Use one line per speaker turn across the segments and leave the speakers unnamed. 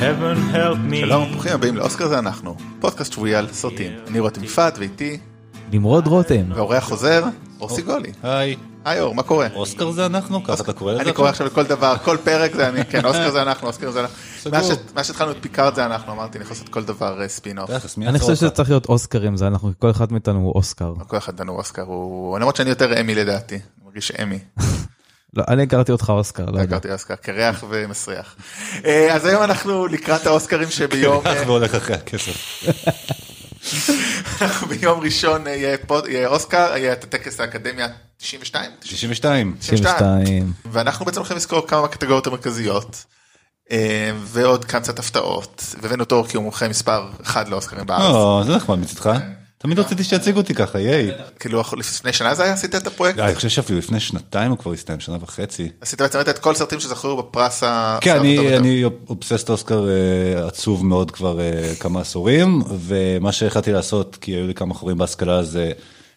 heaven help me.
שלום, ברוכים הבאים לאוסקר זה אנחנו, פודקאסט שבועי על סרטים. אני רותם יפעת ואיתי,
נמרוד רותם.
והאורח חוזר, אור סיגולי.
היי,
היי אור, מה קורה?
אוסקר זה אנחנו? ככה אתה קורא לזה?
אני
אתה?
קורא עכשיו לכל דבר, כל פרק זה אני, כן, אוסקר זה אנחנו, אוסקר זה אנחנו.
סגור.
מאז ש- מאז שהתחלנו את פיקארד זה אנחנו, אמרתי, אני יכול לעשות כל דבר אה, ספין-אוף.
תכלס, מי
אני
יעצור
חושב שזה
אותך?
צריך להיות אוסקרים, זה אנחנו, כל אחד מאיתנו הוא אוסקר.
כל אחד דנו אוסקר, הוא... למרות שאני יותר אמי לדעתי, אני מרגיש שאמי.
לא, אני הכרתי אותך אוסקר, לא יודע.
הכרתי אוסקר, קרח ומסריח. אה, אז היום אנחנו לקראת האוסקרים שביום... אה,
הלך והולך אחרי הכסף.
אנחנו ביום ראשון אה, יהיה פוד- יהיה אוסקר, יהיה את הטקס האקדמיה 92?
62.
92.
ואנחנו בעצם הולכים לזכור כמה מהקטגוריות המרכזיות. אה, ועוד כאן קצת הפתעות, והבאנו אותו כי הוא מומחה מספר 1 לאוסקרים בארץ.
או, לא, זה נחמד מצידך. תמיד רציתי שיציגו אותי ככה, ייי. אה,
כאילו לפני שנה זה היה עשית את הפרויקט?
אני חושב שאפילו לפני שנתיים הוא כבר הסתיים, שנה וחצי.
עשית בעצם את כל הסרטים שזכו בפרס ה...
כן,
הסרט הטוב
אני,
ביותר.
אני אובססט אוסקר אה, עצוב מאוד כבר אה, כמה עשורים, ומה שהחלטתי לעשות, כי היו לי כמה חורים בהשכלה, זה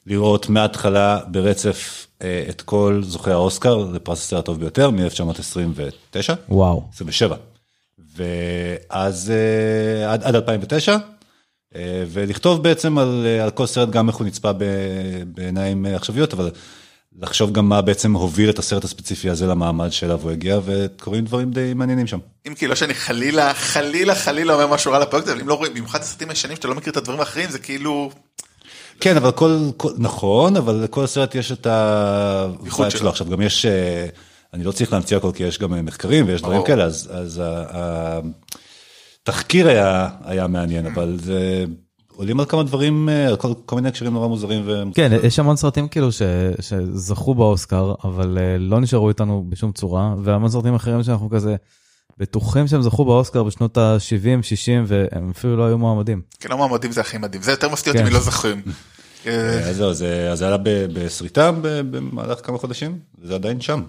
לראות מההתחלה ברצף אה, את כל זוכי האוסקר לפרס הסרט הטוב ביותר, מ-1929,
וואו.
27. ואז אה, עד, עד 2009, אה, ולכתוב בעצם על, אה, על כל סרט, גם איך הוא נצפה ב, בעיניים אה, עכשוויות, אבל לחשוב גם מה בעצם הוביל את הסרט הספציפי הזה למעמד שאליו הוא הגיע, וקורים דברים די מעניינים שם.
אם כי לא שאני חלילה, חלילה, חלילה אומר משהו רע לפרויקט, אבל אם לא רואים, במיוחד הסרטים הישנים שאתה לא מכיר את הדברים האחרים, זה כאילו...
כן, אבל כל, כל, נכון, אבל לכל סרט יש את ה...
ייחוד
vibe
שלו.
עכשיו, גם יש, אה, אני לא צריך להמציא הכל, כי יש גם אה, מחקרים ויש דברים
ברור.
כאלה, אז, אז ה- התחקיר היה, היה מעניין, אבל זה... עולים על כמה דברים, אה, על כל, כל מיני הקשרים נורא מוזרים ו...
כן, יש המון סרטים כאילו ש- שזכו באוסקר, אבל אה, לא נשארו איתנו בשום צורה, והמון סרטים אחרים שאנחנו כזה בטוחים שהם זכו באוסקר בשנות ה-70, 60, והם אפילו לא היו מועמדים.
כי לא מועמדים זה הכי מדהים, זה יותר מפתיע אותי
כן.
מלא זכויים. אה,
אז זהו, זה, אז זה עלה ב- בסריטה ב- במהלך כמה חודשים, וזה עדיין שם.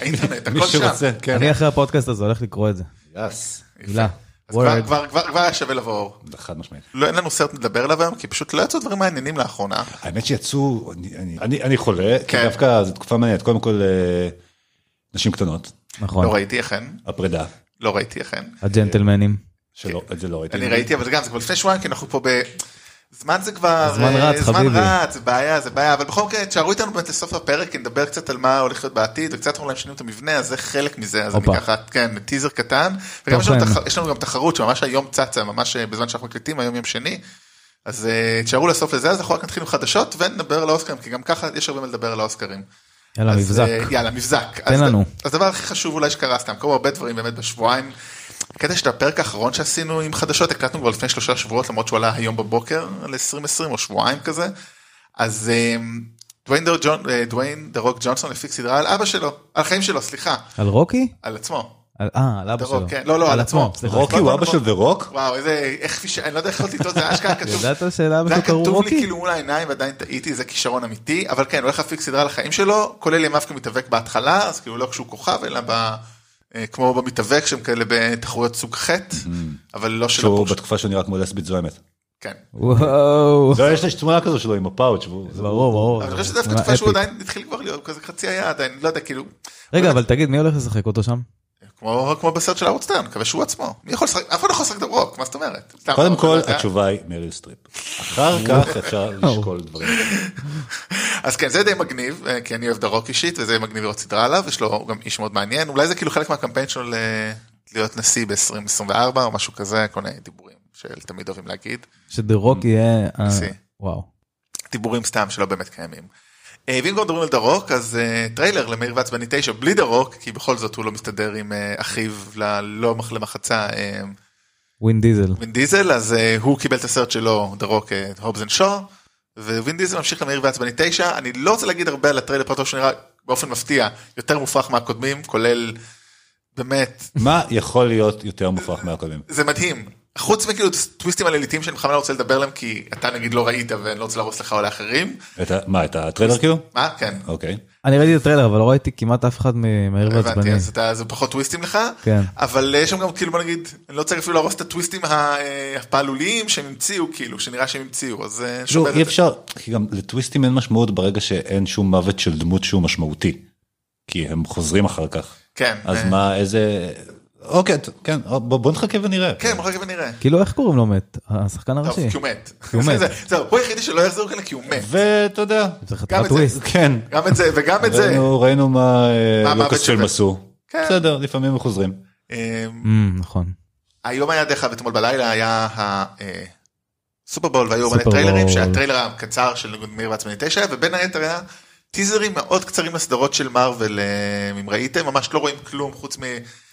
האינטרנט,
מי
הכל שם.
שרוצה, כן.
אני אחרי הפודקאסט הזה הולך לקרוא את זה.
יס,
מילה.
אז כבר-
word.
כבר- כבר כבר היה שווה לבוא אור.
חד משמעית.
לא, אין לנו סרט לדבר עליו היום, כי פשוט לא יצאו דברים מעניינים לאחרונה.
האמת שיצאו, אני, אני, אני, אני חולה, כי
כן.
דווקא זו תקופה מעניינת, קודם כל אה, נשים קטנות,
נכון.
לא ראיתי אכן,
הפרידה,
לא ראיתי אכן.
הג'נטלמנים.
שלא, את זה לא ראיתי.
כן. אני ראיתי, אבל זה גם, זה כבר לפני שבועיים, כי אנחנו פה ב... זמן זה כבר...
הזמן
אה,
רץ, חביבי.
זמן רץ, זה בעיה, זה בעיה, אבל בכל מקרה, תשארו איתנו באמת לסוף הפרק, כי נדבר קצת על מה הולך להיות בעתיד, וקצת אולי משנים את המבנה, אז זה חלק מזה, אז אני
הופה.
ככה, כן, טיזר קטן. וגם יש לנו
תוכן.
תח- יש לנו גם תחרות שממש היום צצה, ממש אה, בזמן שאנחנו מקליטים, היום יום שני. אז אה, תשארו לסוף לזה, אז אנחנו רק נתחיל עם חדשות ונדבר על האוסקרים, כי גם ככה יש הרבה מה לדבר על האוסקרים.
יאללה,
אז,
מבזק.
אה, יאללה, מבזק.
תן
אז-
לנו.
אז הדבר הכי חשוב אולי שקרה סתם, קרו הרבה דברים באמת בשבועיים. הקטע של הפרק האחרון שעשינו עם חדשות, הקלטנו כבר לפני שלושה שבועות, למרות שהוא עלה היום בבוקר ל-2020 או שבועיים כזה. אז אה, דוויין דה ג'ון- אה, דוויין דה רוק ג'ונסון הפיק סדרה על אבא שלו, על החיים שלו, סליחה,
על רוקי?
על עצמו.
על- אה, על אבא
דה
שלו.
רוק, כן. לא, לא, על עצמו.
סליחה.
רוקי הוא אבא של דה רוק?
וואו, איזה, איך כפי ש... אני לא יודע איך יכולתי לטעות, זה היה אשכרה כתוב.
ידעת שלאבא
זה היה
שלו
לא
קראו
כתוב לי
רוקי?
כאילו מול העיניים ועדיין טעיתי זה כישרון אמיתי אבל כן הולך להפיק סדרה על החיים שלו כולל ימיו כמתאבק בהתחלה אז כאילו לא כשהוא כוכב אלא ב... אה, כמו במתאבק שהם כאלה בתחרויות סוג ח' אבל לא של
Mm-hmm. שהוא
הפורש.
בתקופה שהוא נראה כמו לסבית זוהמת.
כן.
וואו.
לא, יש לי תמונה כזו שלו עם הפאוץ'. והוא-
ברור, ברור.
אבל אני
זה
חושב שזה דווקא
תמונה
תקופה שהוא
אפית.
עדיין התחיל כבר להיות כזה חצי היה עדיין לא יודע כאילו
רגע, אבל תגיד, מי הולך לשחק אותו שם?
כמו כמו בסרט של ערוץ 2 אני מקווה שהוא עצמו מי יכול לשחק אף אחד לא יכול לשחק דברוק מה זאת אומרת. סתם,
קודם
אבל
כל
אתה יודע.
התשובה היא מריל סטריפ. אחר כך אפשר לשקול דברים.
אז כן זה די מגניב אה, כי אני אוהב דרוק אישית וזה מגניב לראות סדרה עליו יש לו גם איש מאוד מעניין אולי זה כאילו חלק מהקמפיין שלו ל- להיות נשיא ב-2024 או משהו כזה כל מיני דיבורים שתמיד אוהבים להגיד
שדה רוק
Mm.
יהיה... אה,
נשיא.
וואו.
דיבורים סתם שלא באמת קיימים. אה, ואם כבר מדברים על דרוק אז אה, טריילר למאיר ועצבני 9 בלי דרוק כי בכל זאת הוא לא מסתדר עם אה, אחיו ללא מח- למחצה אה,
ווין דיזל.
וין דיזל אז אה, הוא קיבל את הסרט שלו אה, דרוק הובס אנד שור ווין דיזל ממשיך למהיר ועצבני 9 אני לא רוצה להגיד הרבה על הטריילר פרטו שנראה באופן מפתיע יותר מופרך מהקודמים כולל באמת
מה יכול להיות יותר מופרך מהקודמים?
זה מדהים חוץ מכאילו טוויסטים על עליתים שאני בכלל לא רוצה לדבר עליהם כי אתה נגיד לא ראית ואני לא רוצה להרוס לך או לאחרים
את ה- מה, את הטריילר כאילו?
מה כן.
אוקיי.
אני ראיתי את הטריילר, אבל לא ראיתי כמעט אף אחד ממהיר
לא
ועצבני.
הבנתי, אז אתה, זה פחות טוויסטים לך,
כן.
אבל יש שם גם כאילו בוא נגיד, אני לא צריך אפילו להרוס את הטוויסטים ה- אה, הפעלוליים שהם המציאו כאילו, שנראה שהם המציאו, אז אה,
לא,
שווה
אי
לתת-
אפשר, כי גם לטוויסטים אין משמעות ברגע שאין שום מוות של דמות שהוא משמעותי. כי הם חוזרים אחר כך.
כן,
אז
אה,
מה, איזה... אוקיי, ת- כן, בוא בוא נחכה ונראה.
כן, בוא נחכה ונראה.
כאילו, איך קוראים לו מת? השחקן
טוב, כאילו,
הראשי.
לא, כי הוא מת.
הוא מת.
זה- זהו, הוא היחידי שלא יחזור כאן כי הוא מת.
ואתה יודע,
צריך
גם
חתיכת
את זה.
טוויסט.
כן,
גם את זה וגם את זה.
ראינו- ראינו מה אה,
מה המוות
לוקאספילם
שווה.
עשו.
כן.
לא- בסדר, לפעמים הם חוזרים.
אמ,
אמ, נכון.
היום היה דרך אגב אתמול בלילה היה הסופרבול והיו מלא
סופרבול.
טריילרים שהטריילר הקצר של מאיר ועצמני 9 ובין היתר היה טיזרים מאוד קצרים לסדרות של מארוול אה, אם ראיתם ממש לא רואים כלום חוץ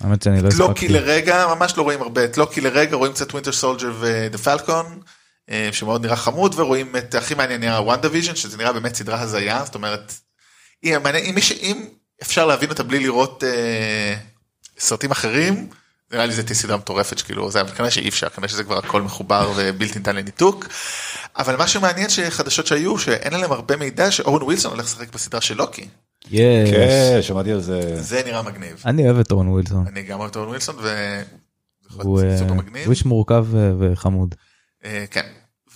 האמת שאני לא
מטלוקי
הספקתי.
לרגע ממש לא רואים הרבה את לוקי לרגע רואים קצת ווינטר סולג'ר ודה פלקון אה, שמאוד נראה חמוד ורואים את הכי מעניין נראה וונדה ויז'ן שזה נראה באמת סדרה הזיה זאת אומרת אם, אם, מיש- אם אפשר להבין אותה בלי לראות אה, סרטים אחרים, נראה לי זה תהיה סדרה מטורפת שכאילו זה אבל כנראה שאי אפשר כנראה שזה כבר הכל מחובר ובלתי ניתן לניתוק. אבל מה שמעניין שחדשות שהיו שאין עליהם הרבה מידע שאורן ווילסון הולך לשחק בסדרה של לוקי
יש.
כן, שמעתי על זה.
זה נראה מגניב.
אני אוהב את אורן ווילסון.
אני גם אוהב את אורן ווילסון ו... זה יכול
הוא
להיות
אה,
סופר
הוא
מגניב.
איש מורכב אה, וחמוד.
אה, כן.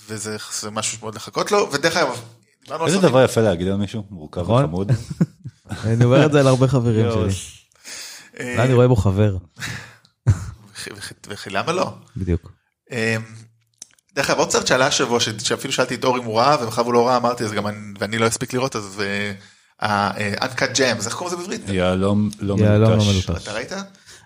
וזה זה משהו שמאוד לחכות לו ודרך אגב. דיברנו על
איזה
סרטים.
דבר יפה להגיד על מישהו, מורכב
נכון?
וחמוד.
אני אומר את זה על הרבה חברים שלי.
אה,
אולי אני רואה בו חבר.
וכי- וכי- וכי למה לא?
בדיוק.
אמ, דרך אגב, עוד סרט שעלה השבוע, ש- שאפילו שאלתי את אור אם הוא ראה, ומאחר והוא לא ראה, אמרתי, אז גם אני, ואני לא אספיק לראות, אז... אה, אה, אה, uncut gems, איך קוראים לזה בעברית?
יהלום לא
יהלום לא
מלוטש.
מלוטש.
אתה ראית?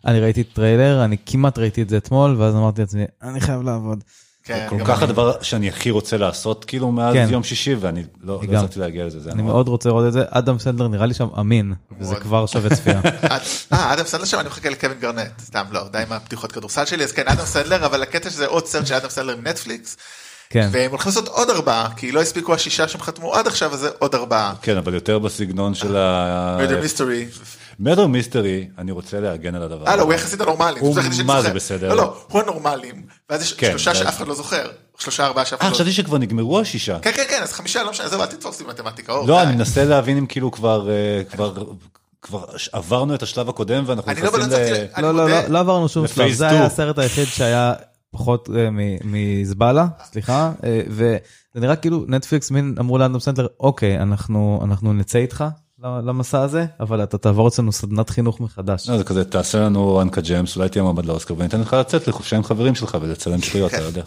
אני ראיתי טריילר, אני כמעט ראיתי את זה אתמול, ואז אמרתי לעצמי, אני חייב לעבוד.
כן,
כל
גם
כך
אני.
הדבר שאני הכי רוצה לעשות כאילו מאז
כן.
יום שישי ואני לא
אני
לא
גם.
הצלחתי להגיע לזה. זה
אני
נכון.
נורא.
מאוד רוצה לראות את זה. אדם סנדלר נראה לי שם אמין, וזה
מאוד.
כבר שווה צפייה.
אה, אה, אדם סנדלר שם, אני מחכה לקווין גרנט. סתם, לא, די עם הבדיחות כדורסל שלי, אז כן, אדם סנדלר, אבל הקטע שזה עוד סרט של אדם סנדלר מנטפליקס,
כן.
והם הולכים לעשות עוד ארבעה, כי לא הספיקו השישה שהם חתמו עד עכשיו, אז זה עוד ארבעה.
כן אבל יותר בסגנון של ה...
מרדר מיסטרי.
מדר מיסטרי אני רוצה להגן על הדבר.
אה, לא,
הזה.
הוא יחסית הנורמלים.
הוא
פשוט היחידי שאני
מה זה
זוכר.
בסדר.
לא, לא, הוא הנורמלים, ואז יש
כן,
שלושה
ואז-
שאף אחד לא זוכר. שלושה, ארבעה שאף אחד
אה
לא זוכר.
חשבתי שכבר נגמרו השישה.
כן, אוקיי. כן, כן, אז חמישה, לא משנה, עזוב, אל תתפוס לי מתמטיקה. אור,
לא
די.
אני מנסה להבין אם כאילו כבר אה, כבר כבר ש- עברנו את השלב הקודם ואנחנו
אני לא
נכנסים
בלנצחתי,
ל...
אני
לא, לא,
מודה.
לא, לא עברנו שום שלב,
לפייס
זה
טו.
היה הסרט היחיד שהיה פחות אה, מ- מזבלה, סליחה, אה, וזה נראה כאילו נטפליקס מין אמרו לאדם סנדלר, אוקיי, אנחנו אנחנו נצא איתך ל- למסע הזה, אבל אתה תעבור אצלנו סדנת חינוך מחדש.
אה.
לא, זה כזה תעשה לנו אנקה ג'מס אולי תהיה מועמד לאוסקר וניתן לך לצאת לחופשה עם חברים שלך ולצלם שטויות אתה יודע.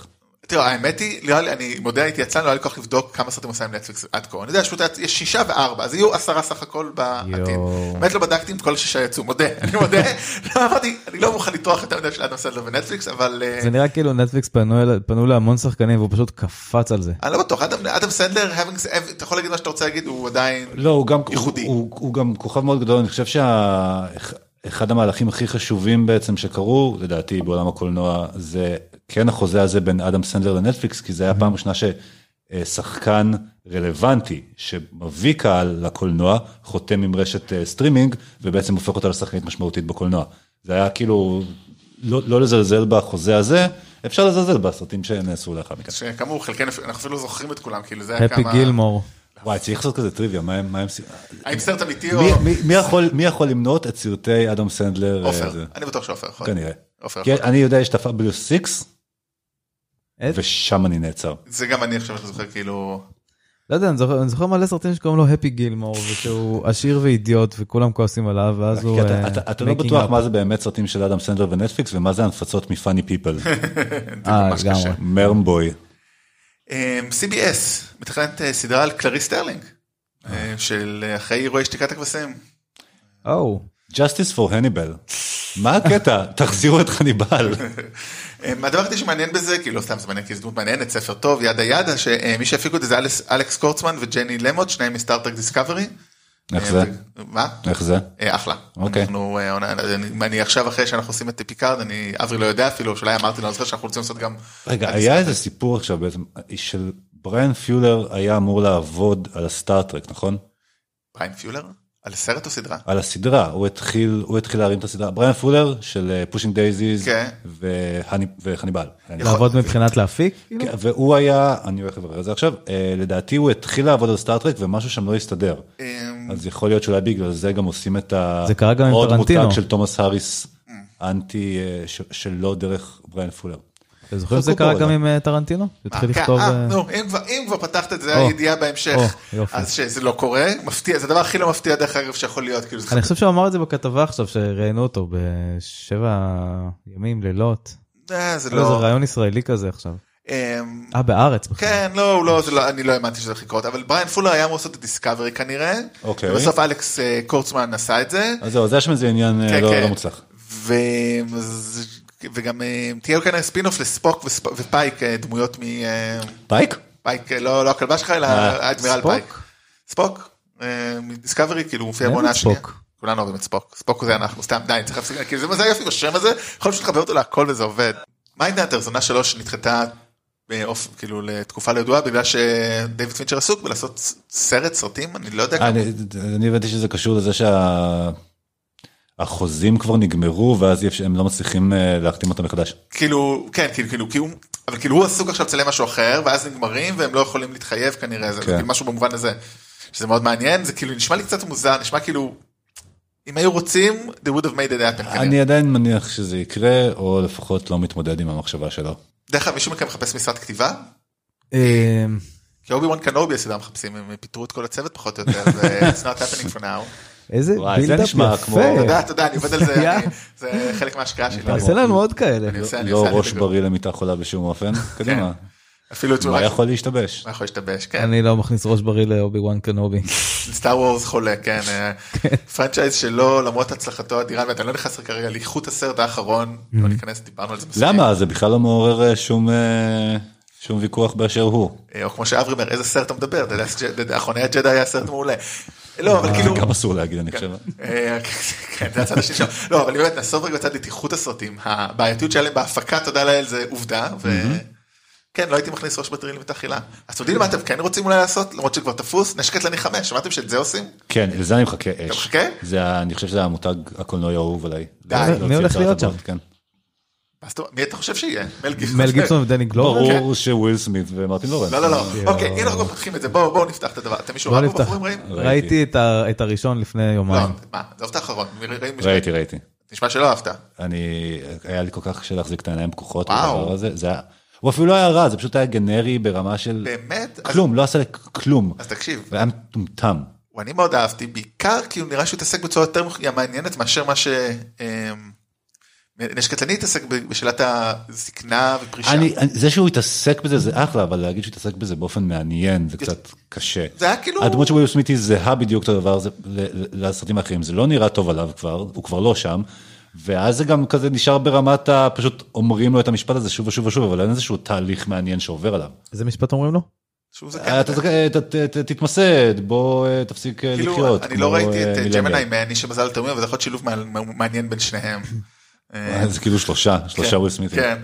תראו, האמת היא, לא היה לי- אני מודה, הייתי יצא, לא היה לי כוח לבדוק כמה סרטים עושה עם נטפליקס עד כה. אני יודע, שפשוט היה- יש שישה וארבע, אז יהיו עשרה סך הכל בעתיד.
יואו.
באמת לא בדקתי אם כל השישה יצאו, מודה, אני מודה. לא, אמרתי, אני לא מוכן לטרוח יותר מדי של אדם סנדלר ונטפליקס, אבל... אה,
זה נראה כאילו נטפליקס פנו אל- פנו להמון שחקנים והוא פשוט קפץ על זה.
אני לא בטוח, אדם אדם סנדלר, having said- אתה יכול להגיד מה שאתה רוצה להגיד, הוא עדיין...
לא, הוא גם, הוא,
ייחודי.
הוא, הוא גם כוכב מאוד גדול, אני חושב שאחד המהלכים הכי חשובים בעצם שקרו, לדעתי בעולם הקולנוע, זה כן החוזה הזה בין אדם סנדלר לנטפליקס, כי זה היה פעם ראשונה ששחקן רלוונטי שמביא קהל לקולנוע, חותם עם רשת אה, סטרימינג, ובעצם הופך אותה לשחקנית משמעותית בקולנוע. זה היה כאילו, לא, לא לזלזל בחוזה הזה, אפשר לזלזל בסרטים שנעשו לאחר מכן.
שכאמור, חלקנו, אנחנו אפילו זוכרים את כולם, כאילו זה היה
הפי
כמה...
גילמור.
וואי, צריך לעשות כזה טריוויה, מה הם... מה הם...
האם סרט אמיתי או...
מי, מי, מי, יכול, מי יכול למנות את סרטי אדם סנדלר? אה,
עופר,
זה?
אני בטוח שעופר יכול.
כנראה. כן.
עופר
כי
יכול.
אני יודע יש את ה-W6
את?
ושם אני נעצר.
זה גם אני עכשיו זוכר, כאילו...
לא יודע, אני זוכר, אני זוכר מלא סרטים שקוראים לו הפי גילמור, ושהוא עשיר ואידיוט וכולם כועסים עליו, ואז הוא...
כי אתה-
אה,
אתה- אתה לא
making
בטוח
up.
מה זה באמת סרטים של אדם סנדלר ונטפליקס ומה זה הנפצות מפאני פיפל.
אה,
ממש
לגמרי.
קשה.
מרמבוי.
אמ, CBS מתכננת אה, סדרה על קלריס סטרלינג אה, של אה, אחרי אירועי שתיקת הכבשים.
או,
Justice for Hannibal. מה הקטע? תחזירו את חניבל.
אמ, הדבר הכי שמעניין בזה כאילו לא סתם זה מעניין כי זו דמות מעניינת ספר טוב ידה ידה אה, שמי שהפיקו את זה זה אלס- אלכס קורצמן וג'ני למוט שניהם מסטארטרק דיסקאברי.
איך זה?
מה?
איך זה?
אה, אחלה.
אוקיי.
אנחנו, אה, עונה- אני- אני עכשיו אחרי שאנחנו עושים את פיקארד אני אברי לא יודע אפילו שאולי אמרתי לו אני לא זוכר שאנחנו רוצים לעשות גם.
רגע, היה איזה סיפור עכשיו בעצם של בריאן פיולר היה אמור לעבוד על הסטארט-טרק, נכון?
בריין פיולר? על סרט או סדרה?
על הסדרה, הוא התחיל, הוא התחיל להרים את הסדרה, בריאן פולר של אה, פושינג דייזיז
כן.
וחניבל.
לעבוד מבחינת להפיק?
כן.
כאילו?
והוא היה, אני הולך לברר את זה עכשיו, אה, לדעתי הוא התחיל לעבוד על סטארטרק ומשהו שם לא הסתדר.
אמ,
אז יכול להיות שאולי בגלל זה גם עושים את ה...
זה קרה גם עם
עוד
טרנטינו.
Mm.
מותג של תומאס האריס, אנטי אה, ש- שלא דרך בריאן פולר.
אתם זוכרים שזה קרה גם עם אה, טרנטינו? התחיל
אה, כן,
לכתוב...
אה,
אה,
נו, אם כבר- אם כבר פתחת את זה,
או,
הידיעה בהמשך,
או, יופי.
אז שזה לא קורה, מפתיע, זה הדבר הכי לא מפתיע דרך אגב שיכול להיות, כאילו, זה-
אני חושב שהוא אמר את זה בכתבה עכשיו, שראיינו אותו בשבע ימים, לילות.
אה, זה
לא, זה
לא...
רעיון ישראלי כזה עכשיו.
אמ,
אה, בארץ בכלל.
כן, לא, הוא לא, זה לא, אני לא האמנתי שזה הולך לקרות, אבל בריין פולר היה אמור לעשות את דיסקאברי כנראה,
אוקיי.
ובסוף אלכס אה, קורצמן עשה את זה,
אז זהו, אז יש שם איזה עניין אה,
כן,
לא
כן.
לא מוצלח.
ו... ז- וגם אה, תהיה לו כנראה ספינוף לספוק וספ- ופייק, אה, דמויות אה, מפייק,
פייק?
לא לא הכלבה שלך, אלא
אה,
האדמירל
ספוק?
פייק. ספוק, אה, מדיסקאברי, כאילו הוא מופיע
אין
בעונה
את
השנייה.
ספוק.
כולנו אוהבים את ספוק, ספוק זה אנחנו, סתם די, צריך להפסיק, כאילו זה- זה היופי בשם הזה, יכול להיות שתחבר אותו להכל וזה עובד. מיינדנטר זונה שלוש נדחתה באופ- כאילו לתקופה לא ידועה בגלל שדייוויד פינצ'ר עסוק בלעשות ס- סרט סרטים, אני לא יודע,
אה, אני אני הבנתי שזה קשור לזה שה... החוזים כבר נגמרו ואז אי אפשר- הם לא מצליחים אה, להחתים אותם מחדש.
כאילו כן כאילו כאילו כאילו אבל כאילו הוא עסוק עכשיו לצלם משהו אחר ואז נגמרים והם לא יכולים להתחייב כנראה זה
כן.
כאילו משהו במובן הזה שזה מאוד מעניין זה כאילו נשמע לי קצת מוזר נשמע כאילו אם היו רוצים they would have made it happen כנראה.
אני עדיין מניח שזה יקרה או לפחות לא מתמודד עם המחשבה שלו.
דרך אגב מישהו מכם מחפש משרד כתיבה?
אה,
כי אובי וואן קנובי הסדרה מחפשים הם פיטרו את כל הצוות פחות או יותר זה it's not happening for now.
איזה
וואי, זה
בילדאפ
נשמע כמו-
יפה.
תודה תודה אני עובד על זה
יא.
אני- זה חלק מההשקעה שלי.
תעשה לנו עוד כאלה.
אני עושה- אני
לא
עושה, אני
ראש
בגלל-
בריא למיטה חולה בשום אופן, קדימה.
אפילו את
מה
מה
יכול להשתבש?
יכול להשתבש כן.
אני לא מכניס ראש בריא לאובי וואן קנובי.
סטאר וורס חולה כן אה, פרנצ'ייז שלו למרות הצלחתו האדירה ואתה לא נכנס כרגע לאיכות הסרט האחרון לא ניכנס דיברנו על זה מספיק.
למה? זה בכלל לא מעורר אה, שום אה, שום ויכוח באשר הוא.
אה, או כמו שאברי אומר איזה סרט אתה מדבר אתה יודע, ש- אחרוני הג'דה היה סרט מעולה. לא אבל כאילו.
גם אסור להגיד, אני חושב.
אה, כן, זה הצד השני שלו. לא אבל באמת נעזוב רגע בצד את איכות הסרטים הבעייתיות שהיה להם בהפקה תודה לאל זה עובדה. ו- כן לא הייתי מכניס ראש בטריל מתאכילה. אז אתם יודעים מה אתם כן רוצים אולי לעשות למרות שכבר תפוס נשק קטלני 5 שמעתם שאת זה עושים?
כן, לזה אני מחכה אש.
מחכה?
זה ה- אני חושב שזה המותג הקולנועי האהוב עליי.
די.
להוציא
מי הולך
הצהרת
להיות
הבאות,
שם?
כן.
אז אתה- מי אתה חושב שיהיה? מל גיבסון.
מל גיבסון ודני גלובר?
ברור שוויל סמית ומרטין לורנס.
לא לא לא
יואו.
אוקיי הנה אנחנו פותחים את זה בואו בואו נפתח את הדבר אתם מישהו
בוא
ראה פה
נפתח.
בחורים רעים?
ראיתי את ה- את הראשון לפני
לא
יומיים.
מה עזוב את האחרון מי- רעים מישהו?
ראיתי, ראיתי.
נשמע שלא אהבת.
אני, היה לי כל כך קשה להחזיק את העיניים פקוחות.
וואו.
בדבר הזה. זה היה, הוא אפילו לא היה רע, זה פשוט היה גנרי ברמה של
באמת? אז-
כלום, לא עשה לי כלום.
אז תקשיב
והיה מטומטם.
אני מאוד אהבתי בעיקר כי הוא נראה שהוא התעסק בצורה יותר מח- מעניינת מאשר מה ש... אמ, נשק קטלני התעסק ב- בשאלת הזקנה ופרישה.
אני, אני- זה שהוא התעסק בזה זה אחלה, אבל להגיד שהוא התעסק בזה באופן מעניין זה קצת קשה.
זה היה כאילו-
הדמות של וויל סמית היא זהה בדיוק אותו דבר זה- ל- ל- לסרטים האחרים, זה לא נראה טוב עליו כבר, הוא כבר לא שם, ואז זה גם כזה נשאר ברמת ה... פשוט אומרים לו את המשפט הזה שוב ושוב ושוב, אבל אין איזשהו תהליך מעניין שעובר עליו.
איזה משפט אומרים לו?
כן, שהוא זקן.
אה, אתה זכאי, ת- ת- ת- תתמסד, בוא אה, תפסיק אה,
כאילו
לחיות.
אני
כמו,
לא ראיתי
אה,
את אה,
מילניאל.
ג'מנאי מני שמזל לתאומים אבל זה יכול להיות שילוב מעל- מעניין בין שניהם. אה,
אה, זה כאילו שלושה,
כן,
שלושה וויל סמיתים.
כן.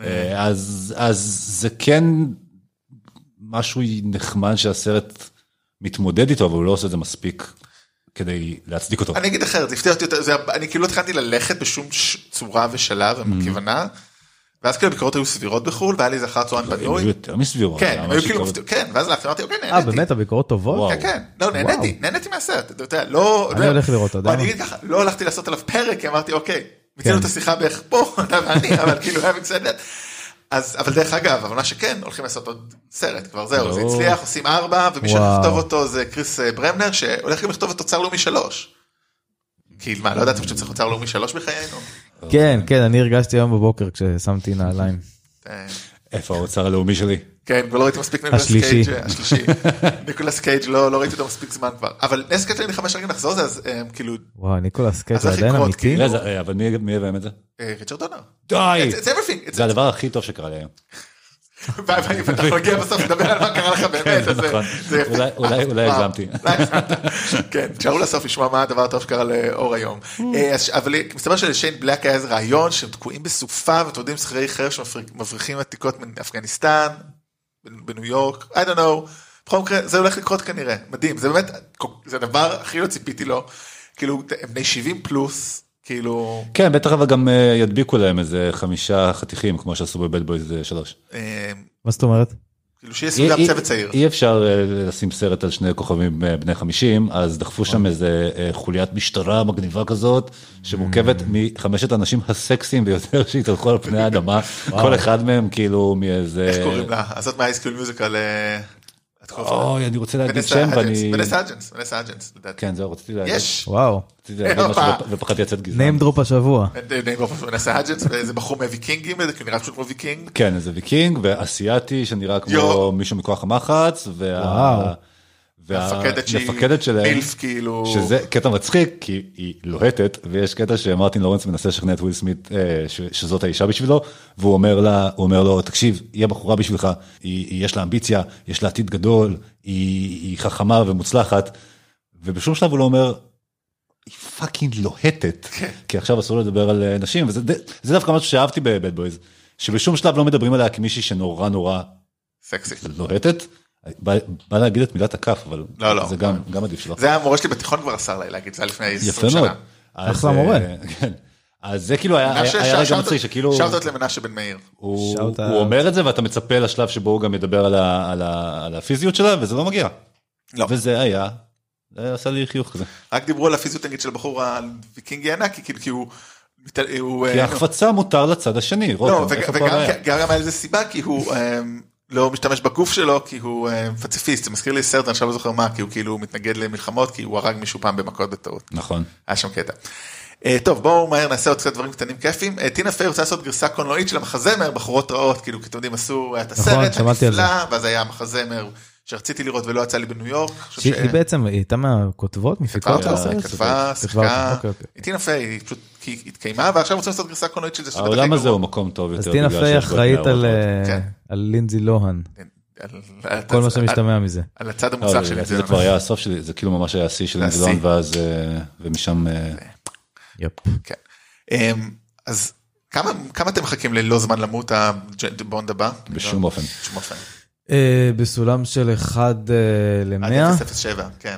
אה, אז, אז זה כן משהו נחמד שהסרט מתמודד איתו, אבל הוא לא עושה את זה מספיק כדי להצדיק אותו.
אני אגיד אחרת, זה הפתיע אותי יותר, זה, אני כאילו לא התחלתי ללכת בשום ש- צורה ושלב וכוונה, ואז כאילו הביקורות היו סבירות בחו"ל, והיה לי איזה אחר הצהריים
הם
בנוי,
היו יותר מסבירות.
לא- כן,
היה
הם היו
משהו
כאילו,
כזה.
מפתיע- כן, ואז לאחרונה אמרתי, אוקיי,
אה,
נהניתי,
באמת, הביקורות טובות?
וואו.
כן, כן, לא, נהניתי, נהניתי מהסרט, אתה יודע, לא,
אני הולך לראות, אתה יודע
או, אני
מה?
אגיד ככה, לא הלכתי לעשות עליו פרק, כי אמרתי, אוקיי, מיצינו
כן.
את השיחה בערך פה, אתה ואני, אבל כאילו היה מצוינת. אז, אבל דרך אגב, אבל מה שכן, הולכים לעשות עוד סרט, כבר זהו, זה
ברור.
הצליח, עושים ארבע, ומי שהולך
לא. וואו.
לכתוב אותו זה קריס אה, ברמנר, שהולך גם לכתוב את תוצר לאומי שלוש. כי מה, לא ידעתם שצריך תוצר לאומי שלוש בחיינו?
כן, כן, אני הרגשתי היום בבוקר כששמתי נעליים.
אה,
איפה האוצר הלאומי שלי?
כן, ולא ראיתי מספיק ניקולס
השלישי.
קייג', אה, השלישי. ניקולס קייג', לא לא ראיתי אותו מספיק זמן כבר. אבל נס קטלין חמש רגע נחזור לזה, אז אה, כאילו,
וואו, ניקולס קייג'
אז
הוא
איך
עדיין
לקרות,
אמיתי?
כאילו?
רגע, זה- אה, אבל מי מי יביים את זה?
אה, ריצ'רד דונר.
די!
It's it's everything. It's
זה הדבר הכי טוב שקרה לי היום.
ביי ביי, ואתה מגיע בסוף לדבר על מה קרה לך באמת, אז זה-
נכון.
זה יפה.
אולי- אולי- אולי
וואו.
הגזמתי.
אולי הגזמת. כן, תשארו לסוף לשמוע מה הדבר הטוב שקרה לאור היום. אה, אז- אבל מסתבר שלשיין בלק היה איזה רעיון שהם תקועים בסופה ואתם יודעים שכירי חרב שמבריחים עתיקות מאפגניסטן, בניו יורק, I don't know. בכל מקרה זה הולך לקרות כנראה, מדהים, זה באמת, זה הדבר הכי לא ציפיתי לו, כאילו הם בני 70 פלוס, כאילו,
כן, בטח אבל גם אה, ידביקו להם איזה חמישה חתיכים, כמו שעשו בבד בויז 3.
אה,
מה זאת אומרת?
כאילו שיהיה סביב
אי-
צוות
אי-
צעיר.
אי אפשר אה, לשים סרט על שני כוכבים אה, בני 50, אז דחפו שם איזה אה, חוליית משטרה מגניבה כזאת,
אה.
שמורכבת מחמשת האנשים הסקסיים ביותר שהתהלכו על פני האדמה, כל אחד מהם כאילו מאיזה...
איך קוראים לה? הזאת מהאייסקיול מיוזיקל. אה, את קוראת לה?
אוי, אני רוצה להגיד
ונסה
שם
אג'נס,
ואני...
ונסה אג'נס, ונסה אג'נס, לדעתי.
כן, זהו, רציתי להגיד
יש.
וואו,
רציתי להגיד משהו
הופה.
ופ- ופחדתי לצאת גזען.
name drop השבוע.
ונסה אג'נס, ואיזה בחור מהוויקינגים, זה נראה פשוט כמו ויקינג.
כן, איזה ויקינג ואסיאתי שנראה כמו
יו.
מישהו מכוח המחץ, וה...
וואו.
מפקדת שהיא
והמפקדת אה, שלהם,
מילף כאילו.
שזה קטע מצחיק כי היא לוהטת ויש קטע שמרטין לורנס מנסה לשכנע את וויל סמית אה, ש- שזאת האישה בשבילו והוא אומר לה הוא אומר לו תקשיב היא הבחורה בשבילך היא, היא יש לה אמביציה יש לה עתיד גדול היא, היא חכמה ומוצלחת ובשום שלב הוא לא אומר. היא פאקינג לוהטת
כן.
כי עכשיו אסור לדבר על אה, נשים וזה ד- זה דווקא משהו שאהבתי בבד בויז שבשום שלב לא מדברים עליה כמישהי שנורא נורא
סקסי.
לוהטת. בא, בא להגיד את מילת הכף אבל
לא, לא.
זה גם, גם עדיף שלא.
זה המורה שלי בתיכון כבר אסר לי להגיד, זה היה לפני 20
יפה
שנה.
מאוד. אז,
אחלה מורה.
אה, כן. אז זה כאילו היה
מנשה,
היה- היה
שאוט-
רגע
שאוט-
מצחיק שכאילו
שאוטות למנשה בן מאיר.
הוא
שאוט
הוא
אאוט.
אומר את זה ואתה מצפה לשלב שבו הוא גם ידבר על ה- על ה- על הפיזיות שלה וזה לא מגיע.
לא.
וזה היה, זה עשה לי חיוך כזה.
רק דיברו על הפיזיותנגית של הבחור הוויקינגי הענק, כי- כאילו כי הוא... מת- הוא,
כי
אה,
ההחפצה מותר לצד השני,
לא,
רותם,
וג-
איפה כל
וגם
הבעיה?
גם היה לזה סיבה, כי הוא אמ, לא משתמש בגוף שלו, כי הוא אמ, פציפיסט, זה מזכיר לי סרט, אני עכשיו לא זוכר מה, כי הוא כאילו מתנגד למלחמות, כי הוא הרג מישהו פעם במכות בטעות.
נכון.
היה שם קטע. אה, טוב בואו מהר נעשה עוד קצת דברים קטנים כיפים. אה, טינה פיי רוצה לעשות גרסה קולנועית של המחזמר בחורות רעות כאילו כי אתם יודעים עשו היה את
נכון,
הסרט
שמעתי על זה.
הנפלא ואז היה המחזמר שרציתי לראות ולא יצא לי בניו יורק. אני חושב
שהיא
ש-
היא בעצם, היא הייתה מהכותבות,
כתבה
מפיקות
אותה,
לסרט?
כתבה, שיחקה,
אוקיי, אוקיי.
היא טינה פיי, היא פשוט כי התקיימה ועכשיו רוצים לעשות גרסה קולנועית של זה. שזה
העולם
בדרך
הזה
כלל
הוא מקום טוב יותר.
אז טינה
בגלל
פיי
שיש בו את
אחראית על,
נערות.
אה,
כן.
על לינזי לוהן,
גרוע. כן, על- על-
כל
על-
מה
אה,
שמשתמע מזה.
על הצד
לא,
המוצלח
לדעתי
של זה.
זה כבר היה הסוף שלי, זה כאילו ממש היה השיא של
השיא.
אנגלון ואז אה, ומשם אה,
יופ.
כן. אמ, אז כמה כמה אתם מחכים ללא זמן למות הבונד הבא? לא,
בשום אופן.
בשום אופן.
אה, בסולם של 1
עד
ל-100?
007, כן.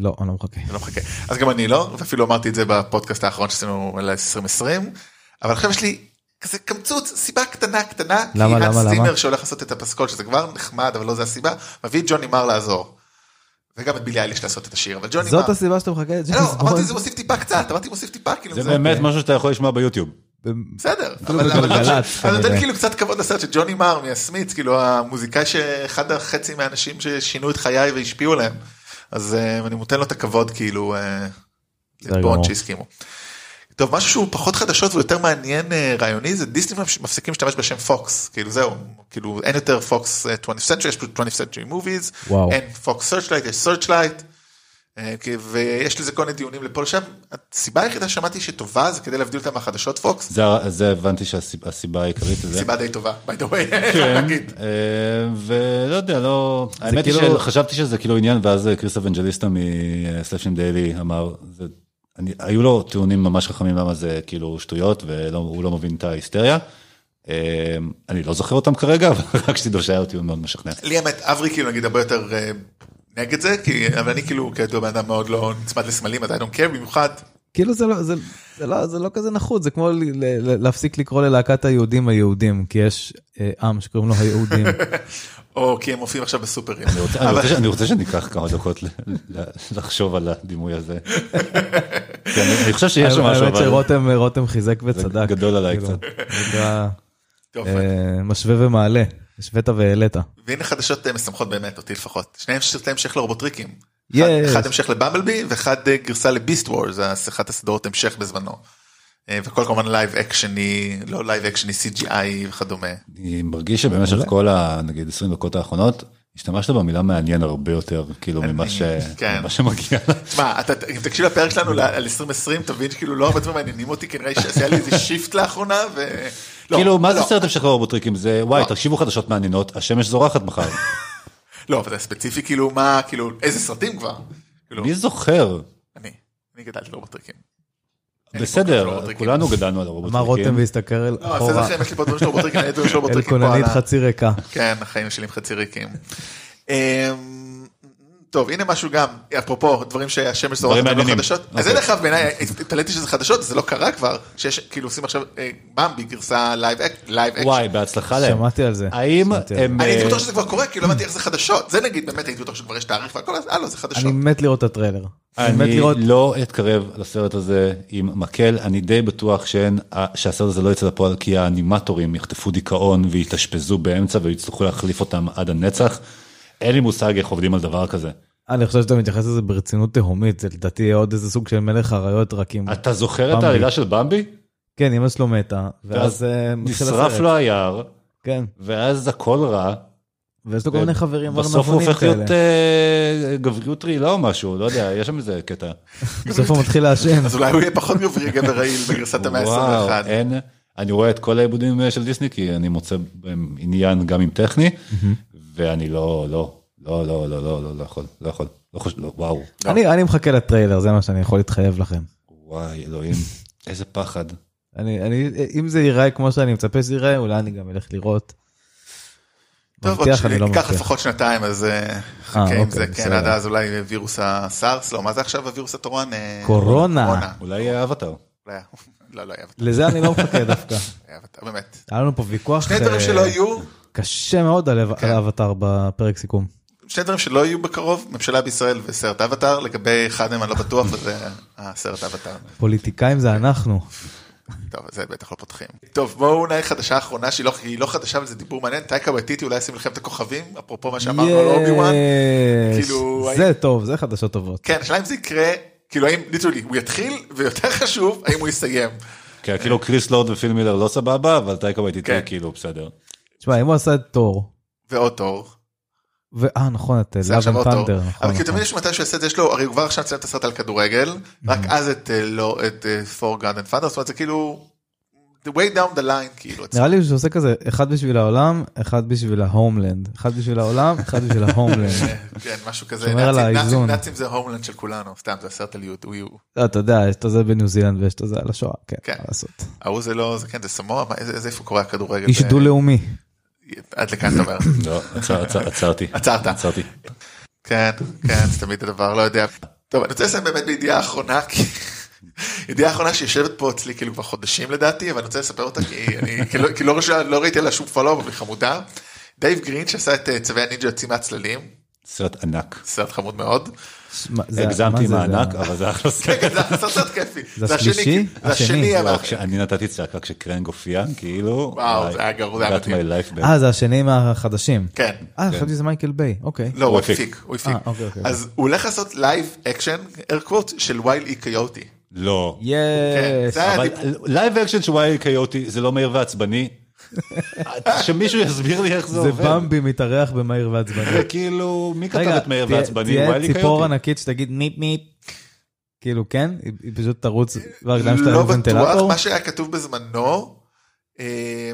לא, אני לא מחכה.
אני לא מחכה. אז גם אני לא, ואפילו אמרתי את זה בפודקאסט האחרון שעשינו על 2020, אבל עכשיו יש לי כזה קמצוץ, סיבה קטנה קטנה,
למה,
כי
למה, למה?
סטימר שהולך לעשות את הפסקול, שזה כבר נחמד, אבל לא זה הסיבה, מביא את ג'וני מר לעזור. וגם את בילי אייליש לעשות את השיר, אבל ג'וני מר...
זאת הסיבה שאתה מחכה לג'יימס
לא, אמרתי
בונד?
זה מוסיף טיפה קצת, אמרתי מוסיף טיפה, כאילו
זה באמת משהו שאתה יכול לשמוע ביוטיוב.
בסדר, אבל אבל
בגלגלצ,
לא ש- אבל נותן
כנראה.
כאילו קצת כבוד לסרט של ג'וני מר מהסמיץ, כאילו המוזיקאי שאחד החצי מהאנשים ששינו את חיי והשפיעו עליהם, אז אה, אני נותן לו את הכבוד כאילו אה,
בסדר
לבון
גמור.
שהסכימו. טוב משהו שהוא פחות חדשות ויותר מעניין אה, רעיוני זה דיסני מפש- מפסיקים להשתמש בשם פוקס כאילו זהו כאילו אין יותר פוקס 20th century יש פשוט 20th century movies
וואו.
אין פוקס searchlight יש searchlight אה, כי- ויש לזה כל מיני דיונים לפה לשם הסיבה היחידה ששמעתי שטובה זה כדי להבדיל אותה מהחדשות פוקס
זה- זה הבנתי שהסיבה העיקרית לזה.
סיבה די טובה, by the way,
כן,
חייב להגיד.
אה, ולא יודע, לא... האמת היא
כאילו-
שחשבתי שזה כאילו עניין, ואז קריס אבנג'ליסטה מסלאפשים דיילי אמר, זה- אני- היו לו טיעונים ממש חכמים למה זה כאילו שטויות, והוא לא מבין את ההיסטריה. אה, אני לא זוכר אותם כרגע, אבל רק שתדעו שהיה לו טיעון מאוד משכנע.
לי האמת, אברי כאילו נגיד הרבה יותר אה, נגד זה, כי אבל אני כאילו כידוע בן אדם מאוד לא נצמד לסמלים, אז I don't care במיוחד.
כאילו זה לא, זה, זה, לא, זה לא כזה נחות, זה כמו ל, ל, להפסיק לקרוא ללהקת היהודים היהודים, כי יש אה, עם שקוראים לו היהודים.
או כי הם מופיעים עכשיו בסופרים.
אני רוצה- אני רוצה ש- אני רוצה שניקח כמה דקות ל- ל- לחשוב על הדימוי הזה. כן, אני- אני חושב שיש שם משהו,
האמת
אבל
שרותם רותם חיזק וצדק.
גדול עליי
כאילו,
קצת. אוקיי.
אתה,
טוב,
אה, משווה ומעלה, השווית והעלית.
והנה חדשות אה, משמחות באמת, אותי לפחות. שניהם סרטי המשך לרובוטריקים. אחד-
יש.
אחד המשך לבמבלבי ואחד אה, גרסה לביסט וורז, אחת הסדרות המשך בזמנו. אה, וכל כמובן לייב אקשני, לא לייב אקשני, CGI וכדומה.
אני מרגיש שבמשך כל ה... נגיד 20 דקות האחרונות, השתמשת במילה מעניין הרבה יותר, כאילו, ממה ש-
כן.
ממה שמגיע.
תשמע, אתה- אם תקשיב לפרק שלנו ל- על 2020, תבין שכאילו לא הרבה דברים מעניינים אותי, כי נראה לי שעשה לי איזה שיפט לאחרונה, ו... לא,
כאילו, מה זה
לא,
סרט המשך לרובוטריקים? זה, וואי,
לא.
תקשיבו חדשות מעניינות, השמש זורחת מחר.
לא, אבל זה ספציפי, כאילו, מה, כאילו, איזה סרטים כבר? כאילו,
מי זוכר?
אני, אני גדלתי לא לרובוטריקים. לי כל כך
בסדר,
רובוטריקים.
כולנו גדלנו על
אמר רותם
הרובוטריקים.
והסתכל אל-
לא, בסדר
אחורה,
שלהם, יש לי פה דברים של רובוטריקים, אני דברים של
אל
רובוטריקים. פה על
כוננית
ה-
חצי ריקה.
כן, החיים שלי הם חצי ריקים. אמ, טוב, הנה משהו גם, אפרופו דברים שהשמש
דברים
זורחת הם לא
מעניינים.
חדשות. אז
אוקיי.
אין לך בעיניי, התפלאתי שזה חדשות, זה לא קרה כבר, שיש, כאילו עושים עכשיו אה, במבי גרסה לייב אקשן.
וואי, בהצלחה להם.
שמעתי על זה.
האם
שמעתי על זה.
הם...
אני הייתי
אה,
בטוח שזה כבר קורה, כי לא הבנתי איך זה חדשות. זה נגיד, באמת הייתי בטוח שכבר יש תאריך והכל, אז אה לא, זה חדשות.
אני מת לראות את הטריילר. אני מת
אני
לראות,
לא אתקרב לסרט הזה עם מקל, אני די בטוח שאין, שהסרט הזה לא יצא לפועל כי האנימטורים יחטפו דיכאון ויתאשפזו באמצע ויצטרכו להחליף אותם עד הנצח. אין לי מושג איך עובדים על דבר כזה.
אני חושב שאתה מתייחס לזה ברצינות תהומית, זה לדעתי יהיה עוד איזה סוג של מלך אריות רק עם...
אתה זוכר את
במבי.
העלילה של במבי?
כן, אמא שלו מתה, ואז אה, מתחיל
נשרף
הסרט.
לו היער,
כן,
ואז הכל רע,
ויש
אה,
לו כל מיני חברים
בסוף הוא
ארנבונים
הופך
כאלה.
להיות אה, גבריות רעילה או משהו, לא יודע, יש שם איזה קטע.
אה,
בסוף הוא מתחיל לעשן.
אז אולי הוא יהיה פחות גברי גבר רעיל בגרסת המאה
וואו,
ה-21.
אה,
אין, אני רואה את כל העיבודים אה, של דיסני, כי אני מוצא בהם עניין גם עם טכני, ואני לא, לא, לא, לא, לא, לא, לא, לא יכול, לא יכול, לא חושב, לא, וואו,
אני אני מחכה לטריילר, זה מה שאני יכול להתחייב לכם.
וואי, אלוהים, איזה פחד.
אני, אני, אם זה ייראה כמו שאני מצפה שזה ייראה, אולי אני גם אלך לראות.
טוב, עוד
מבטיח, אני לא
ייקח
מבטיח.
לפחות שנתיים, אז אה, חכה עם
אוקיי,
זה, כן,
בסדר.
עד אז אולי וירוס הסארס, לא, מה זה עכשיו הווירוס הטורן? אה,
קורונה.
אולי אה, אבטאר.
אולי היה- לא, לא היה אבטר,
לזה אני לא מחכה דווקא.
היה אבטר, באמת.
היה לנו פה ויכוח
שני דברים
אה,
שלא כן. יהיו,
קשה מאוד על אב- על האבטאר בפרק סיכום.
שני דברים שלא יהיו בקרוב, ממשלה בישראל וסרט אבטאר, לגבי אחד מהם אני לא בטוח, וזה הסרט אבטאר.
פוליטיקאים זה אנחנו.
טוב, זה בטח לא פותחים. טוב, בואו אולי חדשה אחרונה, שהיא לא- היא לא חדשה וזה דיבור מעניין, טייקה וטיטי אולי ישים לכם את הכוכבים, אפרופו מה שאמרנו על אובי וואן.
יש.
כאילו,
זה טוב, זה חדשות טובות.
כן, השאלה אם זה יקרה, כאילו האם, ליטרלי, הוא יתחיל, ויותר חשוב, האם הוא יסיים.
כן, כאילו קריס לורד ופיל מילר לא סבבה, אבל טייקה וייטיטי
כן.
כאילו בסדר.
תשמע, אם הוא עשה את תור,
ועוד תור.
ואה נכון, את
זה
לאב
עכשיו עוד תור.
טנדר,
אבל כי
נכון.
תמיד יש מתי שהוא יעשה את זה, יש לו, הרי הוא כבר עכשיו ציין את הסרט על כדורגל, רק
Mm-hmm.
אז את, אה, לא, את אה, for God and Father, זאת אומרת, זה כאילו, the way down the line, כאילו.
נראה לי שהוא עושה כזה, אחד בשביל העולם, אחד בשביל ההומלנד. אחד בשביל העולם, אחד בשביל ההומלנד.
כן, משהו כזה.
שומר על
נאצים- נאצים-
האיזון.
נאצים זה הומלנד של כולנו, סתם, זה הסרט על יהוד, הוא יהוד.
לא, אתה יודע, יש את זה בניו זילנד ויש את זה על השואה, כן,
כן.
מה לעשות.
ההוא זה לא, זה כן, זה סמואה, מה, איזה איזה- איפה קורה הכדורגל?
איש
אה,
דו-לאומי.
עד לכאן אתה אומר.
לא, עצר- עצר- עצרתי.
עצרת.
עצרתי.
כן, כן, זה תמיד הדבר, לא יודע. טוב, אני רוצה לסיים באמת בידיעה אחרונה, כי... ידיעה אחרונה שיושבת פה אצלי כאילו כבר חודשים לדעתי, אבל אני רוצה לספר אותה כי אני כי לא- כי לא ראשונה- לא ראיתי עליה שום פלו, אבל היא חמודה. דייב גרין שעשה את אה, צווי הנינג'ה יוצאים מהצללים,
סרט ענק.
סרט חמוד מאוד.
שמע, זה- מה
הגזמתי
זה,
עם
זה-
הענק, אבל זה אחלה סרט.
כן, זה סרט- סרט כיפי.
זה
השני,
השלישי?
כי- זה השני,
השני.
אבל...
וואו, כשאני נתתי צעקה כשקרנג הופיע, כאילו,
וואו,
וואי,
זה היה גרוע, זה היה
got
מדהים.
my life back.
אה, זה השני מהחדשים.
כן.
אה, חשבתי שזה מייקל ביי, אוקיי.
לא, הוא
הוא הפיק.
הפיק, הוא הפיק.
אה, אוקיי, אוקיי.
אז הוא הולך לעשות לייב אקשן, air quotes, של E וייל אי קיוטי.
לא.
כן,
יש.
זה היה
אבל
דיבור.
לייב אקשן של וואי קיוטי זה לא מהיר ועצבני. שמישהו יסביר לי איך זה
זה
עובד.
במבי מתארח במהיר ועצבני.
זה כאילו, מי כתב
רגע,
את מהיר
תהיה-
ועצבני? וואי
תהיה ציפור
קיוטי.
ענקית שתגיד מיפ מיפ. כאילו כן? היא היא פשוט תרוץ והרגליים שלה
לא
יהיו
בטוח,
ונטילטור?
מה שהיה כתוב בזמנו, אה,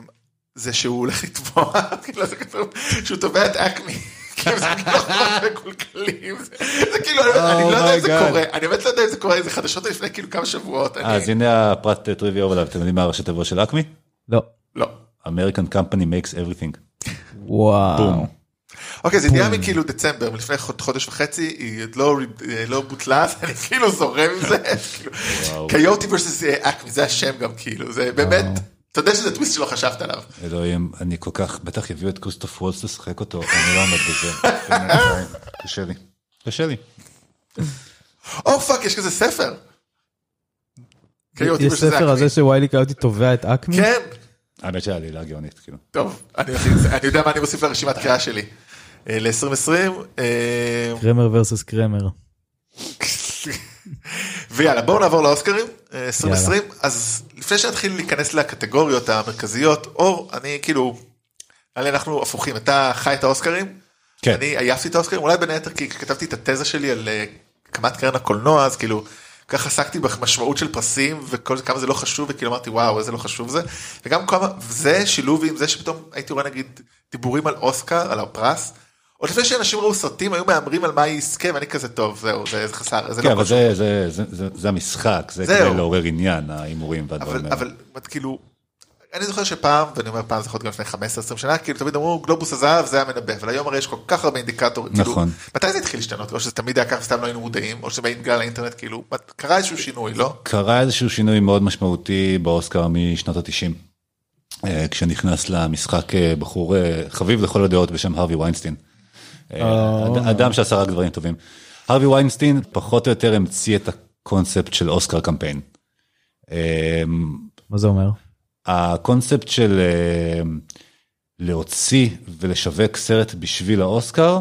זה שהוא הולך לתבוע, כאילו זה כתוב, שהוא תובע את אקמי. כאילו, זה כאילו לא מקולקלים, זה- זה כאילו, אני לא יודע אם זה
Oh my God. אה,
קורה, אני באמת לא יודע אם זה קורה, זה חדשות לפני כאילו כמה שבועות, אני-
אז הנה הפרט טריוויה אבל אתם יודעים מה הראשי תיבות של אקמי?
לא.
לא.
American company makes everything.
וואו.
בום.
אוקיי, זה ידיעה מכאילו דצמבר, מלפני חוד- חודש וחצי, היא עוד לא רי- אה, לא בוטלה, אז אני כאילו זורם עם זה, כאילו, קיוטי versus אה, אקמי, זה השם גם כאילו, זה באמת, אתה יודע שזה טוויסט שלא חשבת עליו.
אלוהים, אני כל כך, בטח יביאו את כריסטוף וולס לשחק אותו, אני לא עומד בזה. באמת, קשה לי. קשה לי.
או פאק, Oh, יש כזה ספר. קיוטי
יש
versus
ספר
אקמי.
על זה שוויילי קיוטי תובע את אקמי?
כן,
האמת שהעלילה גאונית, כאילו.
טוב, אני אני יודע מה אני מוסיף לרשימת קריאה שלי. אה, ל-2020, אה,
קרמר versus קרמר.
ויאללה בואו נעבור לאוסקרים, אה, 2020, אז לפני שנתחיל להיכנס לקטגוריות המרכזיות, אור, אני כאילו, עלי אנחנו הפוכים, אתה חי את האוסקרים,
כן.
אני עייפתי את האוסקרים, אולי בין היתר כי כתבתי את התזה שלי על אה, הקמת קרן הקולנוע, אז כאילו, כך עסקתי במשמעות של פרסים וכל זה, כמה זה לא חשוב, וכאילו אמרתי וואו איזה לא חשוב זה, וגם כמה, זה שילוב עם זה שפתאום הייתי רואה נגיד דיבורים על אוסקר, על הפרס. עוד לפני שאנשים ראו סרטים היו מהמרים על מה יזכה ואני כזה טוב זהו זה זה חסר זה
כן,
לא
אבל
קשור.
זה- זה- זה- זה זה המשחק, זה
זהו.
כדי לעורר עניין, ההימורים והדברים
אבל,
האלה.
אבל, אבל כאילו, אני זוכר שפעם, ואני אומר פעם, זה יכול להיות גם לפני 15-20 שנה, כאילו תמיד אמרו גלובוס הזהב זה המנבא, אבל היום הרי יש כל כך הרבה אינדיקטורים. כאילו,
נכון.
מתי זה התחיל להשתנות? או שזה תמיד היה ככה סתם לא היינו מודעים, או שזה בגלל האינטרנט, כאילו, מה- קרה איזשהו שינוי, לא?
קרה איזשהו שינוי מאוד משמעותי באוסקר משנות ה-90, כשנכנס למשחק אה, בחור אה, חביב לכל הדעות בשם הרווי ויינסטין. אה,
אה,
אד- אדם שעשה רק דברים טובים. הרווי ויינסטין פחות או יותר המציא את הקונספט של אוסקר קמפיין. אה,
מה זה אומר?
הקונספט של אה, להוציא ולשווק סרט בשביל האוסקר,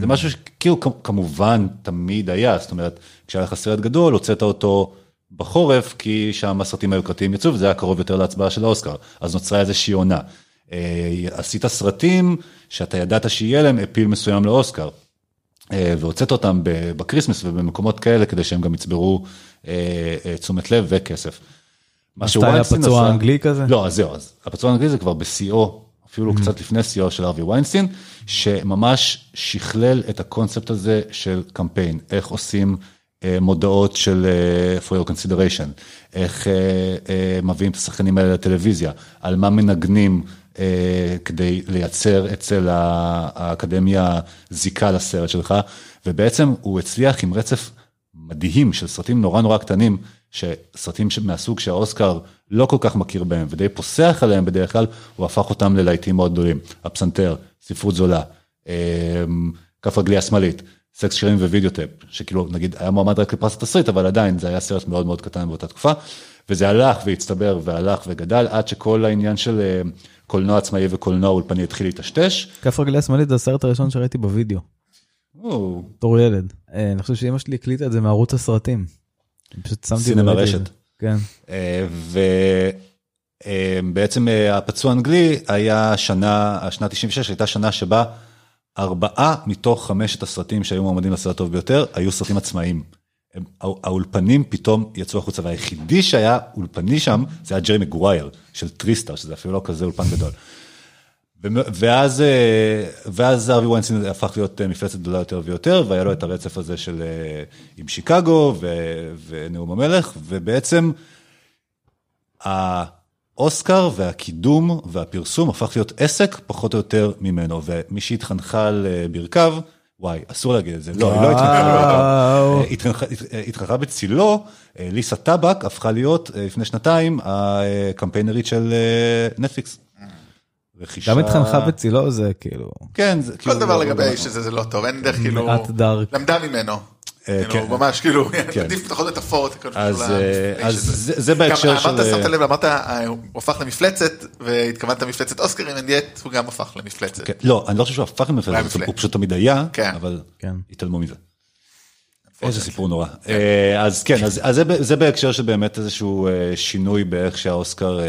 זה משהו שכאילו כ- כמובן תמיד היה, זאת אומרת, כשהיה לך סרט גדול, הוצאת אותו בחורף, כי שם הסרטים היוקרתיים יצאו, וזה היה קרוב יותר להצבעה של האוסקר, אז נוצרה איזושהי עונה. אה, עשית סרטים שאתה ידעת שיהיה להם אפיל מסוים לאוסקר. אה, והוצאת אותם ב- בקריסמס ובמקומות כאלה כדי שהם גם יצברו אה, אה, תשומת לב וכסף. מה
הסטייל
שוויינסטין
הפצוע
עשה-
האנגלי כזה? Mm-hmm.
לא, אז זהו, אז הפצוע האנגלי זה כבר בשיאו, אפילו קצת לפני שיאו של ארווי ויינסטין, שממש שכלל את הקונספט הזה של קמפיין, איך עושים אה, מודעות של אה, for your consideration, איך אה, אה, מביאים את השחקנים האלה לטלוויזיה, על מה מנגנים. אה, כדי לייצר אצל ה- האקדמיה זיקה לסרט שלך, ובעצם הוא הצליח עם רצף מדהים של סרטים נורא נורא קטנים, שסרטים ש- מהסוג שהאוסקר לא כל כך מכיר בהם ודי פוסח עליהם בדרך כלל, הוא הפך אותם ללהיטים מאוד גדולים. הפסנתר, ספרות זולה, אמ, כף רגלי השמאלית, סקס שירים ווידאו טאפ, שכאילו נגיד היה מועמד רק לפרס התסריט, אבל עדיין זה היה סרט מאוד מאוד קטן באותה תקופה, וזה הלך והצטבר והלך וגדל עד שכל העניין של אמ, קולנוע עצמאי וקולנוע אולפני התחיל להיטשטש.
כף רגלי השמאלית זה הסרט הראשון שראיתי בווידאו,
או,
בתור ילד. אה, אני חושב שאימא שלי הקליטה את זה מערוץ הסרטים. אני פשוט שמתי...
סינמה
וראיתי את
רשת.
זה. כן.
אה, ובעצם אה, הפצוע האנגלי היה שנה, השנה 96 הייתה שנה שבה ארבעה מתוך חמשת הסרטים שהיו מועמדים לסרט הטוב ביותר היו סרטים עצמאיים. הם- הא- האולפנים פתאום יצאו החוצה והיחידי שהיה אולפני שם זה היה ג'רי מגווייר של טריסטר שזה אפילו לא כזה אולפן גדול. ומ- ואז אה, ואז ארווי ויינסטין הפך להיות אה, מפלצת גדולה יותר ויותר והיה לו את הרצף הזה של אה, עם שיקגו ו- ונאום המלך ובעצם האוסקר והקידום והפרסום הפך להיות עסק פחות או יותר ממנו, ומי שהתחנכה על אה, ברכיו, וואי, אסור להגיד את זה, לא, היא לא התחנכה על ברכיו.
וואו.
אה, התחנכה- הת- אה, התחנכה בצילו, אה, ליסה טבק הפכה להיות אה, לפני שנתיים הקמפיינרית של אה, נטפליקס. רכישה-
גם התחנכה בצילו זה כאילו...
כן, זה
כל
כאילו-
דבר לגבי האיש הזה זה לא טוב, אין דרך כאילו,
מעט דארק.
למדה ממנו. כאילו,
כן.
ממש כאילו,
כן.
עדיף פחות מטאפורות. כאילו,
אז,
בשביל
אה,
האיש
אז
הזה.
זה- זה
גם
בהקשר של...
אמרת, שמת לב, אמרת, אה, הוא הפך למפלצת, והתכוונת מפלצת אוסקרים, and yet הוא גם הפך למפלצת.
כן, לא, אני לא חושב שהוא הפך
היה
למפלצת,
מפלצת.
הוא פשוט תמיד היה,
כן.
אבל
כן.
התעלמו מזה. איזה סיפור נורא. אה, אז כן, אז אז זה ב- זה בהקשר של באמת איזשהו אה, שינוי באיך שהאוסקר אה,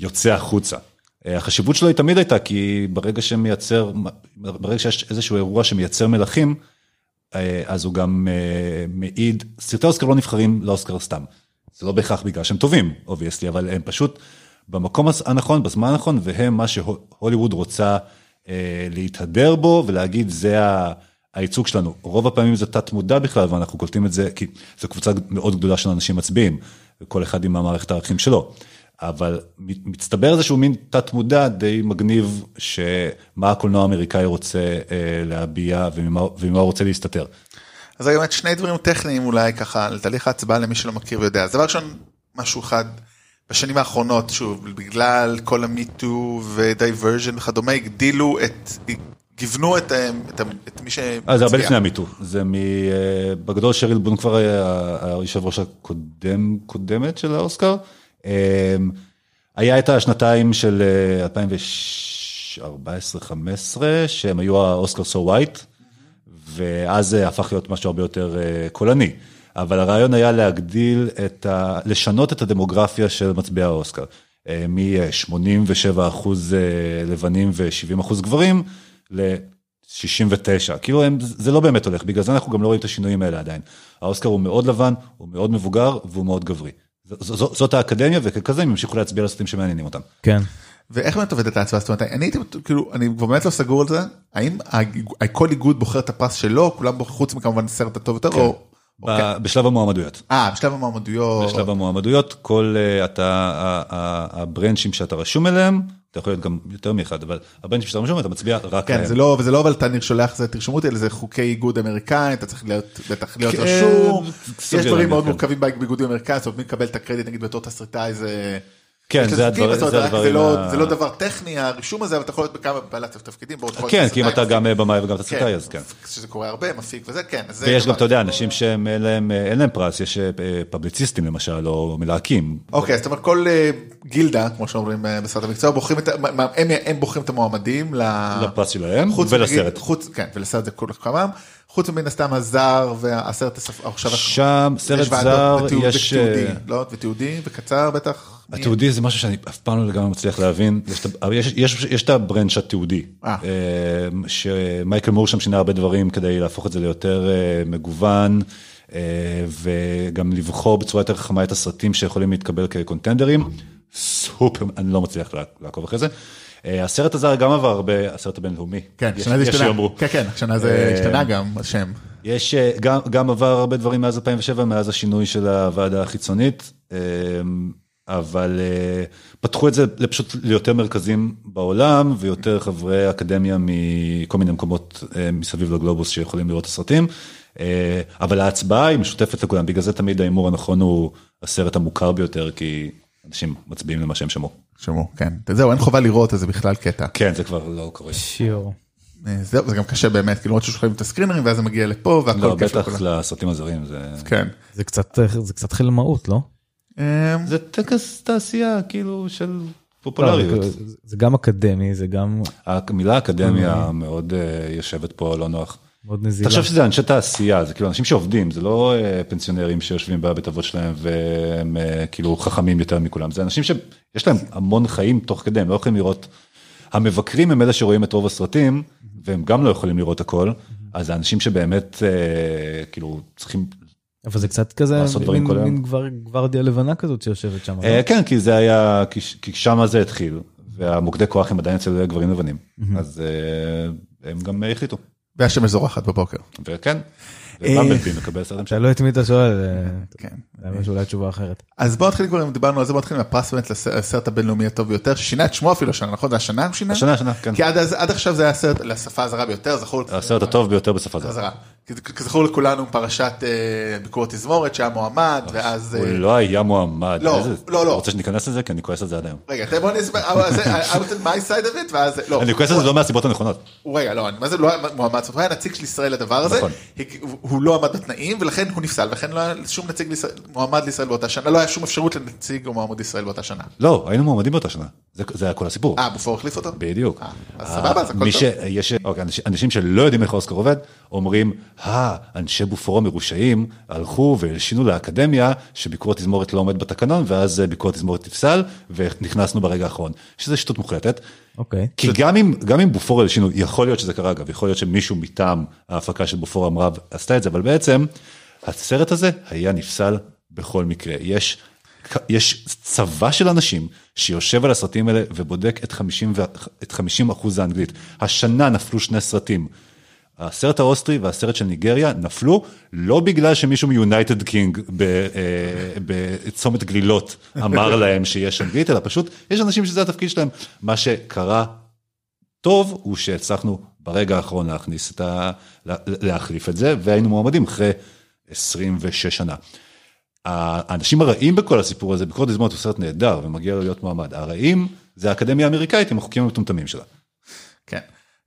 יוצא החוצה. אה, החשיבות שלו היא תמיד הייתה, כי ברגע שמייצר, ברגע שיש איזשהו אירוע שמייצר מלכים, אה, אז הוא גם אה, מעיד, סרטי אוסקר לא נבחרים לאוסקר סתם. זה לא בהכרח בגלל שהם טובים, אובייסלי, אבל הם פשוט במקום הס- הנכון, בזמן הנכון, והם מה שהוליווד רוצה אה, להתהדר בו ולהגיד, זה ה- הייצוג שלנו. רוב הפעמים זה תת מודע בכלל, ואנחנו קולטים את זה, כי זו קבוצה מאוד גדולה של אנשים מצביעים, כל אחד עם המערכת הערכים שלו. אבל מת- מצטבר איזשהו מין תת מודע די מגניב, שמה הקולנוע האמריקאי רוצה אה, להביע וממה וממה הוא רוצה להסתתר.
אז רגע, באמת שני דברים טכניים אולי ככה על תהליך ההצבעה למי שלא מכיר ויודע. אז דבר ראשון, משהו אחד, בשנים האחרונות, שוב, בגלל כל המיטו ודייברז'ן וכדומה, הגדילו את, גיוונו את, אה, את, ה- את מי ש...
אז אה, זה הרבה לפני המיטו, זה מ... אה, בגדול שריל בון כבר היה היושב ראש הקודם, קודמת של האוסקר. אה, היה את השנתיים של אה, 2014-2015, שהם היו האוסקר סו ווייט, ואז זה הפך להיות משהו הרבה יותר אה, קולני. אבל הרעיון היה להגדיל את ה... לשנות את הדמוגרפיה של מצביעי האוסקר. מ-87 אחוז אה, לבנים ו-70 אחוז גברים, ל-69. כאילו הם, זה לא באמת הולך, בגלל זה אנחנו גם לא רואים את השינויים האלה עדיין. האוסקר הוא מאוד לבן, הוא מאוד מבוגר והוא מאוד גברי. ז- ז- זאת האקדמיה, וככזה הם ימשיכו להצביע על הסרטים שמעניינים אותם.
כן.
ואיך באמת עובדת ההצבעה? זאת אומרת, אני הייתי, כאילו, אני באמת לא סגור על זה, האם ה- כל איגוד בוחר את הפרס שלו, כולם בוחר, חוץ מכמובן הסרט הטוב יותר, או
כן. ב- בשלב המועמדויות.
אה, בשלב המועמדויות.
בשלב המועמדויות, כל אה, אתה, ה- ה- הברנצ'ים שאתה רשום אליהם, אתה יכול להיות גם יותר מאחד, אבל הברנצ'ים שאתה רשום, אתה מצביע רק
כן,
להם.
זה לא, וזה לא אבל תניר שולח זה תרשמו אותי, אלא זה חוקי איגוד אמריקאי, אתה צריך להיות, בטח להיות
כן,
רשום.
סביר
יש דברים
להניח,
מאוד
כן.
מורכבים באיגוד אמריקאי, זאת אומרת, מי מקבל את הקרדיט, נגיד בתור תסריטאי זה...
כן,
יש לזה
זה
חוקים,
הדבר-
זאת אומרת,
זה
רק-
הדברים
לא-
ה-
זה לא דבר טכני, הרישום הזה, אבל אתה יכול להיות בכמה בעלת תפקידים. בעוד כל
כן, כי אם
תסריטאי
אתה
מפיק.
גם אה, במאי וגם
לא- כן,
תסריטאי, אז כן.
שזה קורה הרבה, מפיק וזה, כן. אז זה
ויש גם,
דבר-
אתה יודע, אנשים שהם, אין להם, אה, אין להם פרס, יש אה, אה, פבליציסטים למשל, או מלהקים.
אוקיי, אז אתה אומר כל אה, גילדה, כמו שאומרים אה, בשפת המקצוע, בוחרים את ה- מה- מה- הם- הם בוחרים את המועמדים ל-
לפרס שלהם,
אה. חוץ
ולסרט.
מנגיד- חוץ, כן, ולסרט זה כל כמם. חוץ מן הסתם הזר והסרט הספ- עכשיו...
שם, סרט
יש ועדות
זר,
ותיעוד-
יש...
ותיעודי,
אה,
לא? ותיעודי וקצר בטח.
התיעודי זה משהו שאני אף פעם לא לגמרי מצליח להבין, יש את ה- אבל יש- יש- יש את הברנץ' התיעודי,
אה.
אה, שמייקל מור שם שינה הרבה דברים כדי להפוך את זה ליותר אה, מגוון, אה, וגם לבחור בצורה יותר חכמה את הסרטים שיכולים להתקבל כקונטנדרים, סופר, אני לא מצליח לע- לעקוב אחרי זה. אה, הסרט הזר גם עבר הרבה, הסרט הבינלאומי,
כן,
יש-
השנה זה
יש
השתנה.
שיאמרו.
כן, כן, השנה זה
אה,
השתנה גם, השם.
יש, אה, גם, גם עבר הרבה דברים מאז 2007, מאז השינוי של הוועדה החיצונית, אה, אבל אה, פתחו את זה לפשוט ליותר מרכזים בעולם ויותר חברי אקדמיה מכל מיני מקומות אה, מסביב לגלובוס שיכולים לראות את הסרטים, אה, אבל ההצבעה היא משותפת לכולם, בגלל זה תמיד ההימור הנכון הוא הסרט המוכר ביותר, כי אנשים מצביעים למה שהם שמעו.
שמעו, כן. זהו, אין חובה לראות, אז זה בכלל קטע.
כן, זה כבר לא קורה.
שיור.
אה, זהו, זה גם קשה באמת, כאילו, עוד ששולחים את הסקרינרים, ואז זה מגיע לפה,
לא,
והכל כיף
בטח לא.
לכולם.
לסרטים הזרים זה...
כן.
זה קצת, זה קצת חלמאות, לא?
אה,
זה טקס תעשייה כאילו של
לא,
פופולריות.
זה- זה- זה גם אקדמי, זה גם
המילה אקדמיה מאוד אה, יושבת פה לא נוח.
מאוד נזילה.
תחשוב שזה אנשי תעשייה, זה כאילו אנשים שעובדים, זה לא אה, פנסיונרים שיושבים בבית אבות שלהם והם אה, כאילו חכמים יותר מכולם, זה אנשים שיש להם המון חיים תוך כדי, הם לא יכולים לראות. המבקרים הם אלה שרואים את רוב הסרטים, והם גם לא יכולים לראות הכל, אז זה אנשים שבאמת אה, כאילו צריכים,
אבל זה קצת כזה
לעשות דברים
מין-
כל היום.
מין גבר- גוורדיה לבנה כזאת שיושבת שם. לא?
אה, כן, כי זה היה, כי ש- כי שם זה התחיל, והמוקדי כוח הם עדיין אצל גברים לבנים, אז אה, הם גם החליטו.
והשמש זורחת בבוקר.
וכן,
אה,
ובמבלבי מקבל סרטים
אתה
שלו.
לא את מי אתה שואל, אה,
כן.
האמת שאולי תשובה אחרת.
אז בוא נתחיל כבר, אם דיברנו על זה, בוא נתחיל מהפרס באמת לסרט הבינלאומי הטוב ביותר, ששינה את שמו אפילו השנה, נכון? זה השנה הוא שינה?
השנה, השנה, כן. אה,
כי עד אז- עד עכשיו זה היה סרט לשפה הזרה ביותר, זכור
הסרט הטוב ביותר בשפה הזאת.
חזרה. כזכור לכולנו פרשת אה, ביקור התזמורת שהיה מועמד, ואז...
הוא
אה,
לא היה מועמד.
לא,
איזה-
לא, לא.
אתה רוצה שניכנס לזה? כי אני כועס על זה עד היום.
רגע, תן בוא נסביר, אבל זה- I was at my side of it, ואז, לא,
אני כועס על זה לא מהסיבות הנכונות.
הוא- רגע, לא, אני- מה זה לא היה מועמד, זאת אומרת, הוא היה נציג של ישראל לדבר הזה,
נכון.
הג- הוא- הוא לא עמד בתנאים, ולכן הוא נפסל, ולכן לא היה שום נציג לישראל, מועמד לישראל באותה שנה, לא היה שום אפשרות לנציג או מועמד לישראל באותה שנה.
לא, היינו מועמדים באותה שנה. זה- זה היה כל הסיפור.
אה, בופור החליף אותו?
בדיוק.
אה, אז סבבה, אז הכל
מי
טוב.
ש- יש- אוקיי, אנשים- אנשים שלא יודעים איך האוסקר עובד, אומרים, אה, אנשי בופורו מרושעים הלכו והלשינו לאקדמיה שביקור התזמורת לא עומד בתקנון, ואז אה, ביקור התזמורת נפסל, ונכנסנו ברגע האחרון. שזה שטות מוחלטת.
אוקיי.
כי גם אם, גם אם בופור על שינוי, יכול להיות שזה קרה אגב, יכול להיות שמישהו מטעם ההפקה של בופור אמרה עשתה את זה, אבל בעצם הסרט הזה היה נפסל בכל מקרה. יש, יש צבא של אנשים שיושב על הסרטים האלה ובודק את 50, ו- את 50 אחוז האנגלית. השנה נפלו שני סרטים. הסרט האוסטרי והסרט של ניגריה נפלו לא בגלל שמישהו מיונייטד קינג ב- אה, בצומת גלילות אמר להם שיש אנגלית, אלא פשוט יש אנשים שזה התפקיד שלהם. מה שקרה טוב הוא שהצלחנו ברגע האחרון להכניס את ה... לה- להחליף את זה, והיינו מועמדים אחרי 26 שנה. האנשים הרעים בכל הסיפור הזה, ביקורת הזמנות הוא סרט נהדר ומגיע לו להיות מועמד. הרעים זה האקדמיה האמריקאית עם החוקים המטומטמים שלה.
כן.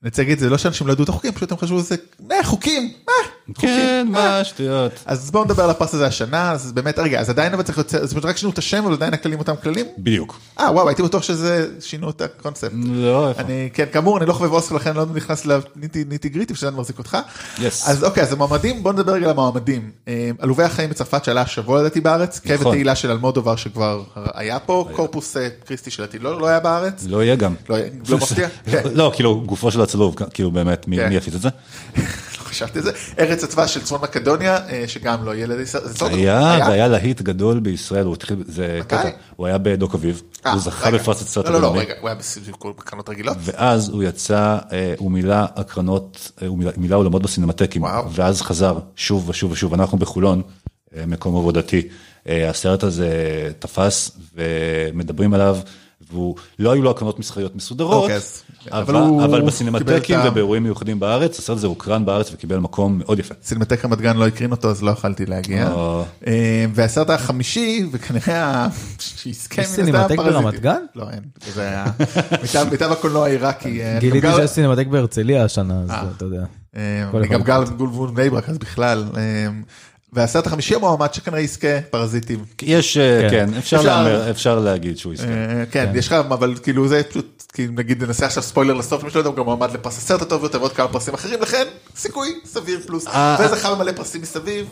אני רוצה להגיד, זה לא שאנשים לא ידעו את החוקים, פשוט הם חשבו שזה, אה, חוקים, אה. מה?
כן, מה, שטויות.
אז בואו נדבר על הפרס הזה השנה, אז באמת, רגע, אז עדיין אבל צריך לצאת, זאת אומרת, רק שינו את השם, אבל עדיין הכללים אותם כללים?
בדיוק.
אה, וואו, הייתי בטוח שזה, שינו את הקונספט.
לא, איפה?
אני, כן, כאמור, אני לא חובב אוסקר, לכן לא נכנס לניטי גריטים שאני מחזיק אותך.
Yes.
אז אוקיי, אז המועמדים, בואו נדבר רגע על המועמדים. אה, עלובי החיים בצרפת שעלה השבוע לדעתי בארץ, כאב
נכון.
ותהילה של אלמודובר שכבר היה פה, קורפוס אה, קריסטי שלדעתי לא לא היה בארץ.
לא יהיה גם.
לא יהיה, לא מפתיע? כן.
לא, כאילו, גופו של הצלוב, כאילו באמת, מי
כן.
מי יפיץ את זה?
לא חשבתי על זה. ארץ עץ הצבא של צפון מקדוניה, אה, שגם לא יהיה לישראל. זה סוד-
היה, זה היה להיט גדול בישראל, הוא התחיל, זה
מתי?
קטע, הוא היה בדוק אביב,
אה,
הוא זכה
רגע.
בפרס הסרט
לא, לא, לא,
הבינלאומי,
רגע, הוא היה בסיבוב בקרנות רגילות.
ואז הוא יצא, אה, הוא מילא הקרנות, אה, הוא מילא- מילא עולמות בסינמטקים,
וואו.
ואז חזר שוב ושוב ושוב, אנחנו בחולון, אה, מקום עבודתי, אה, הסרט הזה תפס ומדברים עליו. והוא, לא היו לו הקרנות מסחריות מסודרות,
אוקיי, אז- אבל
אבל,
הוא
אבל
קיבל
בסינמטקים
את ה-
ובאירועים מיוחדים בארץ, הסרט הזה הוקרן בארץ וקיבל מקום מאוד יפה.
סינמטק רמת גן לא הקרין אותו אז לא יכלתי להגיע.
אה.
אה, והסרט החמישי וכנראה ה- שיזכה
יש
מן הסתם
סינמטק
פרזיטים.
ברמת גן?
לא אין. זה היה מיטב- מיטב הקולנוע העיראקי. אה,
גיליתי
גם גר-
שיש סינמטק בהרצליה השנה, אז אתה יודע.
אה,
כל
אני גם
הכבוד.
גר בגולבון בני ברק אז בכלל. אה, והסרט החמישי המועמד שכנראה יזכה פרזיטים.
יש, אה,
כן.
כן, אפשר
אפשר-
להמר- אפשר להגיד שהוא יזכה.
אה, כן יש לך אבל כאילו זה פשוט כי אם נגיד ננסה עכשיו ספוילר לסוף מי שלא יודע הוא גם מועמד לפרס הסרט הטוב יותר ועוד כמה פרסים אחרים לכן סיכוי סביר פלוס
אה,
וזכה במלא פרסים מסביב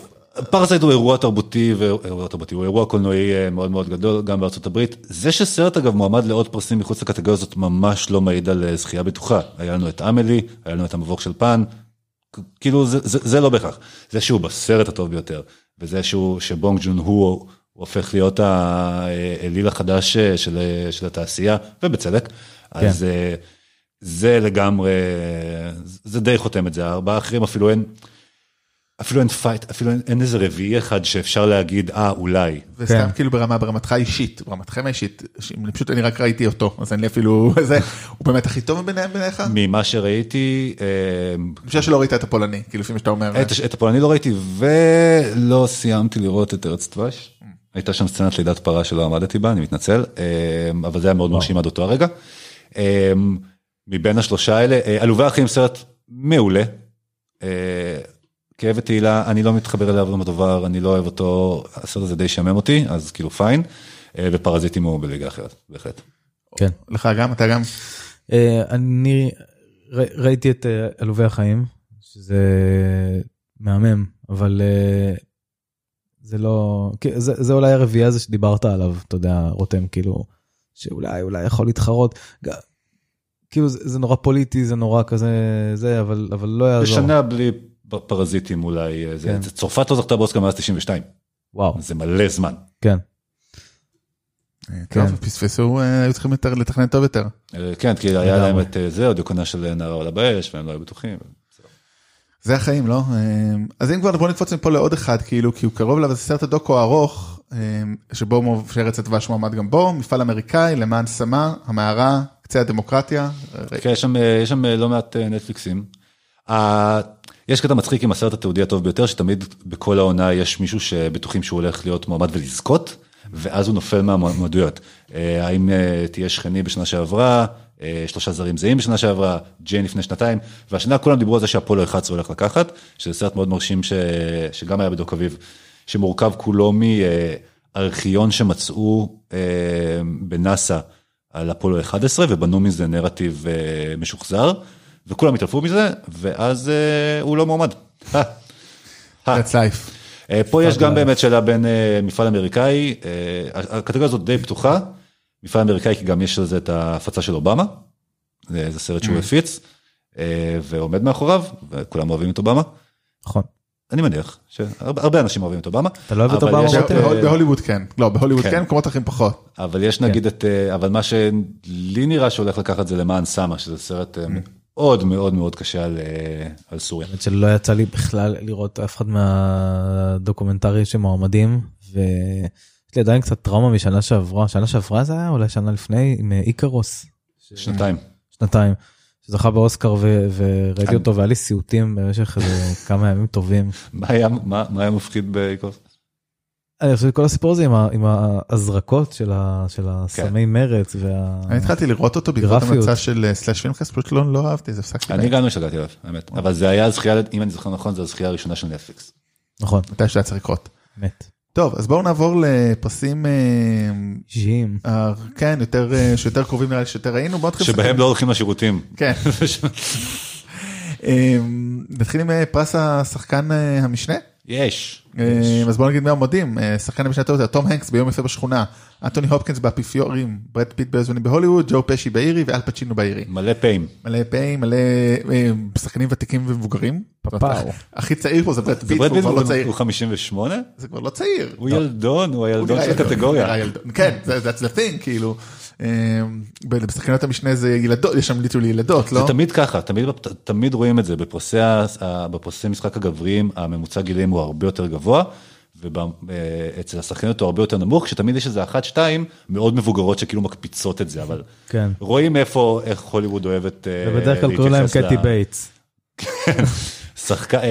פרסייט הוא אירוע תרבותי, ו- אירוע תרבותי, הוא אירוע קולנועי אה, מאוד מאוד גדול, גם בארצות הברית. זה שסרט אגב מועמד לעוד פרסים מחוץ לקטגוריה הזאת ממש לא מעיד על אה, זכייה בטוחה. היה לנו את עמלי, היה לנו את המבוך של פן, כ- כאילו זה, זה, זה לא בהכרח. זה שהוא בסרט הטוב ביותר, וזה שהוא, שבונג ג'ון הוא, הוא הופך להיות האליל החדש אה, של, אה, של התעשייה, ובצדק, כן. אז אה, זה לגמרי, אה, זה די חותם את זה, הארבעה האחרים אפילו אין. אפילו אין פייט, אפילו אין, אין איזה רביעי אחד שאפשר להגיד, אה, אולי.
וסתם
כן.
כאילו ברמה ברמתך האישית ברמתכם האישית ש- פשוט אני רק ראיתי אותו אז אין לי אפילו זה הוא באמת הכי טוב מביניהם בעיניך? אני
ממה שראיתי, אה,
חושב שלא ראית את הפולני כאילו לפי מה שאתה אומר.
את, את הפולני לא ראיתי, ולא סיימתי לראות את ארץ דבש. הייתה שם סצנת לידת פרה שלא עמדתי בה, אני מתנצל, אה, אבל זה היה מאוד מרשים עד אותו הרגע. אה, מבין השלושה האלה, אה, עלובי אחים סרט מעולה. אה, כאב ותהילה, אני לא מתחבר אליו עם הדבר, אני לא אוהב אותו, הסרט הזה די שמם אותי, אז כאילו פיין. אה, ופרזיטים הוא בליגה אחרת, בהחלט.
כן.
לך גם אתה גם
אה, אני ר- ראיתי את אה, עלובי החיים, שזה מהמם, אבל אה, זה לא, כי- זה זה אולי הרביעי הזה שדיברת עליו, אתה יודע, רותם, כאילו, שאולי, אולי יכול להתחרות. ג- כאילו זה, זה נורא פוליטי, זה נורא כזה, זה, אבל, אבל לא יעזור.
בשנה בלי פ- פרזיטים אולי, אה, זה-
כן.
זה- צרפת לא זכתה באוסקר מאז 92,
וואו,
זה מלא זמן.
כן.
אה, טוב פספסו אה, היו צריכים יותר לתכנן טוב יותר.
אה, כן, כי היה להם
לגמרי.
את אה, זה, הדיוקנה של נערה עולה באש, והם לא היו בטוחים.
זה החיים לא? אה, אז אם כבר בוא נקפוץ מפה לעוד אחד כאילו כי הוא קרוב אליו זה סרט הדוקו הארוך אה, שבו מוב- שארץ הדבש מועמד גם בו מפעל אמריקאי למען סמה המערה קצה הדמוקרטיה. אה,
כן, יש שם, אה, יש שם אה, לא מעט אה, נטפליקסים. ה- יש קטע מצחיק עם הסרט התיעודי הטוב ביותר, שתמיד בכל העונה יש מישהו שבטוחים שהוא הולך להיות מועמד ולזכות, ואז הוא נופל מהמועמדויות. אה, האם אה, תהיה שכני בשנה שעברה, אה, שלושה זרים זהים בשנה שעברה, ג'יין לפני שנתיים, והשנה כולם דיברו על זה שאפולו 11 הולך לקחת, שזה סרט מאוד מרשים ש... שגם היה בדוק אביב, שמורכב כולו מארכיון שמצאו אה, בנאסא. על אפולו 11 ובנו מזה נרטיב אה, משוחזר וכולם התעלפו מזה ואז אה, הוא לא מועמד.
That's life.
אה, פה יש גם באמת שאלה בין אה, מפעל אמריקאי, אה, הקטגוריה הזאת די פתוחה, מפעל אמריקאי כי גם יש לזה את ההפצה של אובמה, אה, זה סרט שהוא הפיץ אה, ועומד מאחוריו וכולם אוהבים את אובמה,
נכון.
אני מניח שהרבה הרבה אנשים אוהבים את אובמה.
אתה לא אוהב את
אבל
אובמה,
יש-
רותם?
אה,
בהול- בהוליווד כן לא בהוליווד
כן.
כן במקומות אחרים פחות.
אבל
כן.
יש נגיד את, אה, אבל מה שלי נראה שהולך לקחת זה למען סמה, שזה סרט
Mm.
אה, מאוד מאוד מאוד קשה על, אה, על סוריה.
האמת שלא יצא לי בכלל לראות אף אחד מהדוקומנטרי שמועמדים ויש לי עדיין קצת טראומה משנה שעברה שנה שעברה זה היה אולי שנה לפני עם אה, איקרוס
שנתיים.
שנתיים שזכה באוסקר ו- וראיתי אותו והיה לי סיוטים במשך איזה כמה ימים טובים.
מה היה, מה, מה היה מפחיד באיקוס?
אני חושב שכל הסיפור הזה עם, ה- עם ההזרקות של, ה- של הסמי
כן.
מרץ וה...
אני התחלתי לראות אותו בעקבות
גרפיות.
המצע של אה, סלאש פינקס פשוט לא לא אהבתי זה הפסקתי.
אני גם לא השתגעתי עליו, האמת.
אוקיי.
אבל זה היה הזכייה, אם אני זוכר נכון, זו הזכייה הראשונה של נטפליקס.
נכון,
מתי שזה היה צריך לקרות.
מת.
טוב אז בואו נעבור לפרסים אה,
אישיים.
אה, כן יותר אה, שיותר קרובים נראה לי שיותר ראינו בואו נתחיל.
שבהם לא הולכים לשירותים.
כן. אמ, אה, נתחיל עם אה, פרס השחקן אה, המשנה
יש.
אה, אז בוא נגיד מהמועמדים, אה, שחקן המשנה הטוב זה תום הנקס ביום יפה בשכונה, אנטוני הופקינס באפיפיורים, ברד פיט ביוזמנים בהוליווד, ג'ו פשי באירי ואל פצ'ינו באירי.
מלא פעים.
מלא פעים, מלא אה, שחקנים ותיקים ומבוגרים.
פאפאו.
הכי צעיר פה זה ברד
זה
פיט,
ברד
הוא
פיט,
כבר לא
הוא-
צעיר.
הוא 58?
זה כבר לא צעיר.
הוא ילדון, הוא הילדון
נראה
של
ילדון, נראה
הקטגוריה.
ילדון. כן, זה- that's the thing, כאילו. אה, בשחקניות המשנה זה ילדות, יש שם ליטרלי ילדות,
זה
לא?
תמיד ככה, תמיד, תמיד רואים את זה, בפרסי, ה- ה- בפרסי משחק הגבריים הממוצע גילים הוא הרבה יותר גבוה, ואצל השחקניות הוא הרבה יותר נמוך, כשתמיד יש איזה אחת, שתיים, מאוד מבוגרות שכאילו מקפיצות את זה, אבל
כן.
רואים איפה, איך הוליווד אוהבת אה,
ובדרך כלל קוראים להם
להתייחס
קטי
ל-
בייטס.
שחק... אה,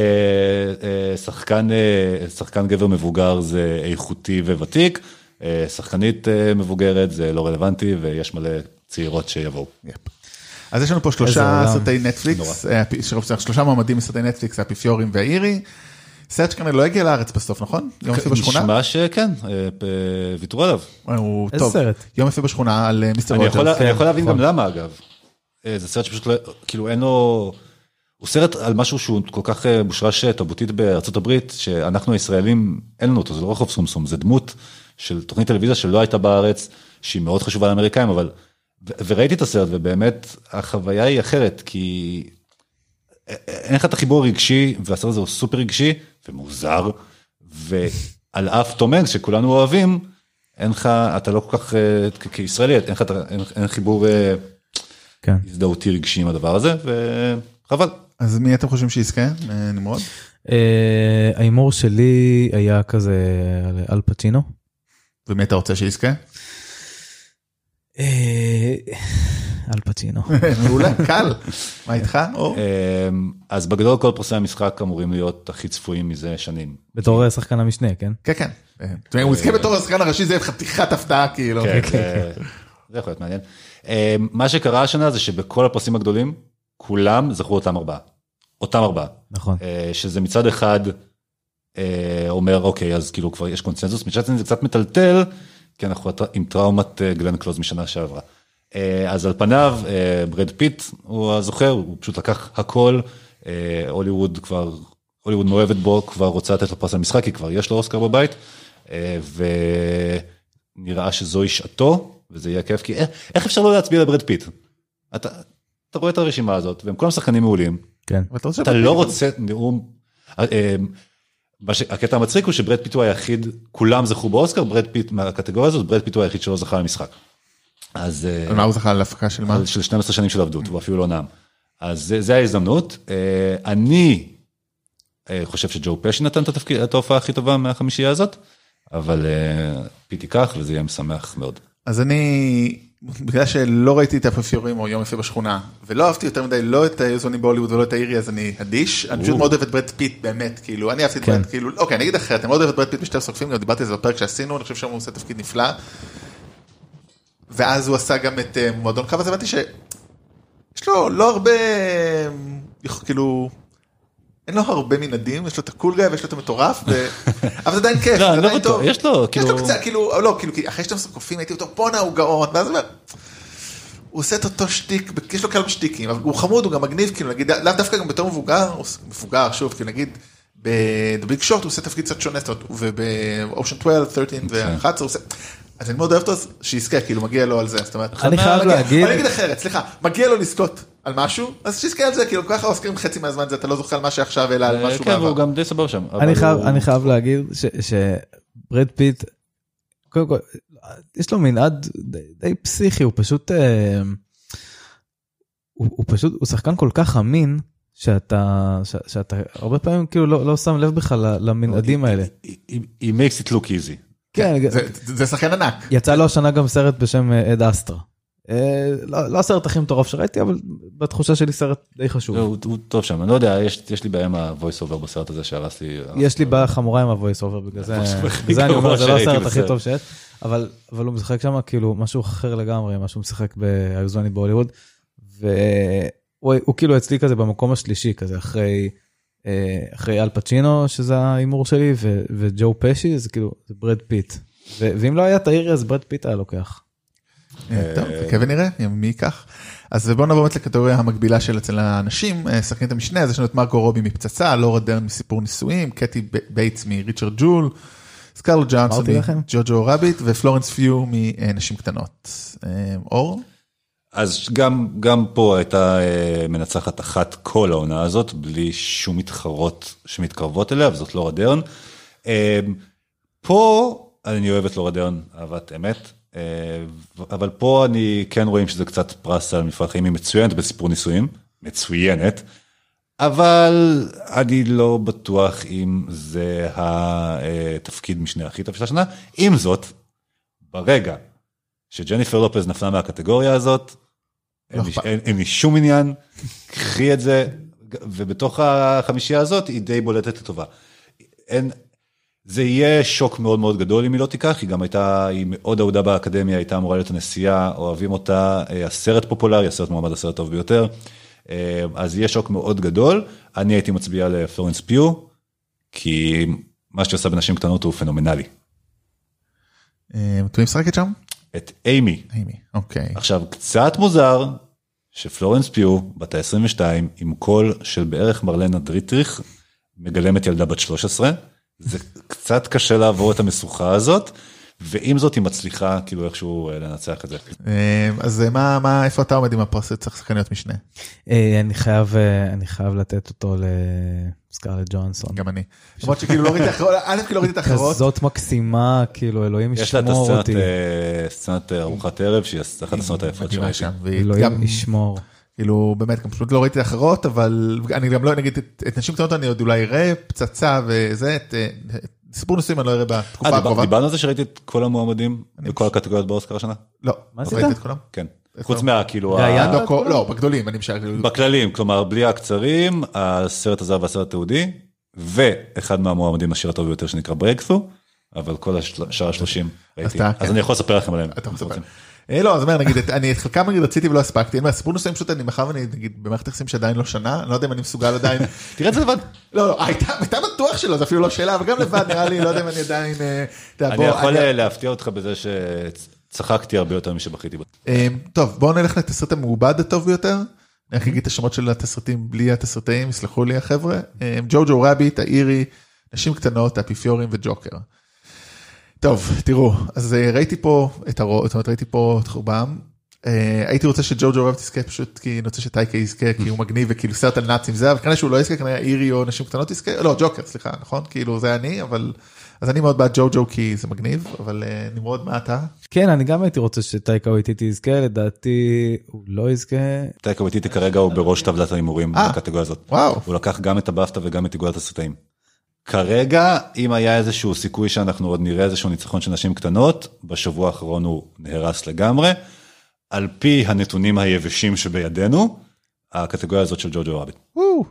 אה, שחקן, אה, שחקן גבר מבוגר זה איכותי וותיק, אה, שחקנית אה, מבוגרת זה לא רלוונטי, ויש מלא צעירות שיבואו.
אז יש לנו פה
איזה
שלושה
עולם.
סרטי נטפליקס, אה, הפ- שרוב- שלושה מועמדים מסרטי נטפליקס, האפיפיורים והאירי. סרט שכנראה לא הגיע לארץ בסוף, נכון? יום יפה בשכונה?
נשמע שכן, אה, אה, ויתרו עליו.
הוא
איזה
טוב.
סרט?
יום יפה בשכונה על אה, מיסטר
אני יכול,
רוג'רס.
אני יכול להבין גם
נכון.
למה אגב. אה, זה סרט שפשוט לא, כאילו אין לו, הוא סרט על משהו שהוא כל כך אה, מושרש אה, תרבותית בארצות הברית, שאנחנו הישראלים אין לנו אותו, זה לא רחוב סומסום, זה דמות של תוכנית טלוויזיה שלא הייתה בארץ, שהיא מאוד חשובה לאמריקאים, אבל, ו- וראיתי את הסרט ובאמת החוויה היא אחרת, כי אין לך את החיבור הרגשי, והסרט הזה הוא סופר רגשי ומוזר, ועל אף תום הנקס שכולנו אוהבים, אין לך, אתה לא כל כך, אה, כ- כישראלי, אין לך, את ה- אין, אין חיבור אה,
כן.
הזדהותי רגשי עם הדבר הזה, וחבל.
אז מי אתם חושבים שיזכה? אה, נמרוד?
אה, ההימור שלי היה כזה על אל פצ'ינו.
ומי אתה רוצה שיזכה?
אה, אל פצ'ינו.
אה, מעולה, קל. מה איתך? אור?
אה, אז בגדול כל פרסי המשחק אמורים להיות הכי צפויים מזה שנים.
בתור שחקן המשנה, כן?
כן, כן. אה, תראה, הוא יזכה בתור השחקן הראשי, זה חתיכת הפתעה, כאילו.
כן, זה- זה יכול להיות מעניין. אה, מה שקרה השנה זה שבכל הפרסים הגדולים, כולם זכרו אותם ארבעה. אותם ארבעה.
נכון.
אה, שזה מצד אחד אה, אומר אוקיי אז כאילו כבר יש קונצנזוס מצד שני זה קצת מטלטל כי אנחנו הטר- עם טראומת אה, גלן קלוז משנה שעברה. אה, אז על פניו אה, ברד פיט הוא הזוכר הוא פשוט לקח הכל אה, הוליווד כבר הוליווד מאוהבת בו כבר רוצה לתת לו פרס על משחק כי כבר יש לו אוסקר בבית אה, ונראה שזוהי שעתו וזה יהיה כיף כי איך, איך אפשר לא להצביע לברד פיט. אתה, אתה רואה את הרשימה הזאת והם כולם שחקנים מעולים
כן.
אבל אתה רוצה-
אתה לא רוצה נאום. אה, אה, מה ש- הקטע המצחיק הוא שברד פיט הוא היחיד, כולם זכו באוסקר, ברד פיט מהקטגוריה הזאת, ברד פיט הוא היחיד שלא זכה למשחק. אז אה,
על מה הוא זכה? על הפקה של מה?
על- של 12 שנים של עבדות, הוא אפילו לא נאם. אז זה- זה ההזדמנות. אה, אני אה, חושב שג'ו פשי נתן את התפקיד, את ההופעה הכי טובה מהחמישייה הזאת, אבל אה, פיט ייקח וזה יהיה משמח מאוד.
אז אני, בגלל שלא ראיתי את האפיפיורים או יום יפה בשכונה, ולא אהבתי יותר מדי לא את היוזונים בהוליווד ולא את האירי, אז אני אדיש. אני פשוט מאוד אוהב את ברד פיט, באמת, כאילו, אני אהבתי את
כן.
ברד, כאילו, אוקיי, אני אגיד אחרת, אני מאוד אוהב את ברד פיט בשתי הסוקפים, גם דיברתי על זה בפרק שעשינו, אני חושב שהוא עושה תפקיד נפלא. ואז הוא עשה גם את אה, מועדון קו, אז הבנתי שיש לו לא הרבה, אה, כאילו... אין לו הרבה מנעדים, יש לו את הקול גיא ויש לו את המטורף, ו... אבל זה עדיין כיף,
לא,
זה
אני לא
עדיין
בטוח,
טוב.
יש לו,
יש לו
כאילו-
קצת, כאילו, לא, כאילו, כי אחרי שאתם קופים הייתי אותו, בואנה הוא גאון, ואז הוא אומר, הוא עושה את אותו שטיק, יש לו כמה שטיקים, אבל הוא חמוד, הוא גם מגניב, כאילו, נגיד, לאו דווקא גם בתור מבוגר, הוא עוש- מבוגר, שוב, כאילו, נגיד, בדביג שורט הוא עושה תפקיד קצת שונה, זאת אומרת, ובאושן 12,
כן.
13 ו-11, הוא עושה, אז אני מאוד אוהב אותו, אז שיזכה, כאילו, מגיע לו על זה, זאת אומרת,
אני
מה-
חייב
מגיע-
להגיד,
אבל אני אגיד אחרת, סליחה, מגיע לו לזכות על משהו, אז שיזכה על זה, כאילו, ככה אוסקרים חצי מהזמן זה, אתה לא זוכר על מה שעכשיו, אלא
אה,
על משהו
כן, והוא
בעבר.
גם די סבבה שם. אבל
אני חייב,
הוא-
אני חייב להגיד ש- שברד פיט, קודם כל, יש לו מנעד די- די פסיכי, הוא פשוט, אה, הוא, הוא פשוט, הוא שחקן כל כך אמין, שאתה, ש, שאתה הרבה פעמים כאילו לא, לא שם לב בכלל למנעדים האלה.
He- he- he makes it look easy.
כן,
זה- זה זה שחקן ענק.
יצא לו השנה גם סרט בשם אה, עד אסטרה. אה, לא לא הסרט הכי מטורף שראיתי, אבל בתחושה שלי סרט די חשוב.
לא, הוא, הוא טוב שם, אני לא יודע, יש, יש לי בעיה עם ה-voice over בסרט הזה שהרס לי.
יש לי בעיה חמורה עם הוויס אובר בגלל זה,
הוויס אובר הכי
בגלל זה אני אומר
גרוע
זה לא
שראיתי
הסרט הכי
בסרט.
טוב שיש, אבל אבל הוא משחק שם כאילו משהו אחר לגמרי מה שהוא משחק באיוזוני בהוליווד. והוא הוא כאילו אצלי כזה במקום השלישי כזה אחרי אה, אחרי אל פצ'ינו שזה ההימור שלי ו- וג'ו פשי זה כאילו זה ברד פיט. ו- ואם לא היה את האירי אז ברד פיט היה לוקח.
טוב, חכה ונראה מי ייקח. אז בואו נעבור באמת לקטגוריה המקבילה של אצל האנשים, אה, שחקנית המשנה, אז יש לנו את מרקו רובי מפצצה, לורה דרן מסיפור נישואים, קטי ב- בייטס מריצ'רד ג'ול, סקרלו ג'אנסון
אמרתי לכם.
מג'וג'ו רביט ופלורנס פיו מנשים קטנות. אה, אור?
אז גם, גם פה הייתה אה, מנצחת אחת כל העונה הזאת, בלי שום מתחרות שמתקרבות אליה, וזאת לורה דרן. אה, פה אני אוהב את לורה דרן, אהבת אמת, אה, ו- אבל פה אני כן רואים שזה קצת פרס על מפעל חיים, היא מצוינת בסיפור נישואים, מצוינת, אבל אני לא בטוח אם זה התפקיד משנה הכי טוב של השנה. עם זאת, ברגע שג'ניפר לופז נפלה מהקטגוריה הזאת,
לא
אין לי-
אכפת.
אין אין לי שום עניין, קחי את זה, ובתוך החמישייה הזאת היא די בולטת לטובה. אין, זה יהיה שוק מאוד מאוד גדול אם היא לא תיקח, היא גם הייתה, היא מאוד אהודה באקדמיה, הייתה אמורה להיות הנשיאה, אוהבים אותה, אה, הסרט פופולרי, הסרט מועמד הסרט טוב ביותר, אה, אז יהיה שוק מאוד גדול. אני הייתי מצביע לפלורנס פיו, כי מה שהיא עושה בנשים קטנות הוא פנומנלי.
אה, אתם משחקת שם?
את אימי,
אימי, אוקיי.
עכשיו קצת מוזר שפלורנס פיו בת ה-22 עם קול של בערך מרלנה דריטריך מגלמת ילדה בת 13 זה קצת קשה לעבור את המשוכה הזאת ועם זאת היא מצליחה כאילו איכשהו אה, לנצח את זה.
אה, אז אה, מה, מה, איפה אתה עומד עם הפרס לצח שחקניות משנה?
אה, אני חייב, אה, אני חייב לתת אותו לסקרלט ג'ונסון.
גם אני. למרות שכאילו לא ראיתי אחרות, א' כאילו לא ראיתי את האחרות,
כזאת מקסימה, כאילו, אלוהים
יש לה את
ישמור
הסצנת
אותי.
אה, סצנת אה, ארוחת ערב שהיא אחת הסצנות היפות
מדהימה
שראיתי.
שם, והיא גם-
אלוהים ישמור.
כאילו באמת גם פשוט לא ראיתי את האחרות אבל אני גם לא נגיד את, את נשים קטנות אני עוד אולי אראה פצצה וזה את, אה, את סיפור נושאים אני לא אראה בתקופה
אה, דיבר-
הקרובה.
דיברנו על זה שראיתי את כל המועמדים בכל הקטגוריות באוסקר השנה?
לא,
מה
לא
עשית?
ראיתי את כולם.
כן. חוץ מהכאילו
ראיינת?
ה-
לא, כל- לא, בגדולים אני משער, כאילו,
בכללים, כלומר בלי הקצרים, הסרט הזר והסרט התיעודי, ואחד מהמועמדים לשיר הטוב ביותר שנקרא ברייקסו, אבל כל השל- שאר השלושים ראיתי,
אתה-
אז
כן.
אני יכול לספר לכם עליהם.
אתה
אם
מספר.
רוצים.
אה, לא, אז אומר, נגיד, את- אני את חלקם נגיד רציתי ולא הספקתי, אין מה, סיפור נושאים פשוט אני מאחר ואני נגיד במערכת יחסים שעדיין לא שנה, אני לא יודע אם אני מסוגל עדיין,
תראה את זה לבד.
לא, לא, הייתה הייתה בטוח שלא, זה אפילו לא שאלה, אבל גם לבד נראה לי, לא יודע אם אני עדיין, אה, אתה יודע,
אני
בוא,
יכול
אני-
אה, להפתיע אותך בזה שצחקתי הרבה יותר משבכיתי בו.
אה, טוב בואו נלך לתסריט המעובד הטוב ביותר. אני רק אגיד את השמות של התסריטים בלי התסריטאים יסלחו לי החבר'ה. אה, ג'וג'ו רביט האירי נשים קטנות האפיפיורים וג'וקר. טוב תראו אז אה, ראיתי פה את הרוב זאת אומרת ראיתי פה את רובם. אה, הייתי רוצה שג'וג'ו רביט יזכה פשוט כי אני רוצה שטייקה יזכה כי הוא מגניב וכאילו סרט על נאצים זה אבל כנראה שהוא לא יזכה כנראה אירי או נשים קטנות יזכה לא ג'וקר סליחה נכון כאילו זה אני אבל אז אני מאוד בעד ג'וג'ו כי זה מגניב אבל אה, נמרוד מה אתה.
כן, אני גם הייתי רוצה שטייקה וייטיטי יזכה, לדעתי הוא לא יזכה.
טייקה וטיטי כרגע הוא בראש טבלת ההימורים
אה.
בקטגוריה הזאת.
וואו.
הוא לקח גם את הבאפטה וגם את איגודת הסרטאים. כרגע, אם היה איזשהו סיכוי שאנחנו עוד נראה איזשהו ניצחון של נשים קטנות, בשבוע האחרון הוא נהרס לגמרי. על פי הנתונים היבשים שבידינו, הקטגוריה הזאת של ג'וג'ו רביט.
וואו.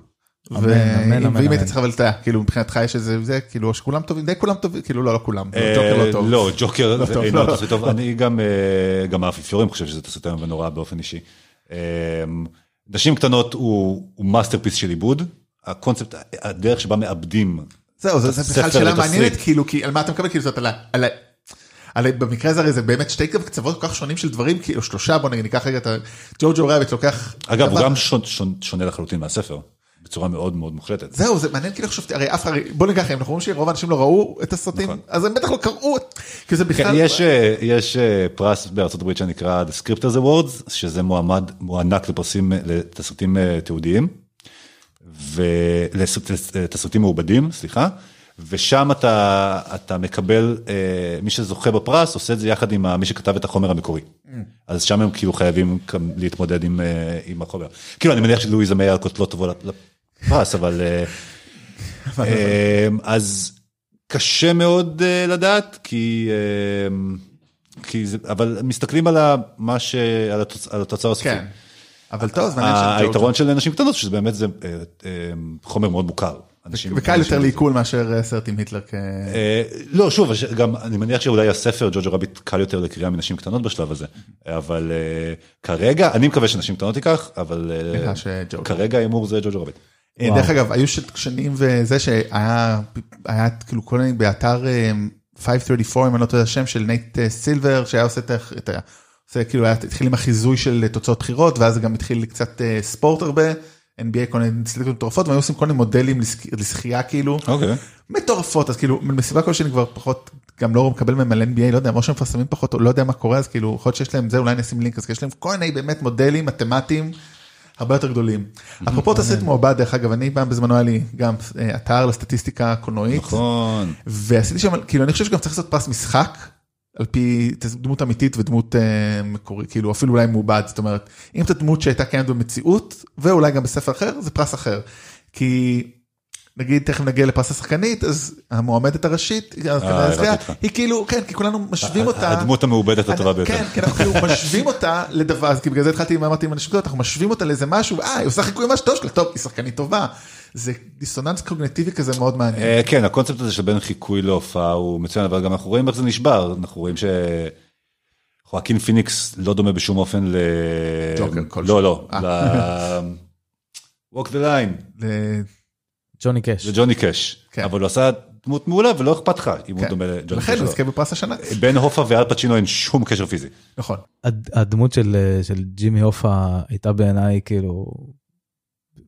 אמן,
ו-
אמן,
אם- ואם
אמן,
היית
אמן.
צריך אבל אתה כאילו מבחינתך יש איזה זה כאילו או שכולם טובים די כולם טובים כאילו לא לא כולם
אה,
ג'וקר לא טוב.
לא, ג'וקר
לא
זה
טוב,
אינו
לא.
תסריט טוב. אני גם, אה, גם האפיפיורים חושב שזה תסריט איום ונורא באופן אישי. אה, נשים קטנות הוא הוא מאסטרפיס של עיבוד. הקונספט, הדרך שבה מאבדים.
זהו זה- זה בכלל
ספר
שאלה
לתסריט.
מעניינת כאילו כי על מה אתה מקבל כאילו זאת על ה... על ה- על ה- במקרה הזה הרי זה באמת שתי קצוות כל כך שונים של דברים כאילו שלושה בוא נגיד ניקח רגע את ה- ג'וג'ו רביט לוקח.
אגב, הוא
דבר-
גם שונ- שונ- שונה לחלוטין מהספר, בצורה מאוד מאוד מוחלטת.
זהו זה מעניין כאילו חשבתי הרי אף אחד בוא ניקח אם אנחנו אומרים שרוב האנשים לא ראו את הסרטים
נכון.
אז הם בטח לא קראו את- כי זה
כן,
בכלל.
יש, אה, יש אה, פרס בארצות הברית שנקרא The Scripters Awards, שזה מועמד, מוענק לפרסים, אה, לתסריטים אה, תיעודיים, ולתסריטים מעובדים, סליחה, ושם אתה, אתה מקבל, אה, מי שזוכה בפרס עושה את זה יחד עם ה- מי שכתב את החומר המקורי.
Mm.
אז שם הם כאילו חייבים גם להתמודד עם, אה, עם החומר. כאילו, אני מניח שלואיזה מאיר לא תבוא לפרס, אבל... אה, אמ, אז קשה מאוד אה, לדעת כי אמ, כי זה אבל מסתכלים על ה- מה ש... על התוצ- על התוצר הסופי.
כן. אבל טוב זה מעניין שג'וג'ו-
היתרון של נשים קטנות שזה באמת זה אה, אה, חומר מאוד מוכר. אנשים-
וקל יותר
אנשים-
לעיכול מאשר אה, סרט עם היטלר. כ-
אה, לא שוב הש- גם אני מניח שאולי הספר ג'וג'ו רביט קל יותר לקריאה מנשים קטנות בשלב הזה אבל אה, כרגע אני מקווה שנשים קטנות תיקח אבל אה,
נראה שג'וג'ו.
כרגע ההימור זה ג'וג'ו רביט.
אה,
וואו.
דרך אגב, היו ש- שנים וזה שהיה, היה כאילו כל מיני באתר אה, 534, אם אני לא טועה השם, של נייט אה, סילבר, שהיה עושה את ה- את זה כאילו היה, התחיל עם החיזוי של אה, תוצאות בחירות, ואז גם התחיל קצת אה, ספורט הרבה, NBA כל מיני סליטות מטורפות, והיו עושים כל מיני מודלים לשח- לשחייה כאילו,
אוקיי.
מטורפות, אז כאילו מסיבה כלשהי אני כבר פחות, גם לא מקבל מהם על NBA, לא יודע, או שהם מפרסמים פחות, או לא יודע מה קורה, אז כאילו, יכול להיות שיש להם זה, אולי נשים לינק, אז כאילו, יש להם כל מיני באמת מודלים מתמטיים. הרבה יותר גדולים. אפרופו תסריט מעובד, דרך אגב, אני פעם בזמנו היה לי גם אה, אתר לסטטיסטיקה קולנועית,
נכון.
ועשיתי שם, כאילו אני חושב שגם צריך לעשות פרס משחק, על פי דמות אמיתית ודמות אה, מקורית, כאילו אפילו אולי מעובד, זאת אומרת, אם זו דמות שהייתה קיימת במציאות, ואולי גם בספר אחר, זה פרס אחר. כי נגיד תכף נגיע לפרס השחקנית, אז המועמדת הראשית,
אה, הבנתי
הזכייה,
אותך. אה,
היא כאילו, כן, כי כולנו משווים אותה.
הדמות המעובדת הטובה ביותר.
כן, כן, אנחנו כאילו משווים אותה לדבר, אז כי בגלל זה התחלתי עם אמרתי עם אנשים כאלה, אנחנו משווים אותה לאיזה משהו, אה, היא עושה חיקוי ממש טוב שלה, טוב, היא שחקנית טובה. זה דיסוננס קוגנטיבי כזה מאוד מעניין.
אה, כן, הקונספט הזה של בין חיקוי להופעה הוא מצוין, אבל גם אנחנו רואים איך זה נשבר, אנחנו רואים ש... חואקין פיניקס לא דומה בשום אופן ל...
ג'וקר כלשהו.
לא, לא.
אה.
ל- walk the line,
ל-
ג'וני קאש.
לג'וני קאש.
כן.
אבל הוא עשה דמות מעולה ולא אכפת לך אם הוא
כן.
דומה
לכן
לג'וני קאש.
הוא
או לא.
יזכה בפרס השנה.
בין הופה ואל פצ'ינו אין שום קשר פיזי.
נכון.
הד- הדמות של, אה, של ג'ימי הופה הייתה בעיניי כאילו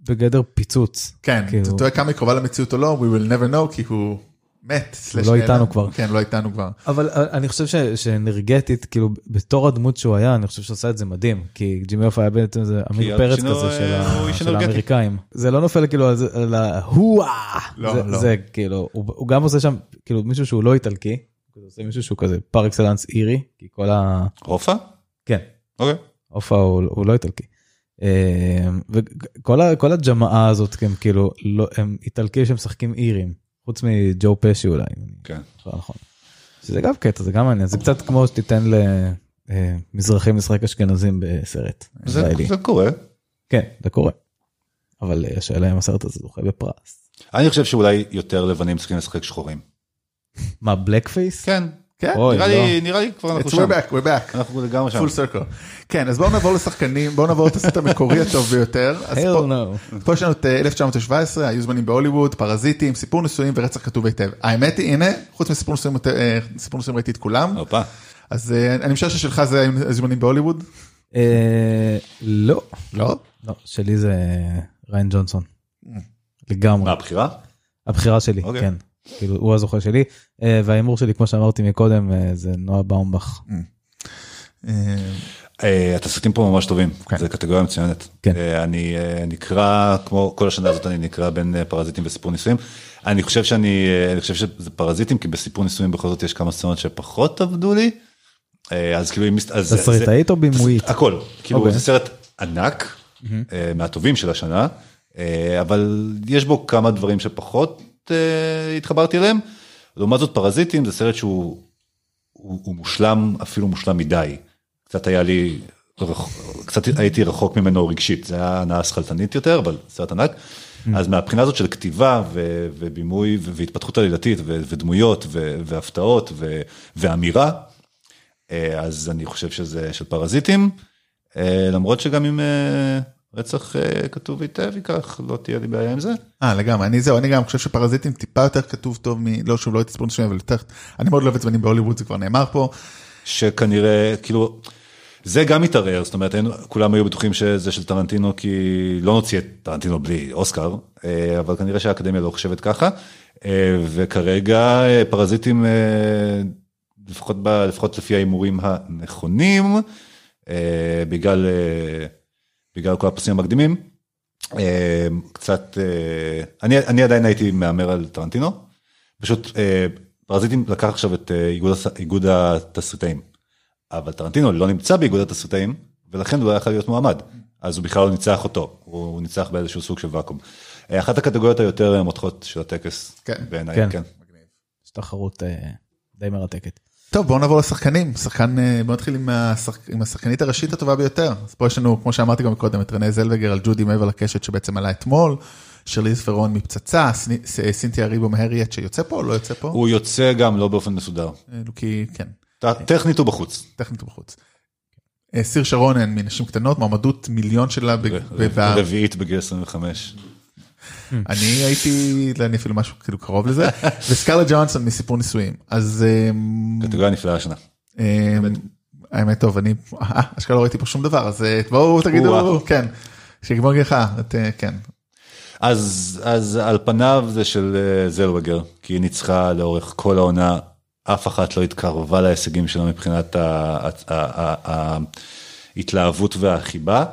בגדר פיצוץ.
כן,
כאילו-
אתה טועה כמה היא קרובה למציאות או לא, we will never know, כי הוא מת. סלש
לא
נעלם.
איתנו כבר.
כן, לא איתנו כבר.
אבל אה, אני חושב ש, שאנרגטית, כאילו, בתור הדמות שהוא היה, אני חושב שעשה את זה מדהים, כי ג'ימי הופה היה בעצם איזה עמיר
אל
פרץ
פצ'ינו,
כזה של,
אה,
ה-
הוא איש
של
אנרגטי.
האמריקאים. זה לא נופל כאילו על זה- על ההואה,
לא,
זה,
לא.
זה כאילו, הוא, הוא גם עושה שם, כאילו, מישהו שהוא לא איטלקי, הוא עושה מישהו שהוא כזה פר אקסלנס אירי, כי כל ה...
הופה?
כן,
אוקיי.
הופה הוא, הוא לא איטלקי. אה, וכל ה- כל הג'מאה הזאת הם כאילו לא הם איטלקים שמשחקים אירים חוץ מג'ו פשי אולי. אם אני
כן.
זוכר נכון. שזה גם קטע זה גם מעניין זה קצת כמו שתיתן למזרחים לשחק אשכנזים בסרט
זה
ישראלי.
זה קורה.
כן זה קורה. אבל אה, השאלה אם הסרט הזה זוכה בפרס.
אני חושב שאולי יותר לבנים צריכים לשחק שחורים.
מה בלק פייס?
כן.
כן,
אוי,
נראה
לא.
לי, נראה לי כבר
it's
אנחנו
we're
שם.
back, we're back.
אנחנו לגמרי שם.
full circle. כן, אז בואו נעבור לשחקנים, בואו נעבור את הסט המקורי הטוב ביותר. אז פה-
Hell no.
פה יש לנו את אה, 1917, היו זמנים בהוליווד, פרזיטים, סיפור נישואים ורצח כתוב היטב. האמת היא, הנה, חוץ מסיפור נישואים, אה, סיפור נישואים ראיתי את כולם,
אוקיי.
הופה.
אז אה, אני משער ששלך זה היו זמנים בהוליווד?
אה, לא.
לא.
לא שלי זה ריין ג'ונסון. לגמרי.
מה הבחירה?
הבחירה שלי,
אוקיי.
כן. כאילו, הוא הזוכה שלי, אה, וההימור שלי, כמו שאמרתי מקודם, אה, זה נועה באומבך.
אה,
אה, התסריטים פה ממש טובים,
כן.
זו קטגוריה מצוינת.
כן.
אה, אני אה, נקרא, כמו כל השנה הזאת אני נקרא בין אה, פרזיטים וסיפור נישואים. אני חושב שאני, אה, אני חושב שזה פרזיטים, כי בסיפור נישואים בכל זאת יש כמה סצנות שפחות עבדו לי. אה, אז כאילו, אם מס- אז זה-
תסריטאית או בימויית?
זה- הכל, כאילו
אוקיי.
זה סרט ענק, אה, מהטובים של השנה, אה, אבל יש בו כמה דברים שפחות אה, התחברתי אליהם. לעומת זאת פרזיטים זה סרט שהוא הוא, הוא מושלם אפילו מושלם מדי. קצת היה לי, רח... קצת הייתי רחוק ממנו רגשית, זה היה הנאה שכלתנית יותר, אבל סרט ענק. אז מהבחינה הזאת של כתיבה ו... ובימוי ו... והתפתחות עלילתית ו... ודמויות ו... והפתעות ו... ואמירה, אה, אז אני חושב שזה של פרזיטים, אה, למרות שגם אם אה, רצח אה, כתוב היטב ייקח, לא תהיה לי בעיה עם זה.
אה לגמרי אני זהו אני גם חושב שפרזיטים טיפה יותר כתוב טוב מ... לא שוב לא הייתי ספורט שלהם אבל יותר אני מאוד לא אוהב זמנים בהוליווד זה כבר נאמר פה
שכנראה כאילו זה גם התערער זאת אומרת אין, כולם היו בטוחים שזה של טרנטינו כי לא נוציא את טרנטינו בלי אוסקר אה, אבל כנראה שהאקדמיה לא חושבת ככה אה, וכרגע אה, פרזיטים אה, לפחות ב, לפחות לפי ההימורים הנכונים אה, בגלל אה, בגלל כל הפרסים המקדימים. אה, קצת אה, אני אני עדיין הייתי מהמר על טרנטינו פשוט אה, פרזיטים לקח עכשיו את אה, איגוד, הס- איגוד התסריטאים. אבל טרנטינו לא נמצא באיגוד התסריטאים ולכן הוא לא יכול להיות מועמד. אז הוא בכלל לא ניצח אותו, הוא הוא ניצח באיזשהו סוג של ואקום. אה, אחת הקטגוריות היותר אה, מותחות של הטקס
כן.
בעיניי,
כן.
כן.
יש תחרות אה, די מרתקת.
טוב בואו נעבור לשחקנים שחקן אה, בוא נתחיל עם, השחק... עם השחקנית הראשית הטובה ביותר אז פה יש לנו כמו שאמרתי גם קודם את רנה זלבגר על ג'ודי מעבר לקשת שבעצם עלה אתמול שרליז פרון מפצצה סני- ס- אה, סינתיה ריבו מהריאט שיוצא פה או לא יוצא פה
הוא יוצא גם לא באופן מסודר,
אה, כי כן
ט- טכנית הוא בחוץ.
טכנית הוא בחוץ. אה, סיר שרונן מנשים קטנות מועמדות מיליון שלה ב... ב... ב...
רביעית בגיל 25.
אני הייתי, לא, אני אפילו משהו כאילו קרוב לזה, וסקארלה ג'ונסון מסיפור נישואים. אז אמ,
קטגוריה נפלאה השנה.
אמ, האמת טוב, אני אה, אשכרה לא ראיתי פה שום דבר, אז אה, בואו תגידו,
או-אה.
כן, שיגמור לך, את, אה, כן.
אז, אז על פניו זה של אה, זלווגר, כי היא ניצחה לאורך כל העונה, אף אחת לא התקרבה להישגים שלה מבחינת ה- ה- ה- ה- ההתלהבות והחיבה.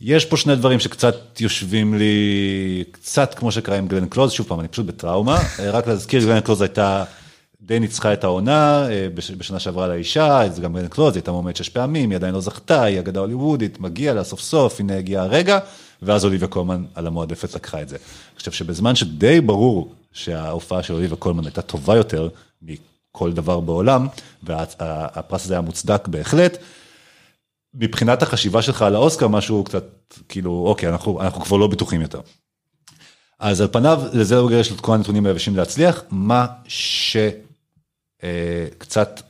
יש פה שני דברים שקצת יושבים לי, קצת כמו שקרה עם גלן קלוז, שוב פעם, אני פשוט בטראומה, אה, רק להזכיר, גלן קלוז הייתה, די ניצחה את העונה, אה, בש- בשנה שעברה לאישה, אז גם גלן קלוז, היא הייתה מועמדת שש פעמים, היא עדיין לא זכתה, היא אגדה הוליוודית, מגיע לה סוף סוף, הנה הגיע הרגע, ואז אוליביה קולמן על המועדפת לקחה את זה. אני חושב שבזמן שדי ברור שההופעה של אוליביה קולמן הייתה טובה יותר מכל דבר בעולם, והפרס הזה היה מוצדק בהחלט, מבחינת החשיבה שלך על האוסקר משהו קצת כאילו אוקיי אנחנו אנחנו כבר לא בטוחים יותר. אז על פניו לא לזלברגר יש לו את כל הנתונים היבשים להצליח מה שקצת אה, קצת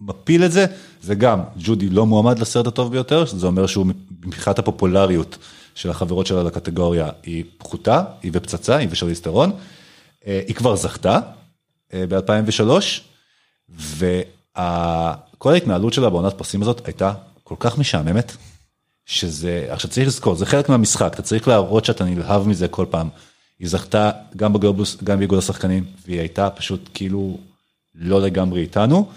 מפיל את זה זה גם ג'ודי לא מועמד לסרט הטוב ביותר זה אומר שהוא מבחינת הפופולריות של החברות שלה לקטגוריה היא פחותה היא ופצצה היא ושרליס טרון. אה, היא כבר זכתה אה, ב2003 וכל ההתנהלות שלה בעונת פרסים הזאת הייתה כל כך משעממת, שזה, עכשיו צריך לזכור, זה חלק מהמשחק, אתה צריך להראות שאתה נלהב מזה כל פעם. היא זכתה גם בגלובוס, גם באיגוד השחקנים, והיא הייתה פשוט כאילו לא לגמרי איתנו,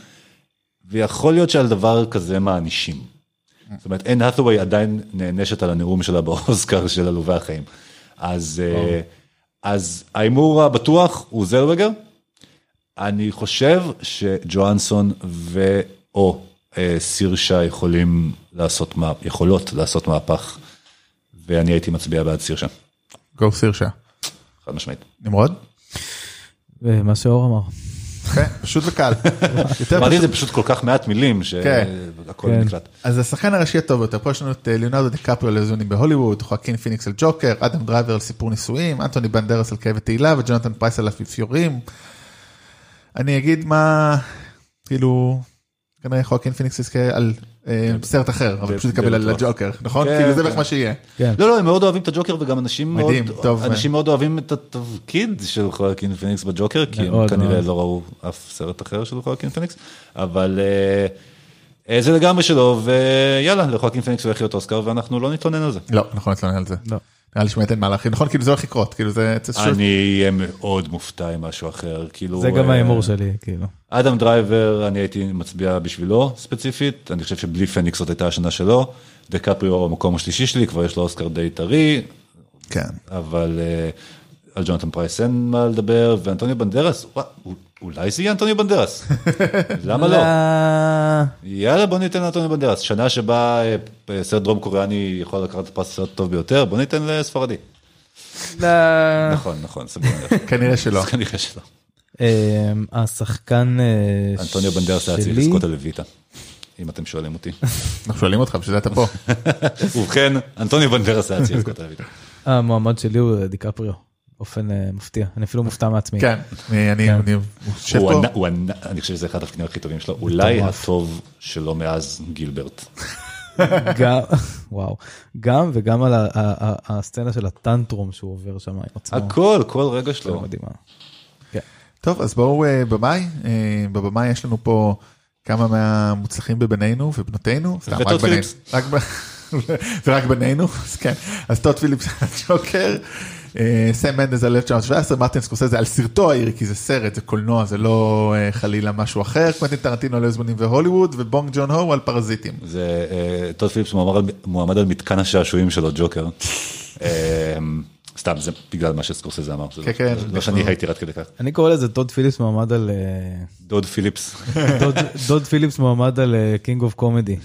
ויכול להיות שעל דבר כזה מענישים. זאת אומרת, אין האטווי עדיין נענשת על הנאום שלה באוסקר של עלובי החיים. אז, אה, אז ההימור הבטוח הוא זלברגר, אני חושב שג'ואנסון ואו אה, סירשה יכולים לעשות, מה- יכולות לעשות מהפך, ואני הייתי מצביע בעד סירשה,
גו סירשה.
חד משמעית.
נמרוד?
אה, מה שאור אמר.
כן, פשוט וקל. יותר
אמרתי את
פשוט.
זה פשוט כל כך מעט מילים
כן.
שהכל
כן.
נקלט.
אז השחקן הראשי הטוב ביותר, פה יש לנו את אה, ליאונרדו דקפריו לזונים בהוליווד, חואקין פיניקס על ג'וקר, אדם דרייבר על סיפור נישואים, אנטוני בנדרס על כאב ותהילה וג'ונתן פרייס על אפיפיורים. אני אגיד מה, כאילו, כנראה חואקין פיניקס יזכה על אה, סרט אחר, אבל
ב-
פשוט יקבל על
כן. בטוח.
הג'וקר, נכון?
כן,
כאילו זה
כן.
בערך מה שיהיה.
כן.
לא, לא, הם מאוד אוהבים את הג'וקר וגם אנשים מאוד,
מדהים, טוב.
אנשים מאוד אוהבים את התפקיד של חואקין פיניקס בג'וקר, כי הם
מאוד,
כנראה
מאוד.
לא ראו אף סרט אחר של חואקין פיניקס, אבל אה, אה, זה לגמרי שלו, ויאללה, לחואקין פיניקס הולך להיות אוסקר ואנחנו לא נתלונן על זה.
לא, אנחנו נתלונן על זה.
לא.
נראה לי שבאמת אין מה להכין, נכון? כאילו זה הולך לקרות, כאילו זה... זה שוב-
אני אהיה מאוד מופתע אם משהו אחר, כאילו...
זה גם
אה,
ההימור שלי, כאילו.
אדם דרייבר, אני הייתי מצביע בשבילו ספציפית, אני חושב שבלי פניקס זאת הייתה השנה שלו, דקפריו הוא המקום השלישי שלי, כבר יש לו אוסקר די טרי,
כן.
אבל אה, על ג'ונתן פרייס אין מה לדבר, ואנטוניו בנדרס, ווא, אולי זה יהיה אנטוניו בנדרס, למה לא? יאללה בוא ניתן לאנטוניו בנדרס, שנה שבה אה, אה, סרט דרום קוריאני יכול לקחת את הפרס הסרט הטוב ביותר, בוא ניתן לספרדי.
אה.
נכון, נכון, סבבה.
כנראה שלא.
אז כנראה שלא.
אה, השחקן אה,
אנטוניו בנדרס היה צריך
שלי-
לזכות על לויטה, אם אתם שואלים אותי.
אנחנו שואלים אותך, בשביל זה אתה פה.
ובכן, אנטוניו בנדרס היה צריך לזכות על לויטה.
המועמד שלי הוא אה, דיקפריו, באופן אה, מפתיע. אני אפילו מופתע מעצמי.
כן, אני- אני
כן.
אני יושב
הוא
פה.
ענק- הוא ענק- אני חושב שזה אחד התפקידים הכי טובים שלו, אולי
מטורף.
הטוב שלו מאז גילברט.
גם, וואו. גם וגם על ה- ה- ה- הסצנה של הטנטרום שהוא עובר שם עם עצמו.
הכל, כל רגע שלו.
זה מדהימה. כן.
טוב, אז בואו אה, במאי, אה, בבמאי יש לנו פה כמה מהמוצלחים בבנינו ובנותינו, סתם,
וטוד
רק בנינו,
פיליפס.
רק ב- זה רק בנינו, אז כן, אז טוד פיליפס על הג'וקר, אה, סם מנדס על 1917, מרטין סקורסזה על סרטו העיר, כי זה סרט, זה קולנוע, זה לא אה, חלילה משהו אחר, קוונטין טרנטינו על זמנים והוליווד, ובונג ג'ון הו על פרזיטים.
זה אה, טוד פיליפס מועמד על- מועמד על מתקן השעשועים שלו, ג'וקר. אה, סתם, זה בגלל מה שסקורסזה אמר. זה
כן, כן.
לא- לא שאני הייתי עד כדי כך.
אני קורא לזה דוד פיליפס מועמד על... אה,
דוד פיליפס.
דוד- דוד פיליפס מועמד על אה, קינג אוף קומדי.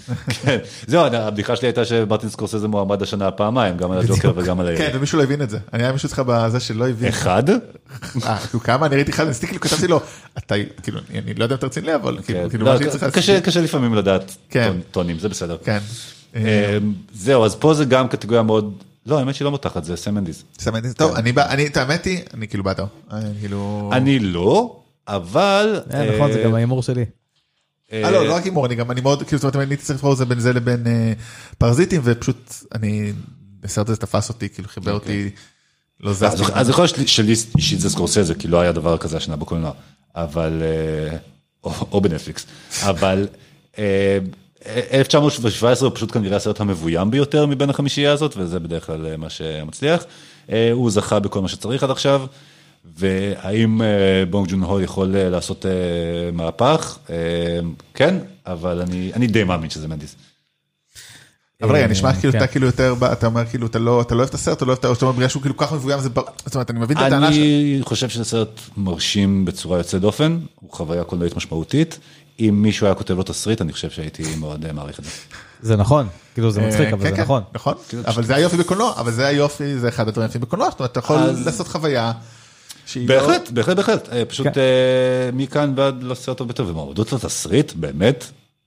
כן. זהו, הבדיחה שלי הייתה שמרטין סקורסזה מועמד השנה פעמיים, גם על הג'וקר וגם על
כן,
ה...
ומישהו לא הבין את זה, אני היה מישהו אצלך בזה שלא הבין,
אחד?
אה, כאילו, כמה, אני ראיתי אחד, ניסיתי, כאילו, כתבתי לו, אתה, כאילו, אני אני לא יודע אם אתה רציני, אבל
כן.
כאילו, כאילו,
לא,
מה שאני צריך לעשות.
קשה- קשה לפעמים לדעת
כן.
טון- טונים, זה בסדר.
כן.
אה, זהו, אז פה זה גם קטגוריה מאוד... לא, האמת שהיא לא מותחת, זה סמנדיז.
סמנדיס,
כן.
טוב, אני, בא- אני, את האמת היא, אני כאילו בעדו, אני כאילו,
אני לא, אבל...
אה, נכון, זה
אה,
גם ההימור שלי.
אה,
אה, לא, לא רק הימור, אני גם, אני מאוד, כאילו, זאת אומרת, אני הייתי צריך לבחור את זה בין זה לבין אה, פרזיטים, ופשוט, אני, הסרט הזה תפס אותי, כאילו, חיבר אותי, לא
אוקיי. אז-
זזתי.
אז יכול להיות שלי- שלי אישית זה סקורסזה, כי לא היה דבר כזה השנה בקולנוע, אבל... אה, או- או בנטפליקס, אבל אה, 1917 הוא פשוט כנראה הסרט המבוים ביותר מבין החמישייה הזאת, וזה בדרך כלל אה, מה שמצליח. אה, הוא זכה בכל מה שצריך עד עכשיו, והאם אה, בונג ג'ון הו יכול אה, לעשות אה, מהפך? אה, כן, אבל אני, אני די מאמין שזה מנדיס.
אבל רגע, נשמע
אה,
כאילו
כן.
אתה כאילו יותר, ב- אתה אומר כאילו אתה לא אתה לא אוהב את הסרט, אתה לא אוהב את הסרט, אתה אומר בגלל שהוא כאילו כך מבוים, זה בר- זאת אומרת, אני מבין את הטענה שלך.
אני חושב שזה סרט מרשים בצורה יוצאת דופן, הוא חוויה קולנועית משמעותית. אם מישהו היה כותב לו תסריט, אני חושב שהייתי מאוד אה, מעריך את זה.
זה נכון, כאילו זה מצחיק,
אה,
אבל
כן,
זה
כן,
נכון.
נכון,
כאילו,
אבל זה היופי בקולנוע, אבל זה היופי, זה אחד הדברים היפים בקולנוע, זאת אומרת, אתה יכול
אז-
לעשות חוויה. שהיא לא-
בהחלט, בהחלט, בהחלט. אה, פשוט
כן.
אה, מכאן ועד לסרט טוב ביותר, ומועמדות לתסריט, באמת?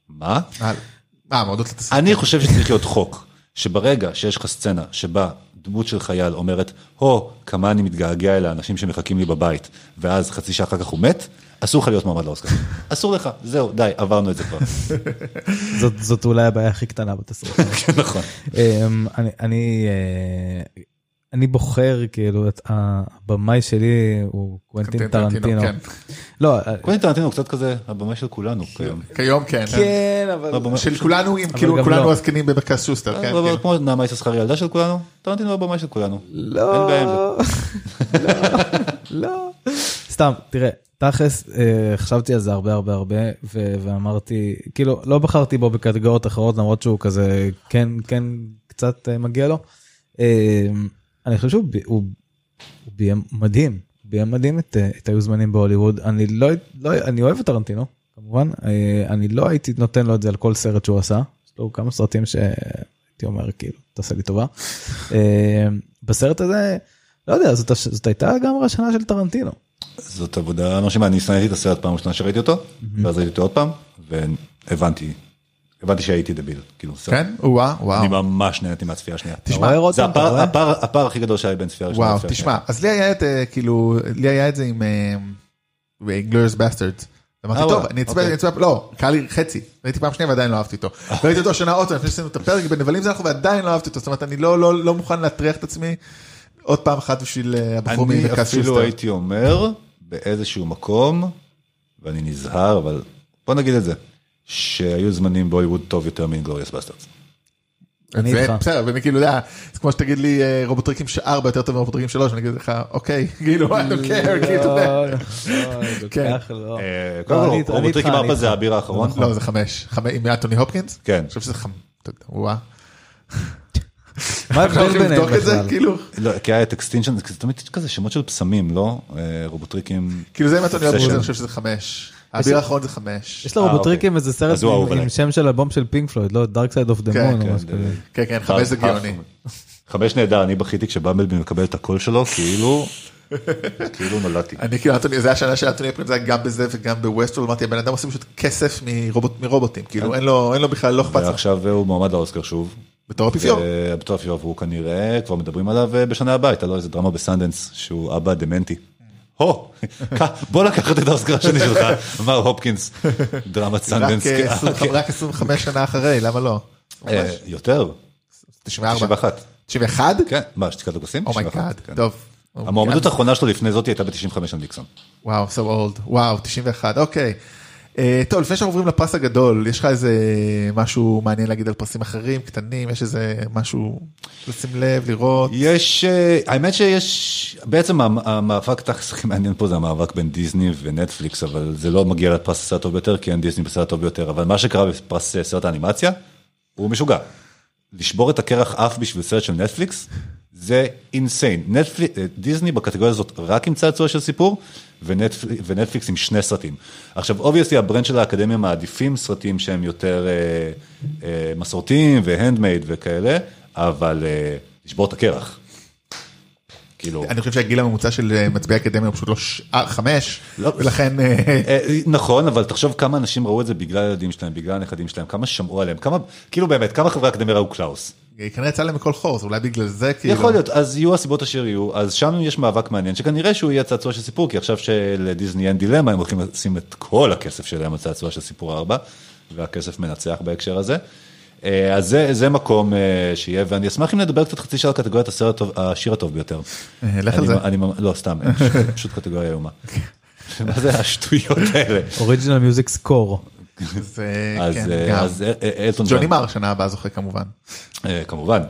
מה?
אה, אה, מועדות לתסריט.
אני חושב שצריך להיות חוק, שברגע שיש לך סצנה שבה דמות של חייל אומרת, הו, כמה אני מתגעגע אל האנשים שמחכים לי בבית, ואז חצי שעה אחר כך הוא מת, אסור לך להיות מועמד לאוסקר. אסור לך, זהו, די, עברנו את זה כבר.
זאת- זאת אולי הבעיה הכי קטנה בתסריט.
כן, נכון.
אמ, אני אני אה, אני בוחר כאילו את הבמאי שלי הוא קוונטין טרנטינו.
כן.
לא, אה,
קווינטין טרנטינו הוא קצת כזה הבמאי של כולנו כיום.
כיום כן.
כן אבל
הבמאי-
של כולנו, עם כאילו
גם
כולנו
לא.
הזקנים במרכז שוסטר, כן,
אבל
כאילו.
כמו נעמה יששכר ילדה של כולנו, טרנטינו הוא הבמאי של כולנו.
לא,
אין בעיה עם זה.
לא, לא. סתם, תראה, תכלס, אה, חשבתי על זה הרבה הרבה הרבה, ו- ואמרתי, כאילו, לא בחרתי בו בקטגוריות אחרות, למרות שהוא כזה, כן, כן, קצת אה, מגיע לו. אה, אני חושב שהוא ב- הוא- הוא ביים מדהים, ביים מדהים את אה, את היו זמנים בהוליווד. אני לא, לא- אני אוהב את טרנטינו, כמובן, אה, אני לא הייתי נותן לו את זה על כל סרט שהוא עשה, יש לו כמה סרטים שהייתי אומר, כאילו, תעשה לי טובה. אה, בסרט הזה, לא יודע, זאת, הש- זאת הייתה גם השנה של טרנטינו.
זאת עבודה מרשימה, אני שנאתי את הסרט פעם ראשונה שראיתי אותו, ואז ראיתי אותו עוד פעם, והבנתי, הבנתי שהייתי דביל, כאילו, סרט.
כן, וואו,
אני
וואו.
ממש נהניתי מהצפייה השנייה.
אתה רואה רותם?
זה
אתה
הפער,
רואה?
הפער, הפער הכי גדול שהיה בין צפייה ראשונה
וואו,
לצפייה
תשמע, אז לי היה את, אה, כאילו, לי היה את זה עם אה, גלוירס בסטרדס. אמרתי,
אה,
טוב,
וואלה,
אני אצפה,
אוקיי. אה.
אני אצפה, לא, קרה לי חצי, ראיתי פעם שנייה ועדיין לא אהבתי אותו. ראיתי אותו שנה עוד פעם, לפני שעשינו את הפרק, בנבלים זה אנחנו ועדיין לא אהבתי אותו, זאת אומרת, אני לא- לא לא מוכן להטריח את עצמי עוד פעם אחת בשביל אה, הבחור
השנייה. אני
ממרכז
אפילו
שוסטר.
הייתי אומר, באיזשהו מקום, ואני נזהר, אבל בוא נגיד את זה, שהיו זמנים בהוליווד טוב יותר מגלוריאס בסטרדס.
אני
זה-
איתך.
בסדר, ואני כאילו, יודע, זה כמו שתגיד לי אה, רובוטריקים שארבע יותר טוב מרובוטריקים שלוש, ואני אגיד לך, אוקיי, כאילו, I don't care, כאילו, אתה יודע.
לא, לא,
כן.
כך לא.
אה,
לא,
קודם
אני-
כל,
אני
רובוטריקים
איתך,
ארבע
אני
זה
איתך.
הביר האחרון.
לא, זה חמש, חמש, עם אנטוני הופקינס?
נכון. כן.
אני חושב שזה חמש, אתה יודע, וואו.
מה
אפשר
ההבדל ביניהם
לבדוק את זה,
בכלל?
כאילו?
לא, כי היה את אקסטינשן, זה תמיד כזה שמות של פסמים, לא? אה, רובוטריקים.
כאילו זה עם אנטוני הופקינס,
Obsession.
אני חושב שזה חמש. האביר האחרון זה חמש.
יש לרובוטריקים איזה סרט
אה, אוקיי. אז הוא
עם-
האהוב עליי.
עם שם של הבום של פינק פלויד, לא, דארק סייד אוף דה
כן,
מון או
כן,
משהו כזה.
כן, כן, חמש זה גאוני.
אה, חמש נהדר, אני בכיתי כשבמבלבי מקבל את הקול שלו, כאילו, כאילו נולדתי.
אני כאילו, אנטוני- זה השנה שאנטוני הופקינס היה גם בזה וגם בווסטרול, אמרתי, הבן אדם עושה פשוט כסף מרובוט- מרובוטים, כאילו, אין לו אין לו בכלל, לא אכפת לו.
ועכשיו הוא מועמד לאוסקר שוב.
בתור אפיפיור.
אה, בתור אפיפיור, והוא כנראה, כבר מדברים עליו אה, בשנה הבאה, הייתה לו איזה דרמה בסנדנס, שהוא אבא דמנטי. הו, בוא לקחת את האוסקר השני שלך, אמר הופקינס, דרמת סנדנס.
רק, אה,
כן,
25 רק 25 שנה אחרי, למה לא?
אה, יותר,
94.
91.
91?
כן, מה, שתיקת הכוסים?
אומייגאד,
91, כן.
Oh טוב.
המועמדות האחרונה שלו לפני זאת הייתה ב-95 על דיקסון.
וואו, so old, וואו, 91, אוקיי. אה, טוב, לפני שאנחנו עוברים לפרס הגדול, יש לך איזה משהו מעניין להגיד על פרסים אחרים, קטנים, יש איזה משהו לשים לב, לראות?
יש, אה, האמת שיש, בעצם המ- המאבק תכלס הכי מעניין פה זה המאבק בין דיסני ונטפליקס, אבל זה לא מגיע לפרס הסרט הטוב ביותר, כי אין דיסני בסרט הטוב ביותר, אבל מה שקרה בפרס אה, סרט האנימציה, הוא משוגע. לשבור את הקרח אף בשביל סרט של נטפליקס, זה אינסיין. נטפליק- אה, דיסני בקטגוריה הזאת רק עם צעצוע של סיפור, ונטפל- ונטפליקס עם שני סרטים. עכשיו, אובייסלי הברנד של האקדמיה מעדיפים סרטים שהם יותר אה, אה, מסורתיים והנדמייד וכאלה, אבל אה, לשבור את הקרח. כאילו,
אני חושב שהגיל הממוצע של אה, מצביעי אקדמיה הוא פשוט לא ש... אה, חמש,
לא.
ולכן אה,
אה, נכון, אבל תחשוב כמה אנשים ראו את זה בגלל הילדים שלהם, בגלל הנכדים שלהם, כמה שמעו עליהם, כמה, כאילו באמת, כמה חברי אקדמיה ראו קלאוס?
כנראה יצא להם מכל חור, אז אולי בגלל זה כאילו.
יכול להיות, אז יהיו הסיבות אשר יהיו, אז שם יש מאבק מעניין, שכנראה שהוא יהיה צעצוע של סיפור, כי עכשיו שלדיסני אין דילמה, הם הולכים לשים את כל הכסף שלהם על צעצוע של סיפור 4, והכסף מנצח בהקשר הזה. אה, אז זה, זה מקום אה, שיהיה, ואני אשמח אם נדבר קצת חצי שעה על קטגוריית הסרט הטוב, השיר הטוב ביותר.
אה, לך על
אני-
זה.
אני ממ- לא, סתם, אין,
כן.
פשוט- פשוט קטגוריה איומה. מה זה השטויות האלה?
אוריג'ינל מיוזיק סקור.
זה,
אז
כן,
אה,
גם.
אז אה, אה, אלטון
ג'וני
ג'ון.
מר שנה הבאה זוכה כמובן.
אה, כמובן,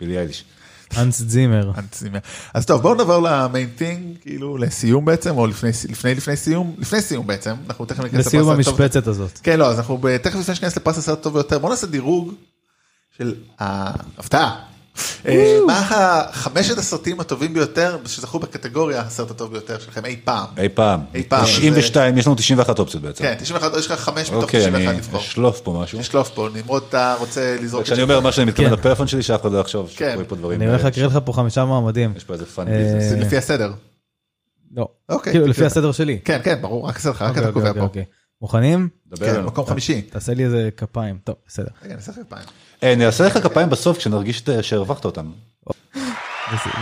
בילי אייליש.
אנס זימר.
אנטיסימיה. אז טוב בואו נעבור למיין טינג כאילו לסיום בעצם או לפני לפני לפני סיום לפני סיום בעצם אנחנו תכף ניכנס
לסיום
לפרס הטוב-
המשבצת הזאת.
כן לא אז אנחנו ב- תכף לפני שניכנס לפרס הסרט הטוב ביותר בואו נעשה דירוג של ההפתעה. אה, מה החמשת הסרטים הטובים ביותר שזכו בקטגוריה הסרט הטוב ביותר שלכם אי פעם.
אי פעם.
אי פעם,
92, יש לנו 91 אופציות בעצם.
כן 91 יש לך 5 מתוך
אוקיי,
91
אני
לבחור.
אשלוף פה משהו.
יש פה נמרוד אתה רוצה לזרוק.
כשאני
את
אומר משהו, אני מתכוון
כן.
לפלאפון שלי, שאף אחד לא יחשוב
כן.
שקוראים פה דברים.
אני הולך
אה,
להקריא לך פה חמישה מועמדים.
יש פה איזה פאנ
אה,
ביזנס.
זה לפי הסדר.
לא.
אוקיי.
כאילו, לפי
תקריא.
הסדר שלי.
כן כן ברור רק הסדר רק
אוקיי,
אתה
אוקיי,
קובע
אוקיי,
פה.
אוקיי. מוכנים?
דבר
כן
אלינו.
מקום חמישי.
תעשה לי איזה כפיים. טוב, בסדר.
רגע, אני אעשה לך כפיים.
אה, אני אעשה לך כפיים בסוף כשנרגיש את- אה, שהרווחת אותם.
בס-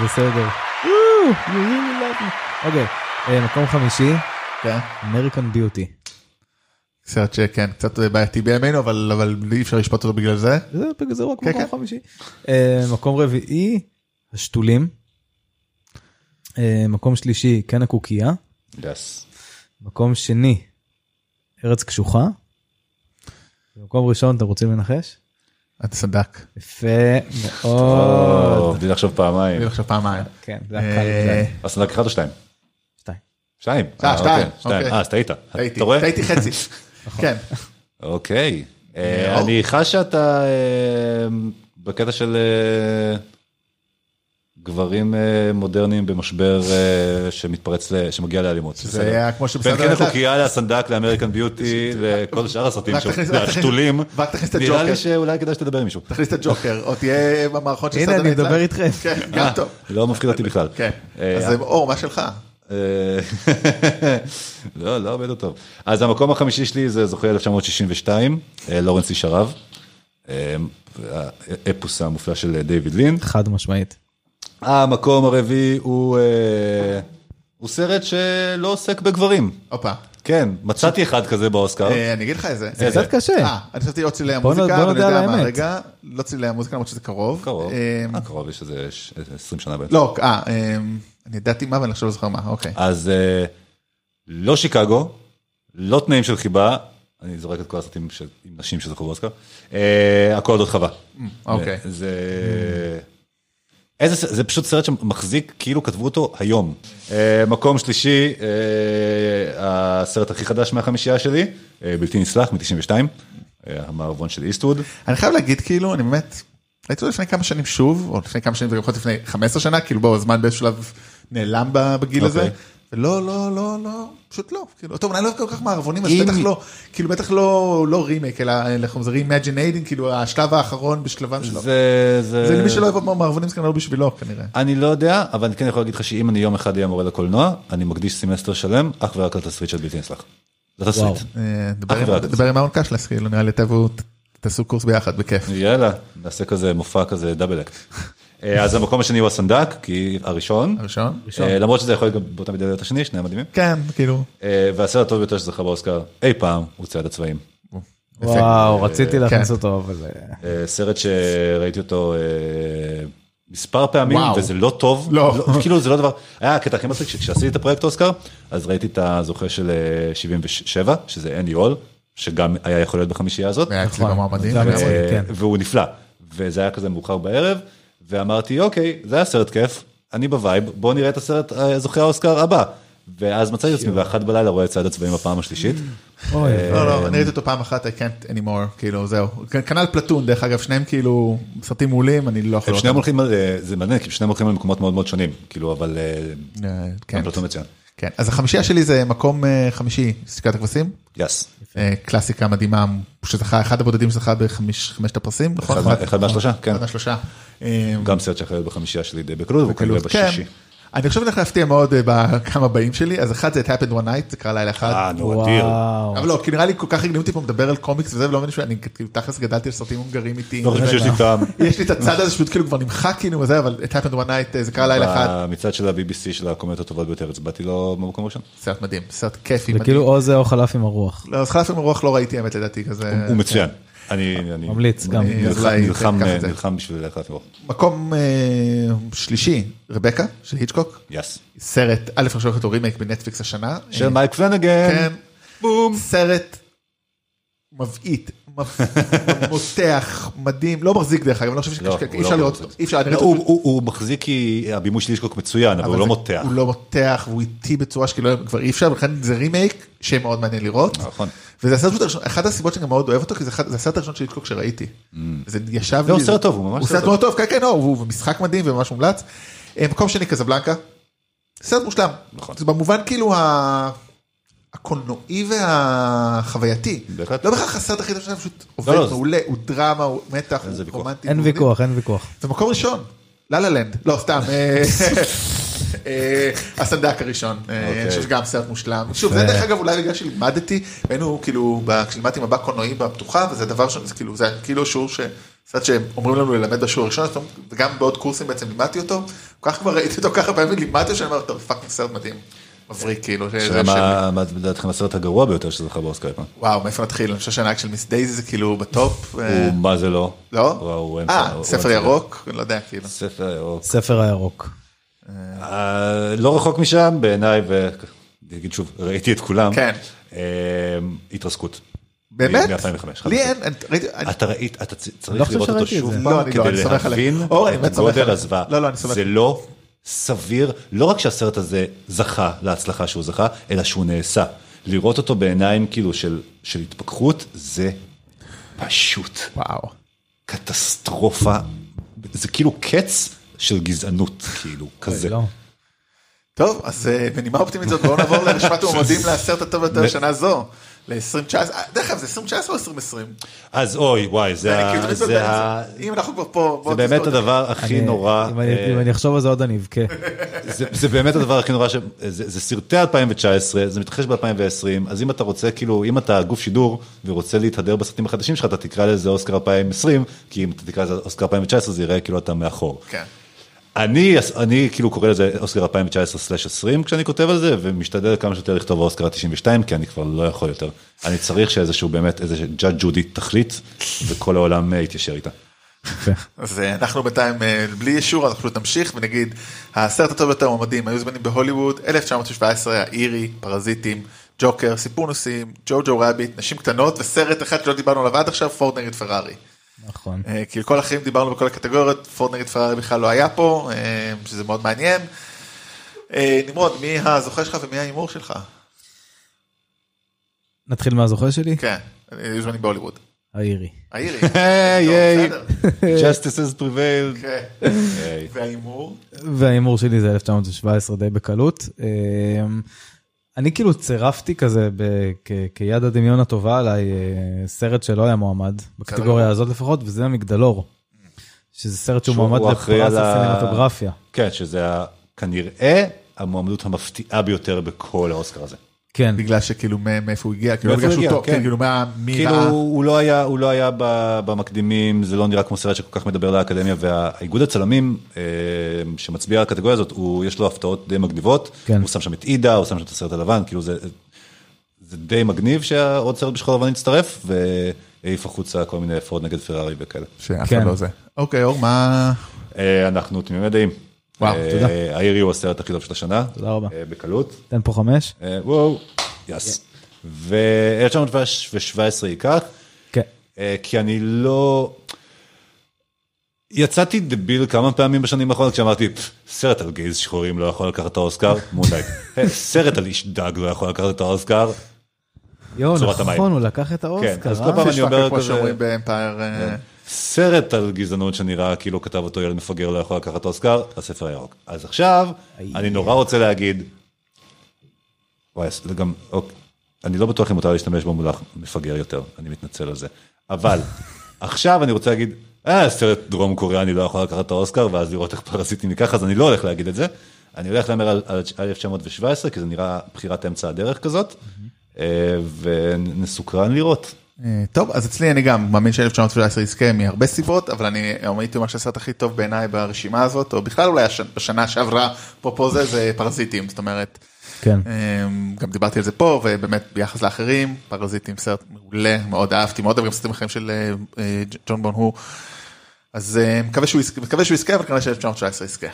בסדר. וואו, you really love me. אוקיי, אה, מקום חמישי,
כן.
American Beauty.
סרט שכן קצת בעייתי בימינו אבל אבל אי אפשר לשפוט אותו בגלל זה.
זה בגלל זה הוא רק
כן,
מקום
כן.
חמישי. אה, מקום רביעי, השתולים. אה, מקום שלישי, קן הקוקייה.
יס.
מקום שני, ארץ קשוחה. מקום ראשון, אתם רוצים לנחש?
אתה סדק.
יפה מאוד.
או, בלי אה, לחשוב פעמיים.
אני עכשיו פעמיים.
כן, זה היה קל. זה
אה,
היה-
אז רק אחד או שתיים?
שתיים.
שתיים.
אה, שתיים,
אוקיי, שתיים.
אוקיי.
אה, אז טעית.
טעיתי
אתה רואה? נכון.
טעיתי חצי. כן.
אוקיי. אה,
מאוד.
אני חש שאתה אה, בקטע של אה, גברים אה, מודרניים במשבר אה, שמתפרץ, ל- שמגיע לאלימות.
זה היה כמו
בין
שבסדר.
כן
אתה-
הקוקייה לסנדק לאמריקן ביוטי לכל שאר הסרטים
רק
שם,
תכניס- רק תכניס-
השתולים,
רק תכניס את
נראה
הג'וקר.
לי שאולי כדאי שתדבר עם מישהו.
תכניס את הג'וקר או תהיה במערכון של
הנה,
סרטן
אני
הנצח.
מדבר איתכם.
כן, גם טוב.
לא מפחיד אותי בכלל.
כן.
אה,
אז זה אור מה שלך.
אה, לא, לא עובד טוב. אז המקום החמישי שלי זה זוכה 1962, אה, לורנס איש ערב. אה, האפוס המופלא של אה, דיוויד לין.
חד משמעית.
המקום הרביעי הוא אה, הוא סרט שלא עוסק בגברים.
הופה.
כן, מצאתי אחד כזה באוסקר.
אה, אני אגיד לך איזה.
זה
קצת קשה.
אה, אני חשבתי עוד צלילי
בוא נ-
המוזיקה,
בוא
אבל אני
נודה על
יודע מה,
האמת.
רגע, לא צלילי המוזיקה למרות שזה קרוב.
קרוב,
אה,
אה, קרוב, יש איזה ש- איזה 20 שנה בעצם.
לא, אה, אה, אני ידעתי מה ואני עכשיו לא זוכר מה, אוקיי.
אז אה, לא שיקגו, לא תנאים של חיבה, אני זורק את כל הסרטים של- עם נשים שזכו באוסקר, אה, הכל עוד חווה.
אוקיי.
זה... איזה, ס- זה פשוט סרט שמחזיק כאילו כתבו אותו היום. אה, מקום שלישי, אה, הסרט הכי חדש מהחמישייה שלי, אה, בלתי נסלח מ-92, אה, המערבון של איסטווד.
אני חייב להגיד כאילו אני באמת ראיתי אותו לפני כמה שנים שוב או לפני כמה שנים וגם יכול להיות לפני 15 שנה כאילו בואו הזמן באיזשהו שלב נעלם ב- בגיל הזה.
אוקיי.
ולא לא לא לא פשוט לא כאילו טוב אני לא אוהב כל כך מערבונים אז
אם-
בטח לא כאילו בטח לא לא רימייק אלא אה, איך אומרים זה reimagining כאילו השלב האחרון בשלבם שלו.
זה, זה...
זה למי שלא אוהב מערבונים זה כנראה לא בשבילו כנראה.
אני לא יודע, אבל אני כן יכול להגיד לך שאם אני יום אחד אהיה מורה לקולנוע, אני מקדיש סמסטר שלם אך ורק לתסריט של בלתי נסלח. לתסריט.
וואו.
אה, דבר
אך
עם-
ורק.
דבר עם אהרון קשלס כאילו נראה לי תבואו ת- תעשו קורס ביחד בכיף.
יאללה, נעשה כזה מופע כזה דאבל אקט. אה, אז המקום השני הוא הסנדק, כי הראשון,
הראשון?
אה, למרות שזה יכול להיות גם באותה מידה להיות השני, שניהם מדהימים.
כן כאילו.
אה, והסרט הטוב ביותר שזכה באוסקר אי פעם הוא צייד הצבעים.
יפה.
וואו, רציתי להכניס
כן.
אותו, אבל... אה,
אה, סרט שראיתי אותו אה, מספר פעמים,
וואו.
וזה לא טוב,
לא.
כאילו זה לא דבר, היה הקטע הכי מצחיק, שכשעשיתי את הפרויקט אוסקר, אז ראיתי את הזוכה של אה, 77, שזה אנדי הול, שגם היה יכול להיות בחמישייה הזאת,
היה אצלי
נכון.
במועמדים.
גם
והיה
אצלי.
אה,
כן.
והוא נפלא, וזה היה כזה מאוחר בערב, ואמרתי, אוקיי, זה היה סרט כיף, אני בווייב, בוא נראה את הסרט אה, זוכה האוסקר הבא. ואז מצאתי את עצמי באחת בלילה רואה את צעד הצבעים הפעם השלישית.
אוי,
לא,
אמ,
לא, אני ראיתי אותו פעם אחת, I can't anymore, כאילו, זהו. כ- כנ"ל פלטון, דרך אגב, שניהם כאילו סרטים מעולים, אני לא יכול...
הם
לראות
שניהם הולכים על, אה, זה מעניין, כי שניהם הולכים על מקומות מאוד מאוד שונים, כאילו, אבל אה,
אותם. אה, כן,
גם פלטון מצוין.
כן. אז החמישייה שלי זה מקום אה, חמישי, סתיקת הכבשים.
יס.
אה, קלאסיקה מדהימה, שזכה, אחד הבודדים שזכה בחמשת הפרסים, נכון?
אחד מה- אחד מהשלושה, כן.
אחד מהשלושה. אה,
גם סרט שיכול להיות בחמישייה שלי די בקלות, והוא
כאילו,
כנראה בשישי.
כן. אני חושב שאני הולך להפתיע מאוד אה, בכמה הבאים שלי, אז אחד זה It Happened One Night, זה קרה לילה
אה,
אחד.
נו, אדיר.
וואו.
אבל לא, כי נראה לי כל כך הגניבו אותי פה מדבר על קומיקס וזה, ולא מבין שאני כאילו תכלס גדלתי על סרטים הונגרים איתי.
לא חושב שיש לי טעם.
יש לי את הצד הזה שפשוט כאילו כבר נמחק כאילו וזה אבל את happened one night אה, זה קרה לילה אחד
המצעד של ה-BBC של הקומדיות הטובות ביותר, הצבעתי לו במקום הראשון.
סרט מדהים סרט כיפי
זה
מדהים.
כאילו או זה או חלף עם הרוח.
לא, אז חלף עם הרוח לא ראיתי האמת לדעתי כזה
הוא מצוין.
כן. אה,
אני אני-
ממליץ גם.
אני
אז
נלחם-
אולי
נלחם
תיקח את זה.
נלחם בשביל ללכת לראות.
מקום אה, שלישי רבקה של היצ'קוק
יס.
סרט א' עכשיו הולך אה, להיות רימייק בנטפליקס השנה
של
אה,
מייק פלנגן.
כן. סרט מבעית, מב- מותח, מדהים, לא מחזיק דרך אגב, אני לא חושב
לא,
שקשה,
הוא
אי אפשר
לא
לראות
מחזיק.
אותו, אי אפשר, אני
לא,
ראיתי
הוא- הוא הוא מחזיק כי הבימוי של אישקוק מצוין, אבל הוא
אבל
לא
זה-
מותח.
הוא לא מותח והוא איטי בצורה שכאילו כבר אי אפשר, ולכן זה רימייק שמאוד מעניין לראות.
נכון.
וזה הסרט פשוט הראשון, אחת הסיבות שאני גם מאוד אוהב אותו, כי זה אחד- זה הסרט הראשון של איטקוק שראיתי. זה ישב
לא, הוא סרט טוב, הוא ממש
הוא
סרט
סרט מאוד טוב, כן כן, לא, הוא הוא משחק מדהים וממש מומלץ. אה, מקום שני קזבלנקה, סרט מושלם.
נכון.
זה במובן כאילו ה- הקולנועי והחווייתי.
בהחלט.
לא בהכרח הסרט הכי טוב שלהם, פשוט
לא,
עובד
זה-
מעולה, הוא דרמה, הוא מתח,
זה
הוא
ויכוח.
רומנטי.
אין
הוא-
ויכוח, אין ויכוח.
ומקום ראשון, לה לה לנד, לא סתם, אה, אה, הסנדק הראשון, אה, אני
אוקיי.
חושב שגם סרט מושלם, שוב זה דרך אגב אולי בגלל שלימדתי, היינו כאילו, ב- כשלימדתי מבט קולנועי בפתוחה וזה דבר ש- זה כאילו, זה היה כאילו שיעור ש... קצת שאומרים לנו ללמד בשיעור הראשון, אז אתה- וגם בעוד קורסים בעצם לימדתי אותו, כל כך כבר ראיתי אותו ככה פעמים לימדתי אותו, שאני אומר, טוב פאקינג סרט מדהים, מבריק כאילו, שזה
השאלה
של-
מה- מה לדעתכם הסרט הגרוע ביותר שזכה באוסקר. אה?
וואו מאיפה נתחיל, אני חושב שהנהג של מיס דייזי זה כאילו בטופ, אה,
הוא מה זה לא?
לא?
הוא- הוא אמצע-
אה,
הוא
ספר
אמצע-
ירוק, לא יודע כאילו.
ספר ירוק.
ספר הירוק.
אה, לא רחוק משם בעיניי, ואני אגיד שוב, ראיתי את כולם.
כן.
אה, התרסקות.
באמת?
מ-2005.
לי אין, אני- ראיתי- אני-
אתה ראית, אתה צ-
לא
צריך
חושב
לראות אותו
שראיתי את
שוב
זה.
לא,
פעם
אני לא, אני
כדי
סומך עליך.
להבין
אור, אני באמת
את
סומך
גודל
עליך.
הזוועה.
לא, לא, אני סומך.
זה לא סביר, לא רק שהסרט הזה זכה להצלחה שהוא זכה, אלא שהוא נעשה. לראות אותו בעיניים כאילו של של התפכחות, זה פשוט
וואו.
קטסטרופה. זה כאילו קץ של גזענות, כאילו, כזה.
לא.
טוב, אז אה, בנימה אופטימית זאת בואו נעבור לרשימת מועמדים לסרט הטוב יותר לשנה זו. ל-2019, אה, דרך אגב זה 2019 או 2020?
אז אוי, וואי, זה
אני
ה-
כאילו תמיד
אה, זה
מתבלבל.
ה-
אם אנחנו כבר פה, בואו
זה באמת
תזכור.
הדבר הכי
אני-
נורא.
אם אני-
אה,
אם אני אחשוב על זה עוד אני אבכה.
זה, זה באמת הדבר הכי נורא, ש... זה, זה סרטי 2019, זה מתרחש ב-2020, אז אם אתה רוצה, כאילו, אם אתה גוף שידור ורוצה להתהדר בסרטים החדשים שלך, אתה תקרא לזה אוסקר 2020, כי אם אתה תקרא לזה אוסקר 2019 זה יראה כאילו אתה מאחור.
כן.
אני, אני כאילו קורא לזה אוסקר 2019/20 כשאני כותב על זה, ומשתדל כמה שיותר לכתוב אוסקר 92, כי אני כבר לא יכול יותר. אני צריך שאיזשהו באמת, איזה ג'אד ג'ודי תחליט, וכל העולם אה, יתיישר איתה.
אז אה, אנחנו בינתיים אה, בלי אישור, אנחנו פשוט נמשיך ונגיד, הסרט הטוב יותר מועמדים היו זמנים בהוליווד, 1917, האירי, פרזיטים, ג'וקר, סיפור נוסעים, ג'ו ג'ו רביט, נשים קטנות וסרט אחד שלא דיברנו עליו עד עכשיו, פורד נגד פרארי.
נכון.
אה, כי כל האחרים דיברנו בכל הקטגוריות, פורד נגד פרארי בכלל לא היה פה, אה, שזה מאוד מעניין. אה, נמרוד, מי הזוכה שלך ומי ההימור שלך?
נתחיל מהזוכה שלי?
כן, אה, היו זמנים בהוליווד.
האירי.
האירי.
היי,
טוב,
היי,
בסדר.
justice has prevailed.
כן.
היי.
וההימור?
וההימור שלי זה 1917 די בקלות. אמ, אני כאילו צירפתי כזה ב- כ- כיד הדמיון הטובה עליי אה, סרט שלא היה מועמד, בקטגוריה הזאת לפחות, וזה המגדלור. שזה סרט שהוא
שהוא
מועמד
אחראי
לפרס
על ה-
הסינמטוגרפיה.
כן, שזה ה- כנראה המועמדות המפתיעה ביותר בכל האוסקר הזה.
כן,
בגלל שכאילו מא- מאיפה הוא הגיע, כאילו
מאיפה
בגלל שהוא
הוא הגיע,
טוב,
כן.
כן, כאילו מה, מי
כאילו
ראה,
הוא לא היה, הוא לא היה ב- במקדימים, זה לא נראה כמו סרט שכל כך מדבר לאקדמיה, והאיגוד הצלמים אה, שמצביע על הקטגוריה הזאת, הוא, יש לו הפתעות די מגניבות,
כן.
הוא שם שם את עידה, הוא שם שם את הסרט הלבן, כאילו זה, זה די מגניב שעוד סרט בשחור לבן יצטרף, והעיף החוצה כל מיני פורד נגד פרארי וכאלה.
שאף אחד
כן.
לא זה. אוקיי, אור, מה...
אה, אנחנו תמימי דעים.
וואו,
אה,
תודה.
האירי הוא הסרט הכי טוב של השנה.
תודה רבה.
אה, בקלות.
תן פה חמש.
אה, וואו, יס. ו-1917 ייקח,
כן.
אה, כי אני לא... יצאתי דביל כמה פעמים בשנים האחרונות כשאמרתי, "פ, סרט על גייז שחורים לא יכול לקחת את האוסקר, מודאג. "אה, סרט על איש דג לא יכול לקחת את האוסקר.
יואו,
צורת המים.
נכון, הוא לקח את
כן,
האוסקר.
אז
אה?
כל פעם אני
יש
אומר
פאקר כמו
כזה, כן.
שאומרים באמפייר, אה,
סרט על גזענות שנראה כאילו כתב אותו ילד מפגר לא יכול לקחת את האוסקר, הספר הירוק. אז עכשיו, אני נורא רוצה להגיד, וואי, זה גם, אוקיי, אני לא בטוח אם מותר להשתמש במונח מפגר יותר, אני מתנצל על זה. אבל, עכשיו אני רוצה להגיד, אה, סרט דרום קוריאני לא יכול לקחת את האוסקר, ואז לראות איך פרסיטים ניקח, אז אני לא הולך להגיד את זה. אני הולך להמר על על 1917, כי זה נראה בחירת אמצע הדרך כזאת, אה, ונסוקרן לראות.
אה, טוב, אז אצלי אני גם מאמין ש-1917 יזכה מהרבה סיבות, אבל אני היום הייתי אומר שהסרט הכי טוב בעיניי ברשימה הזאת, או בכלל אולי הש- בשנה שעברה, אפרופו זה, זה פרזיטים, זאת אומרת,
כן.
אמ, גם דיברתי על זה פה, ובאמת ביחס לאחרים, פרזיטים סרט מעולה, מאוד אהבתי, מאוד אוהב גם סרטים אחרים של אה, אה, ג'- ג'ון בון הוא, אז אה, מקווה שהוא יזכה, מקווה שהוא יזכה, אבל כנראה ש-1919 יזכה.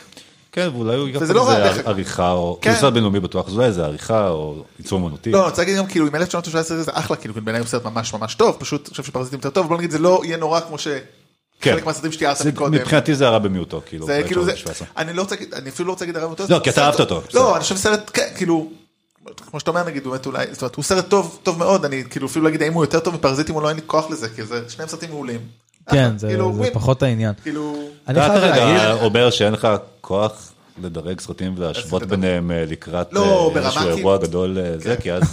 כן, ואולי הוא ייקח
וזה לא רע, דרך
איזה
אגב.
עריכה, או...
כן.
כן. ישראל בינלאומי בטוח, אז אולי איזה עריכה, או ייצור אומנותי.
לא, אני רוצה להגיד גם כאילו עם 1917 זה אחלה, כאילו בעיניי הוא סרט ממש ממש טוב, פשוט אני חושב שפרזיטים יותר טוב, בוא נגיד זה לא יהיה נורא כמו
כן.
שחלק מהסרטים שתיארת
זה-
מקודם.
מבחינתי זה הרע במיעוטו, כאילו.
זה כאילו זה,
1917.
אני לא רוצה, להגיד- אני אפילו לא רוצה להגיד הרב אותו.
לא, כי אתה אהבת אותו, בסדר.
לא, אני חושב סרט, כן, כאילו, כמו שאתה אומר נגיד, באמת אולי, זאת אומרת, הוא סרט טוב, טוב מאוד, אני כאילו אפילו להגיד האם הוא יותר טוב מפרזיטים, אולי אין לי כוח לזה, כי זה שניהם סרטים מעולים.
כן, זה
כאילו,
זה
ווין.
פחות העניין.
כאילו,
אני
אתה אה,
חייב להגיד,
כרגע אומר שאין לך כוח לדרג סרטים ולהשוות
אז תדבר.
ביניהם אה, לקראת
לא,
אה,
ברמה
איזשהו
כאילו-
אירוע גדול, אה, זה, כי אז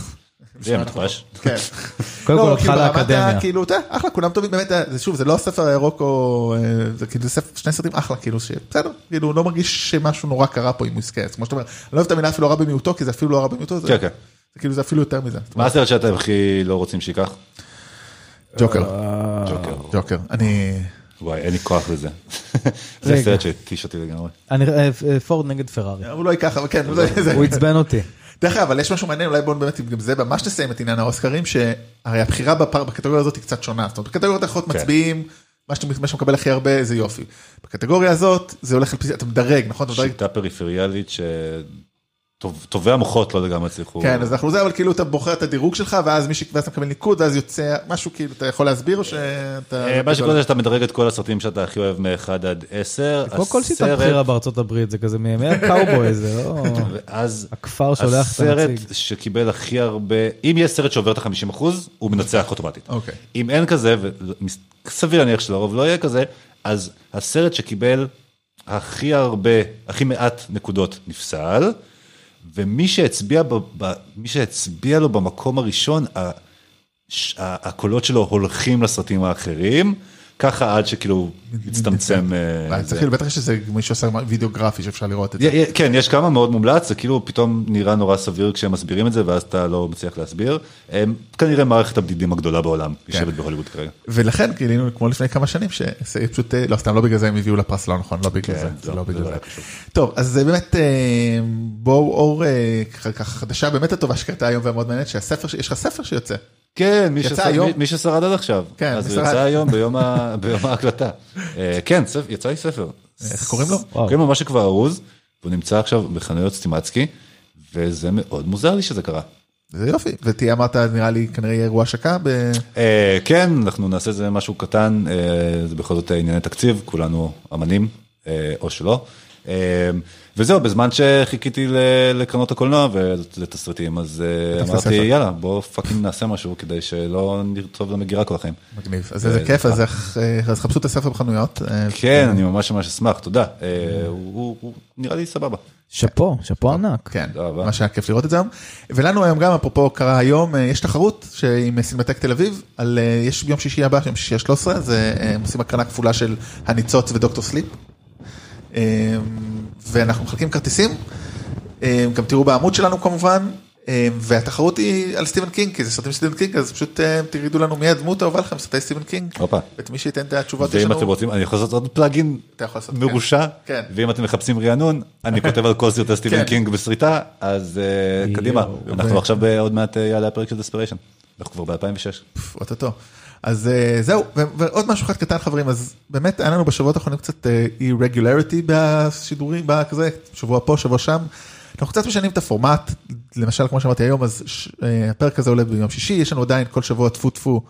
זה יהיה מטופש.
כן.
קודם
לא,
כל
כאילו,
הלכה
ברמת
לאקדמיה.
ה- כאילו, אתה יודע, אחלה, כולם טובים, באמת, זה- שוב, זה לא הספר הירוק או, אה, זה כאילו ספר- שני סרטים אחלה, כאילו, שבסדר, כאילו, לא מרגיש שמשהו נורא קרה פה עם מוסקי, אז כמו שאתה אומר, אני לא אוהב את המילה אפילו הרע במיעוטו, כי זה אפילו לא הרע במיעוטו, זה
כן, כן.
זה כאילו זה אפילו יותר מזה.
מה הסרט שאתם הכי לא רוצים שייקח?
אה,
ג'וקר,
ג'וקר.
ג'וקר, אני...
וואי, אין לי כוח לזה. זה
רגע.
סרט שהתיש אותי לגמרי.
אני- אה, אה, פורד נגד פרארי.
הוא לא ייקח, אבל כן, זה- זה-
הוא עצבן אותי.
דרך אגב, אבל יש משהו מעניין, אולי בואו באמת, גם זה ממש נסיים את עניין האוסקרים, שהרי הבחירה בפר- בקטגוריה הזאת היא קצת שונה, זאת אומרת, בקטגוריות האחרות
כן.
מצביעים, מה שאתה- מה שמקבל הכי הרבה זה יופי. בקטגוריה הזאת, זה הולך על פי, אתה מדרג, נכון? אתה מדרג,
שיטה פריפריאלית שטובי המוחות לא לגמרי הצליחו.
כן, אז אנחנו זה, אבל כאילו אתה בוחר את הדירוג שלך, ואז מישהו, ואז אתה מקבל ניקוד, ואז יוצא משהו, כאילו, אתה יכול להסביר או שאתה...
אה, מה שקורה זה שאתה מדרג את כל הסרטים שאתה הכי אוהב מ-1 עד 10.
כמו כל שיטה
הסרט-
בחירה בארצות הברית, זה כזה מימי הקאובוי, זה לא...
ואז
הכפר שולח את
הסרט
הנציג.
שקיבל הכי הרבה, אם יש סרט שעובר את ה-50%, הוא מנצח אוטומטית.
אוקיי.
אם אין כזה, וסביר להניח שלרוב לא יהיה כזה, אז הסרט שקיבל הכי הרבה, הכי מעט נקודות נפסל, ומי שהצביע, ב, ב, מי שהצביע לו במקום הראשון, ה, ש, ה, הקולות שלו הולכים לסרטים האחרים, ככה עד שכאילו הצטמצם. אה,
אה,
זה.
צריך כאילו, בטח שזה מישהו עושה וידאו גרפי שאפשר לראות את זה.
י- י- כן, יש כמה מאוד מומלץ, זה כאילו פתאום נראה נורא סביר כשהם מסבירים את זה, ואז אתה לא מצליח להסביר. הם, כנראה מערכת הבדידים הגדולה בעולם יושבת בהוליווד כרגע.
ולכן גילינו כמו לפני כמה שנים שפשוט לא סתם לא בגלל זה הם הביאו לפרס לא נכון לא בגלל
כן,
זה,
לא,
זה לא
זה
בגלל
לא
זה.
היה קשור.
טוב אז זה באמת אה, בואו אור אה, ככה ככה חדשה באמת הטובה שקרתה היום והמאוד מעניינת שהספר ש- יש לך ספר שיוצא
כן, מי
יצא
ששרד-
היום?
מי- מי ששרד עד עכשיו.
כן,
אז
מי
הוא
ששרד.
יצא היום ביום ה- ביום ההקלטה. אה, כן, ספ- יצא לי ספר.
איך קוראים לו?
וואו.
קוראים לו משהו כבר ארוז, והוא נמצא עכשיו בחנויות סטימצקי, וזה מאוד מוזר לי שזה קרה.
זה יופי ותהיה אמרת נראה לי כנראה יהיה אירוע השקה ב...
אה, כן, אנחנו נעשה איזה משהו קטן, אה, זה בכל זאת ענייני תקציב, כולנו אמנים, אה, או שלא. אה, וזהו, בזמן שחיכיתי ל- לקרנות הקולנוע ולתסריטים, אז אה,
תעשה
אמרתי,
ספר.
יאללה, בוא פאקינג נעשה משהו כדי שלא נרצוב למגירה כל החיים.
מגניב אז איזה כיף אז איך, אה, אז חפשו את הספר בחנויות אה,
כן, אני ממש ממש אשמח, תודה. אה, הוא- הוא הוא נראה לי סבבה.
שאפו, שאפו ענק.
כן,
תודה רבה.
מה שהיה כיף לראות את זה היום. ולנו היום גם, אפרופו קרה היום, אה, יש תחרות ש- עם סינמטק תל אביב, על, אה, יש ביום שישי הבא, יום שישי ה-13, אז אה, הם עושים הקרנה כפולה של הניצוץ ודוקטור סליפ. אה, ואנחנו מחלקים כרטיסים, אה, גם תראו בעמוד שלנו כמובן, אה, והתחרות היא על סטיבן קינג, כי זה סרטים של סטיבן קינג, אז פשוט אה, תגידו לנו מי הדמות האהובה לכם, סרטי סטיבן קינג.
הופה.
ואת מי שייתן את התשובות יש
ואם
לנו.
אתם רוצים, אני יכול לעשות עוד פלאגין
אתה יכול לעשות, כן.
מרושע,
כן.
ואם אתם מחפשים רענון, אני כותב על כל סרטי סטיבן
כן.
קינג בסריטה, אז אה,
יואו.
קדימה, אנחנו
ו-
עכשיו ב- עוד מעט אה, יעלה הפרק של דספיריישן, אנחנו כבר ב-2006.
פפ, אוטוטו. אז אה, זהו, ו- ועוד משהו אחד קטן חברים, אז באמת היה לנו בשבועות האחרונים קצת אה, irregularity בשידורים, כזה, שבוע פה, שבוע שם. אנחנו קצת משנים את הפורמט, למשל כמו שאמרתי היום, אז ש- אה, הפרק הזה עולה ביום שישי, יש לנו עדיין כל שבוע טפו טפו,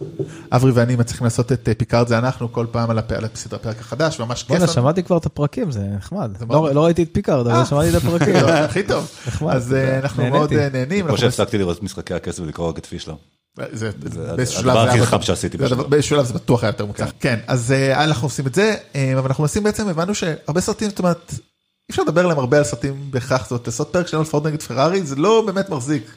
אברי ואני מצליחים לעשות את אה, פיקארד זה אנחנו כל פעם על הפ- על הפ- הפרק החדש, ממש כיף.
בוא'נה,
לנו.
שמעתי כבר את הפרקים, זה נחמד.
כן, מאוד- אה.
לא- לא ראיתי את פיקארד, אבל שמעתי את הפרקים.
טוב, לא, הכי טוב,
נחמד,
אז אה,
תודה.
אנחנו
נהניתי.
מאוד אה, נהנים.
כמו
אנחנו
שהפסקתי לראות משחקי הכסף ולקרוא רק את פישלר.
זה
זה
באיזשהו
הדבר
שלב
הכי
היה
חכם
בטוח-
שעשיתי
זה הדבר-
בשנה.
באיזשהו שלב זה בטוח היה יותר מוצלח. כן, אז אה, אנחנו עושים את זה, אה, אבל אנחנו מנסים בעצם, הבנו שהרבה סרטים, זאת אומרת, אי אפשר לדבר עליהם הרבה על סרטים בהכרח, זאת אומרת, לעשות פרק שלנו על פורד נגד פרארי, זה לא באמת מחזיק.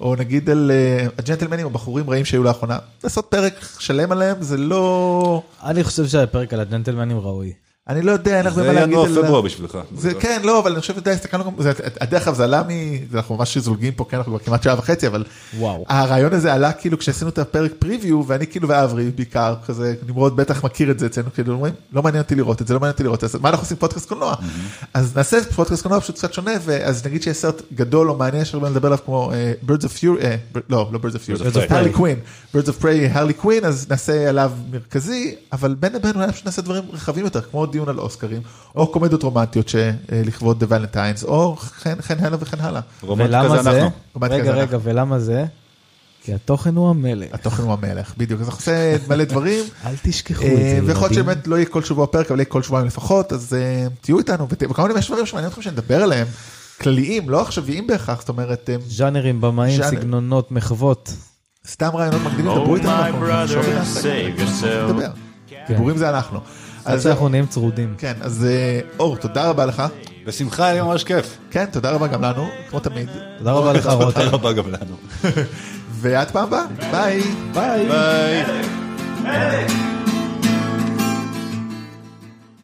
או נגיד על אה, הג'נטלמנים, הבחורים רעים שהיו לאחרונה, לעשות פרק שלם עליהם, זה לא...
אני חושב שהפרק על הג'נטלמנים ראוי.
אני לא יודע, אין הרבה
זה
מה להגיד
ינואר
על...
פברואר בשבילך.
זה כן לא אבל אני חושב שאתה הסתכלנו גם זה- דרך אגב זה עלה מ... אנחנו ממש זולגים פה כן אנחנו כבר כמעט שעה וחצי אבל
וואו.
הרעיון הזה עלה כאילו כשעשינו את הפרק פריוויו ואני כאילו ואברי בעיקר כזה נמרוד בטח מכיר את זה אצלנו כאילו אומרים לא מעניין אותי לראות את זה לא מעניין אותי לראות את זה מה אנחנו עושים פודקאסט קולנוע
Mm-hmm.
אז נעשה פודקאסט קולנוע פשוט קצת שונה ואז נגיד שיש סרט גדול או מעניין שיש הרבה לדבר עליו כמו אה, Birds of Fury אה, ב- לא לא Birds of
Birds
Fury
of
Birds of Harley
Prey.
Quinn Birds of Prey Harley Quinn אז נעשה עליו מרכזי אבל בין לבין אולי פשוט נעשה דברים רחבים יותר כמו דיון דיון על אוסקרים, או קומדיות רומנטיות שלכבוד דה ולנטיינס, או כן כן הלאה וכן הלאה.
רומנטי
ולמה
כזה
זה?
אנחנו.
רומנטי כזה
רגע, רגע, ולמה זה? כי התוכן הוא המלך.
התוכן הוא המלך, בדיוק, אז אנחנו עושה מלא דברים.
אל תשכחו את
אה,
זה,
ויכול להיות
ילדים.
שבאמת לא יהיה כל שבוע פרק, אבל יהיה כל שבועיים לפחות, אז אה, תהיו איתנו, ות- וכמה דברים יש דברים שמעניין אתכם שנדבר עליהם, כלליים, לא עכשוויים בהכרח, זאת אומרת, אה,
ז'אנרים, במאים,
ז'אנר.
סגנונות, מחוות.
סתם רעיונות מקדימים, דברו
Oh,
איתנו,
my
אנחנו נחשוב
brother,
ונעשה,
save yourself.
נדבר.
כן.
דיבורים זה אנחנו.
עד
אז
שאנחנו נהיים צרודים.
כן, אז אה, אור, תודה רבה לך.
בשמחה, היה ממש כיף.
כן, תודה רבה גם לנו, כמו תמיד.
תודה רבה לך, רותם.
תודה רבה גם לנו.
ועד פעם הבאה, ביי.
ביי.
ביי.
Medic!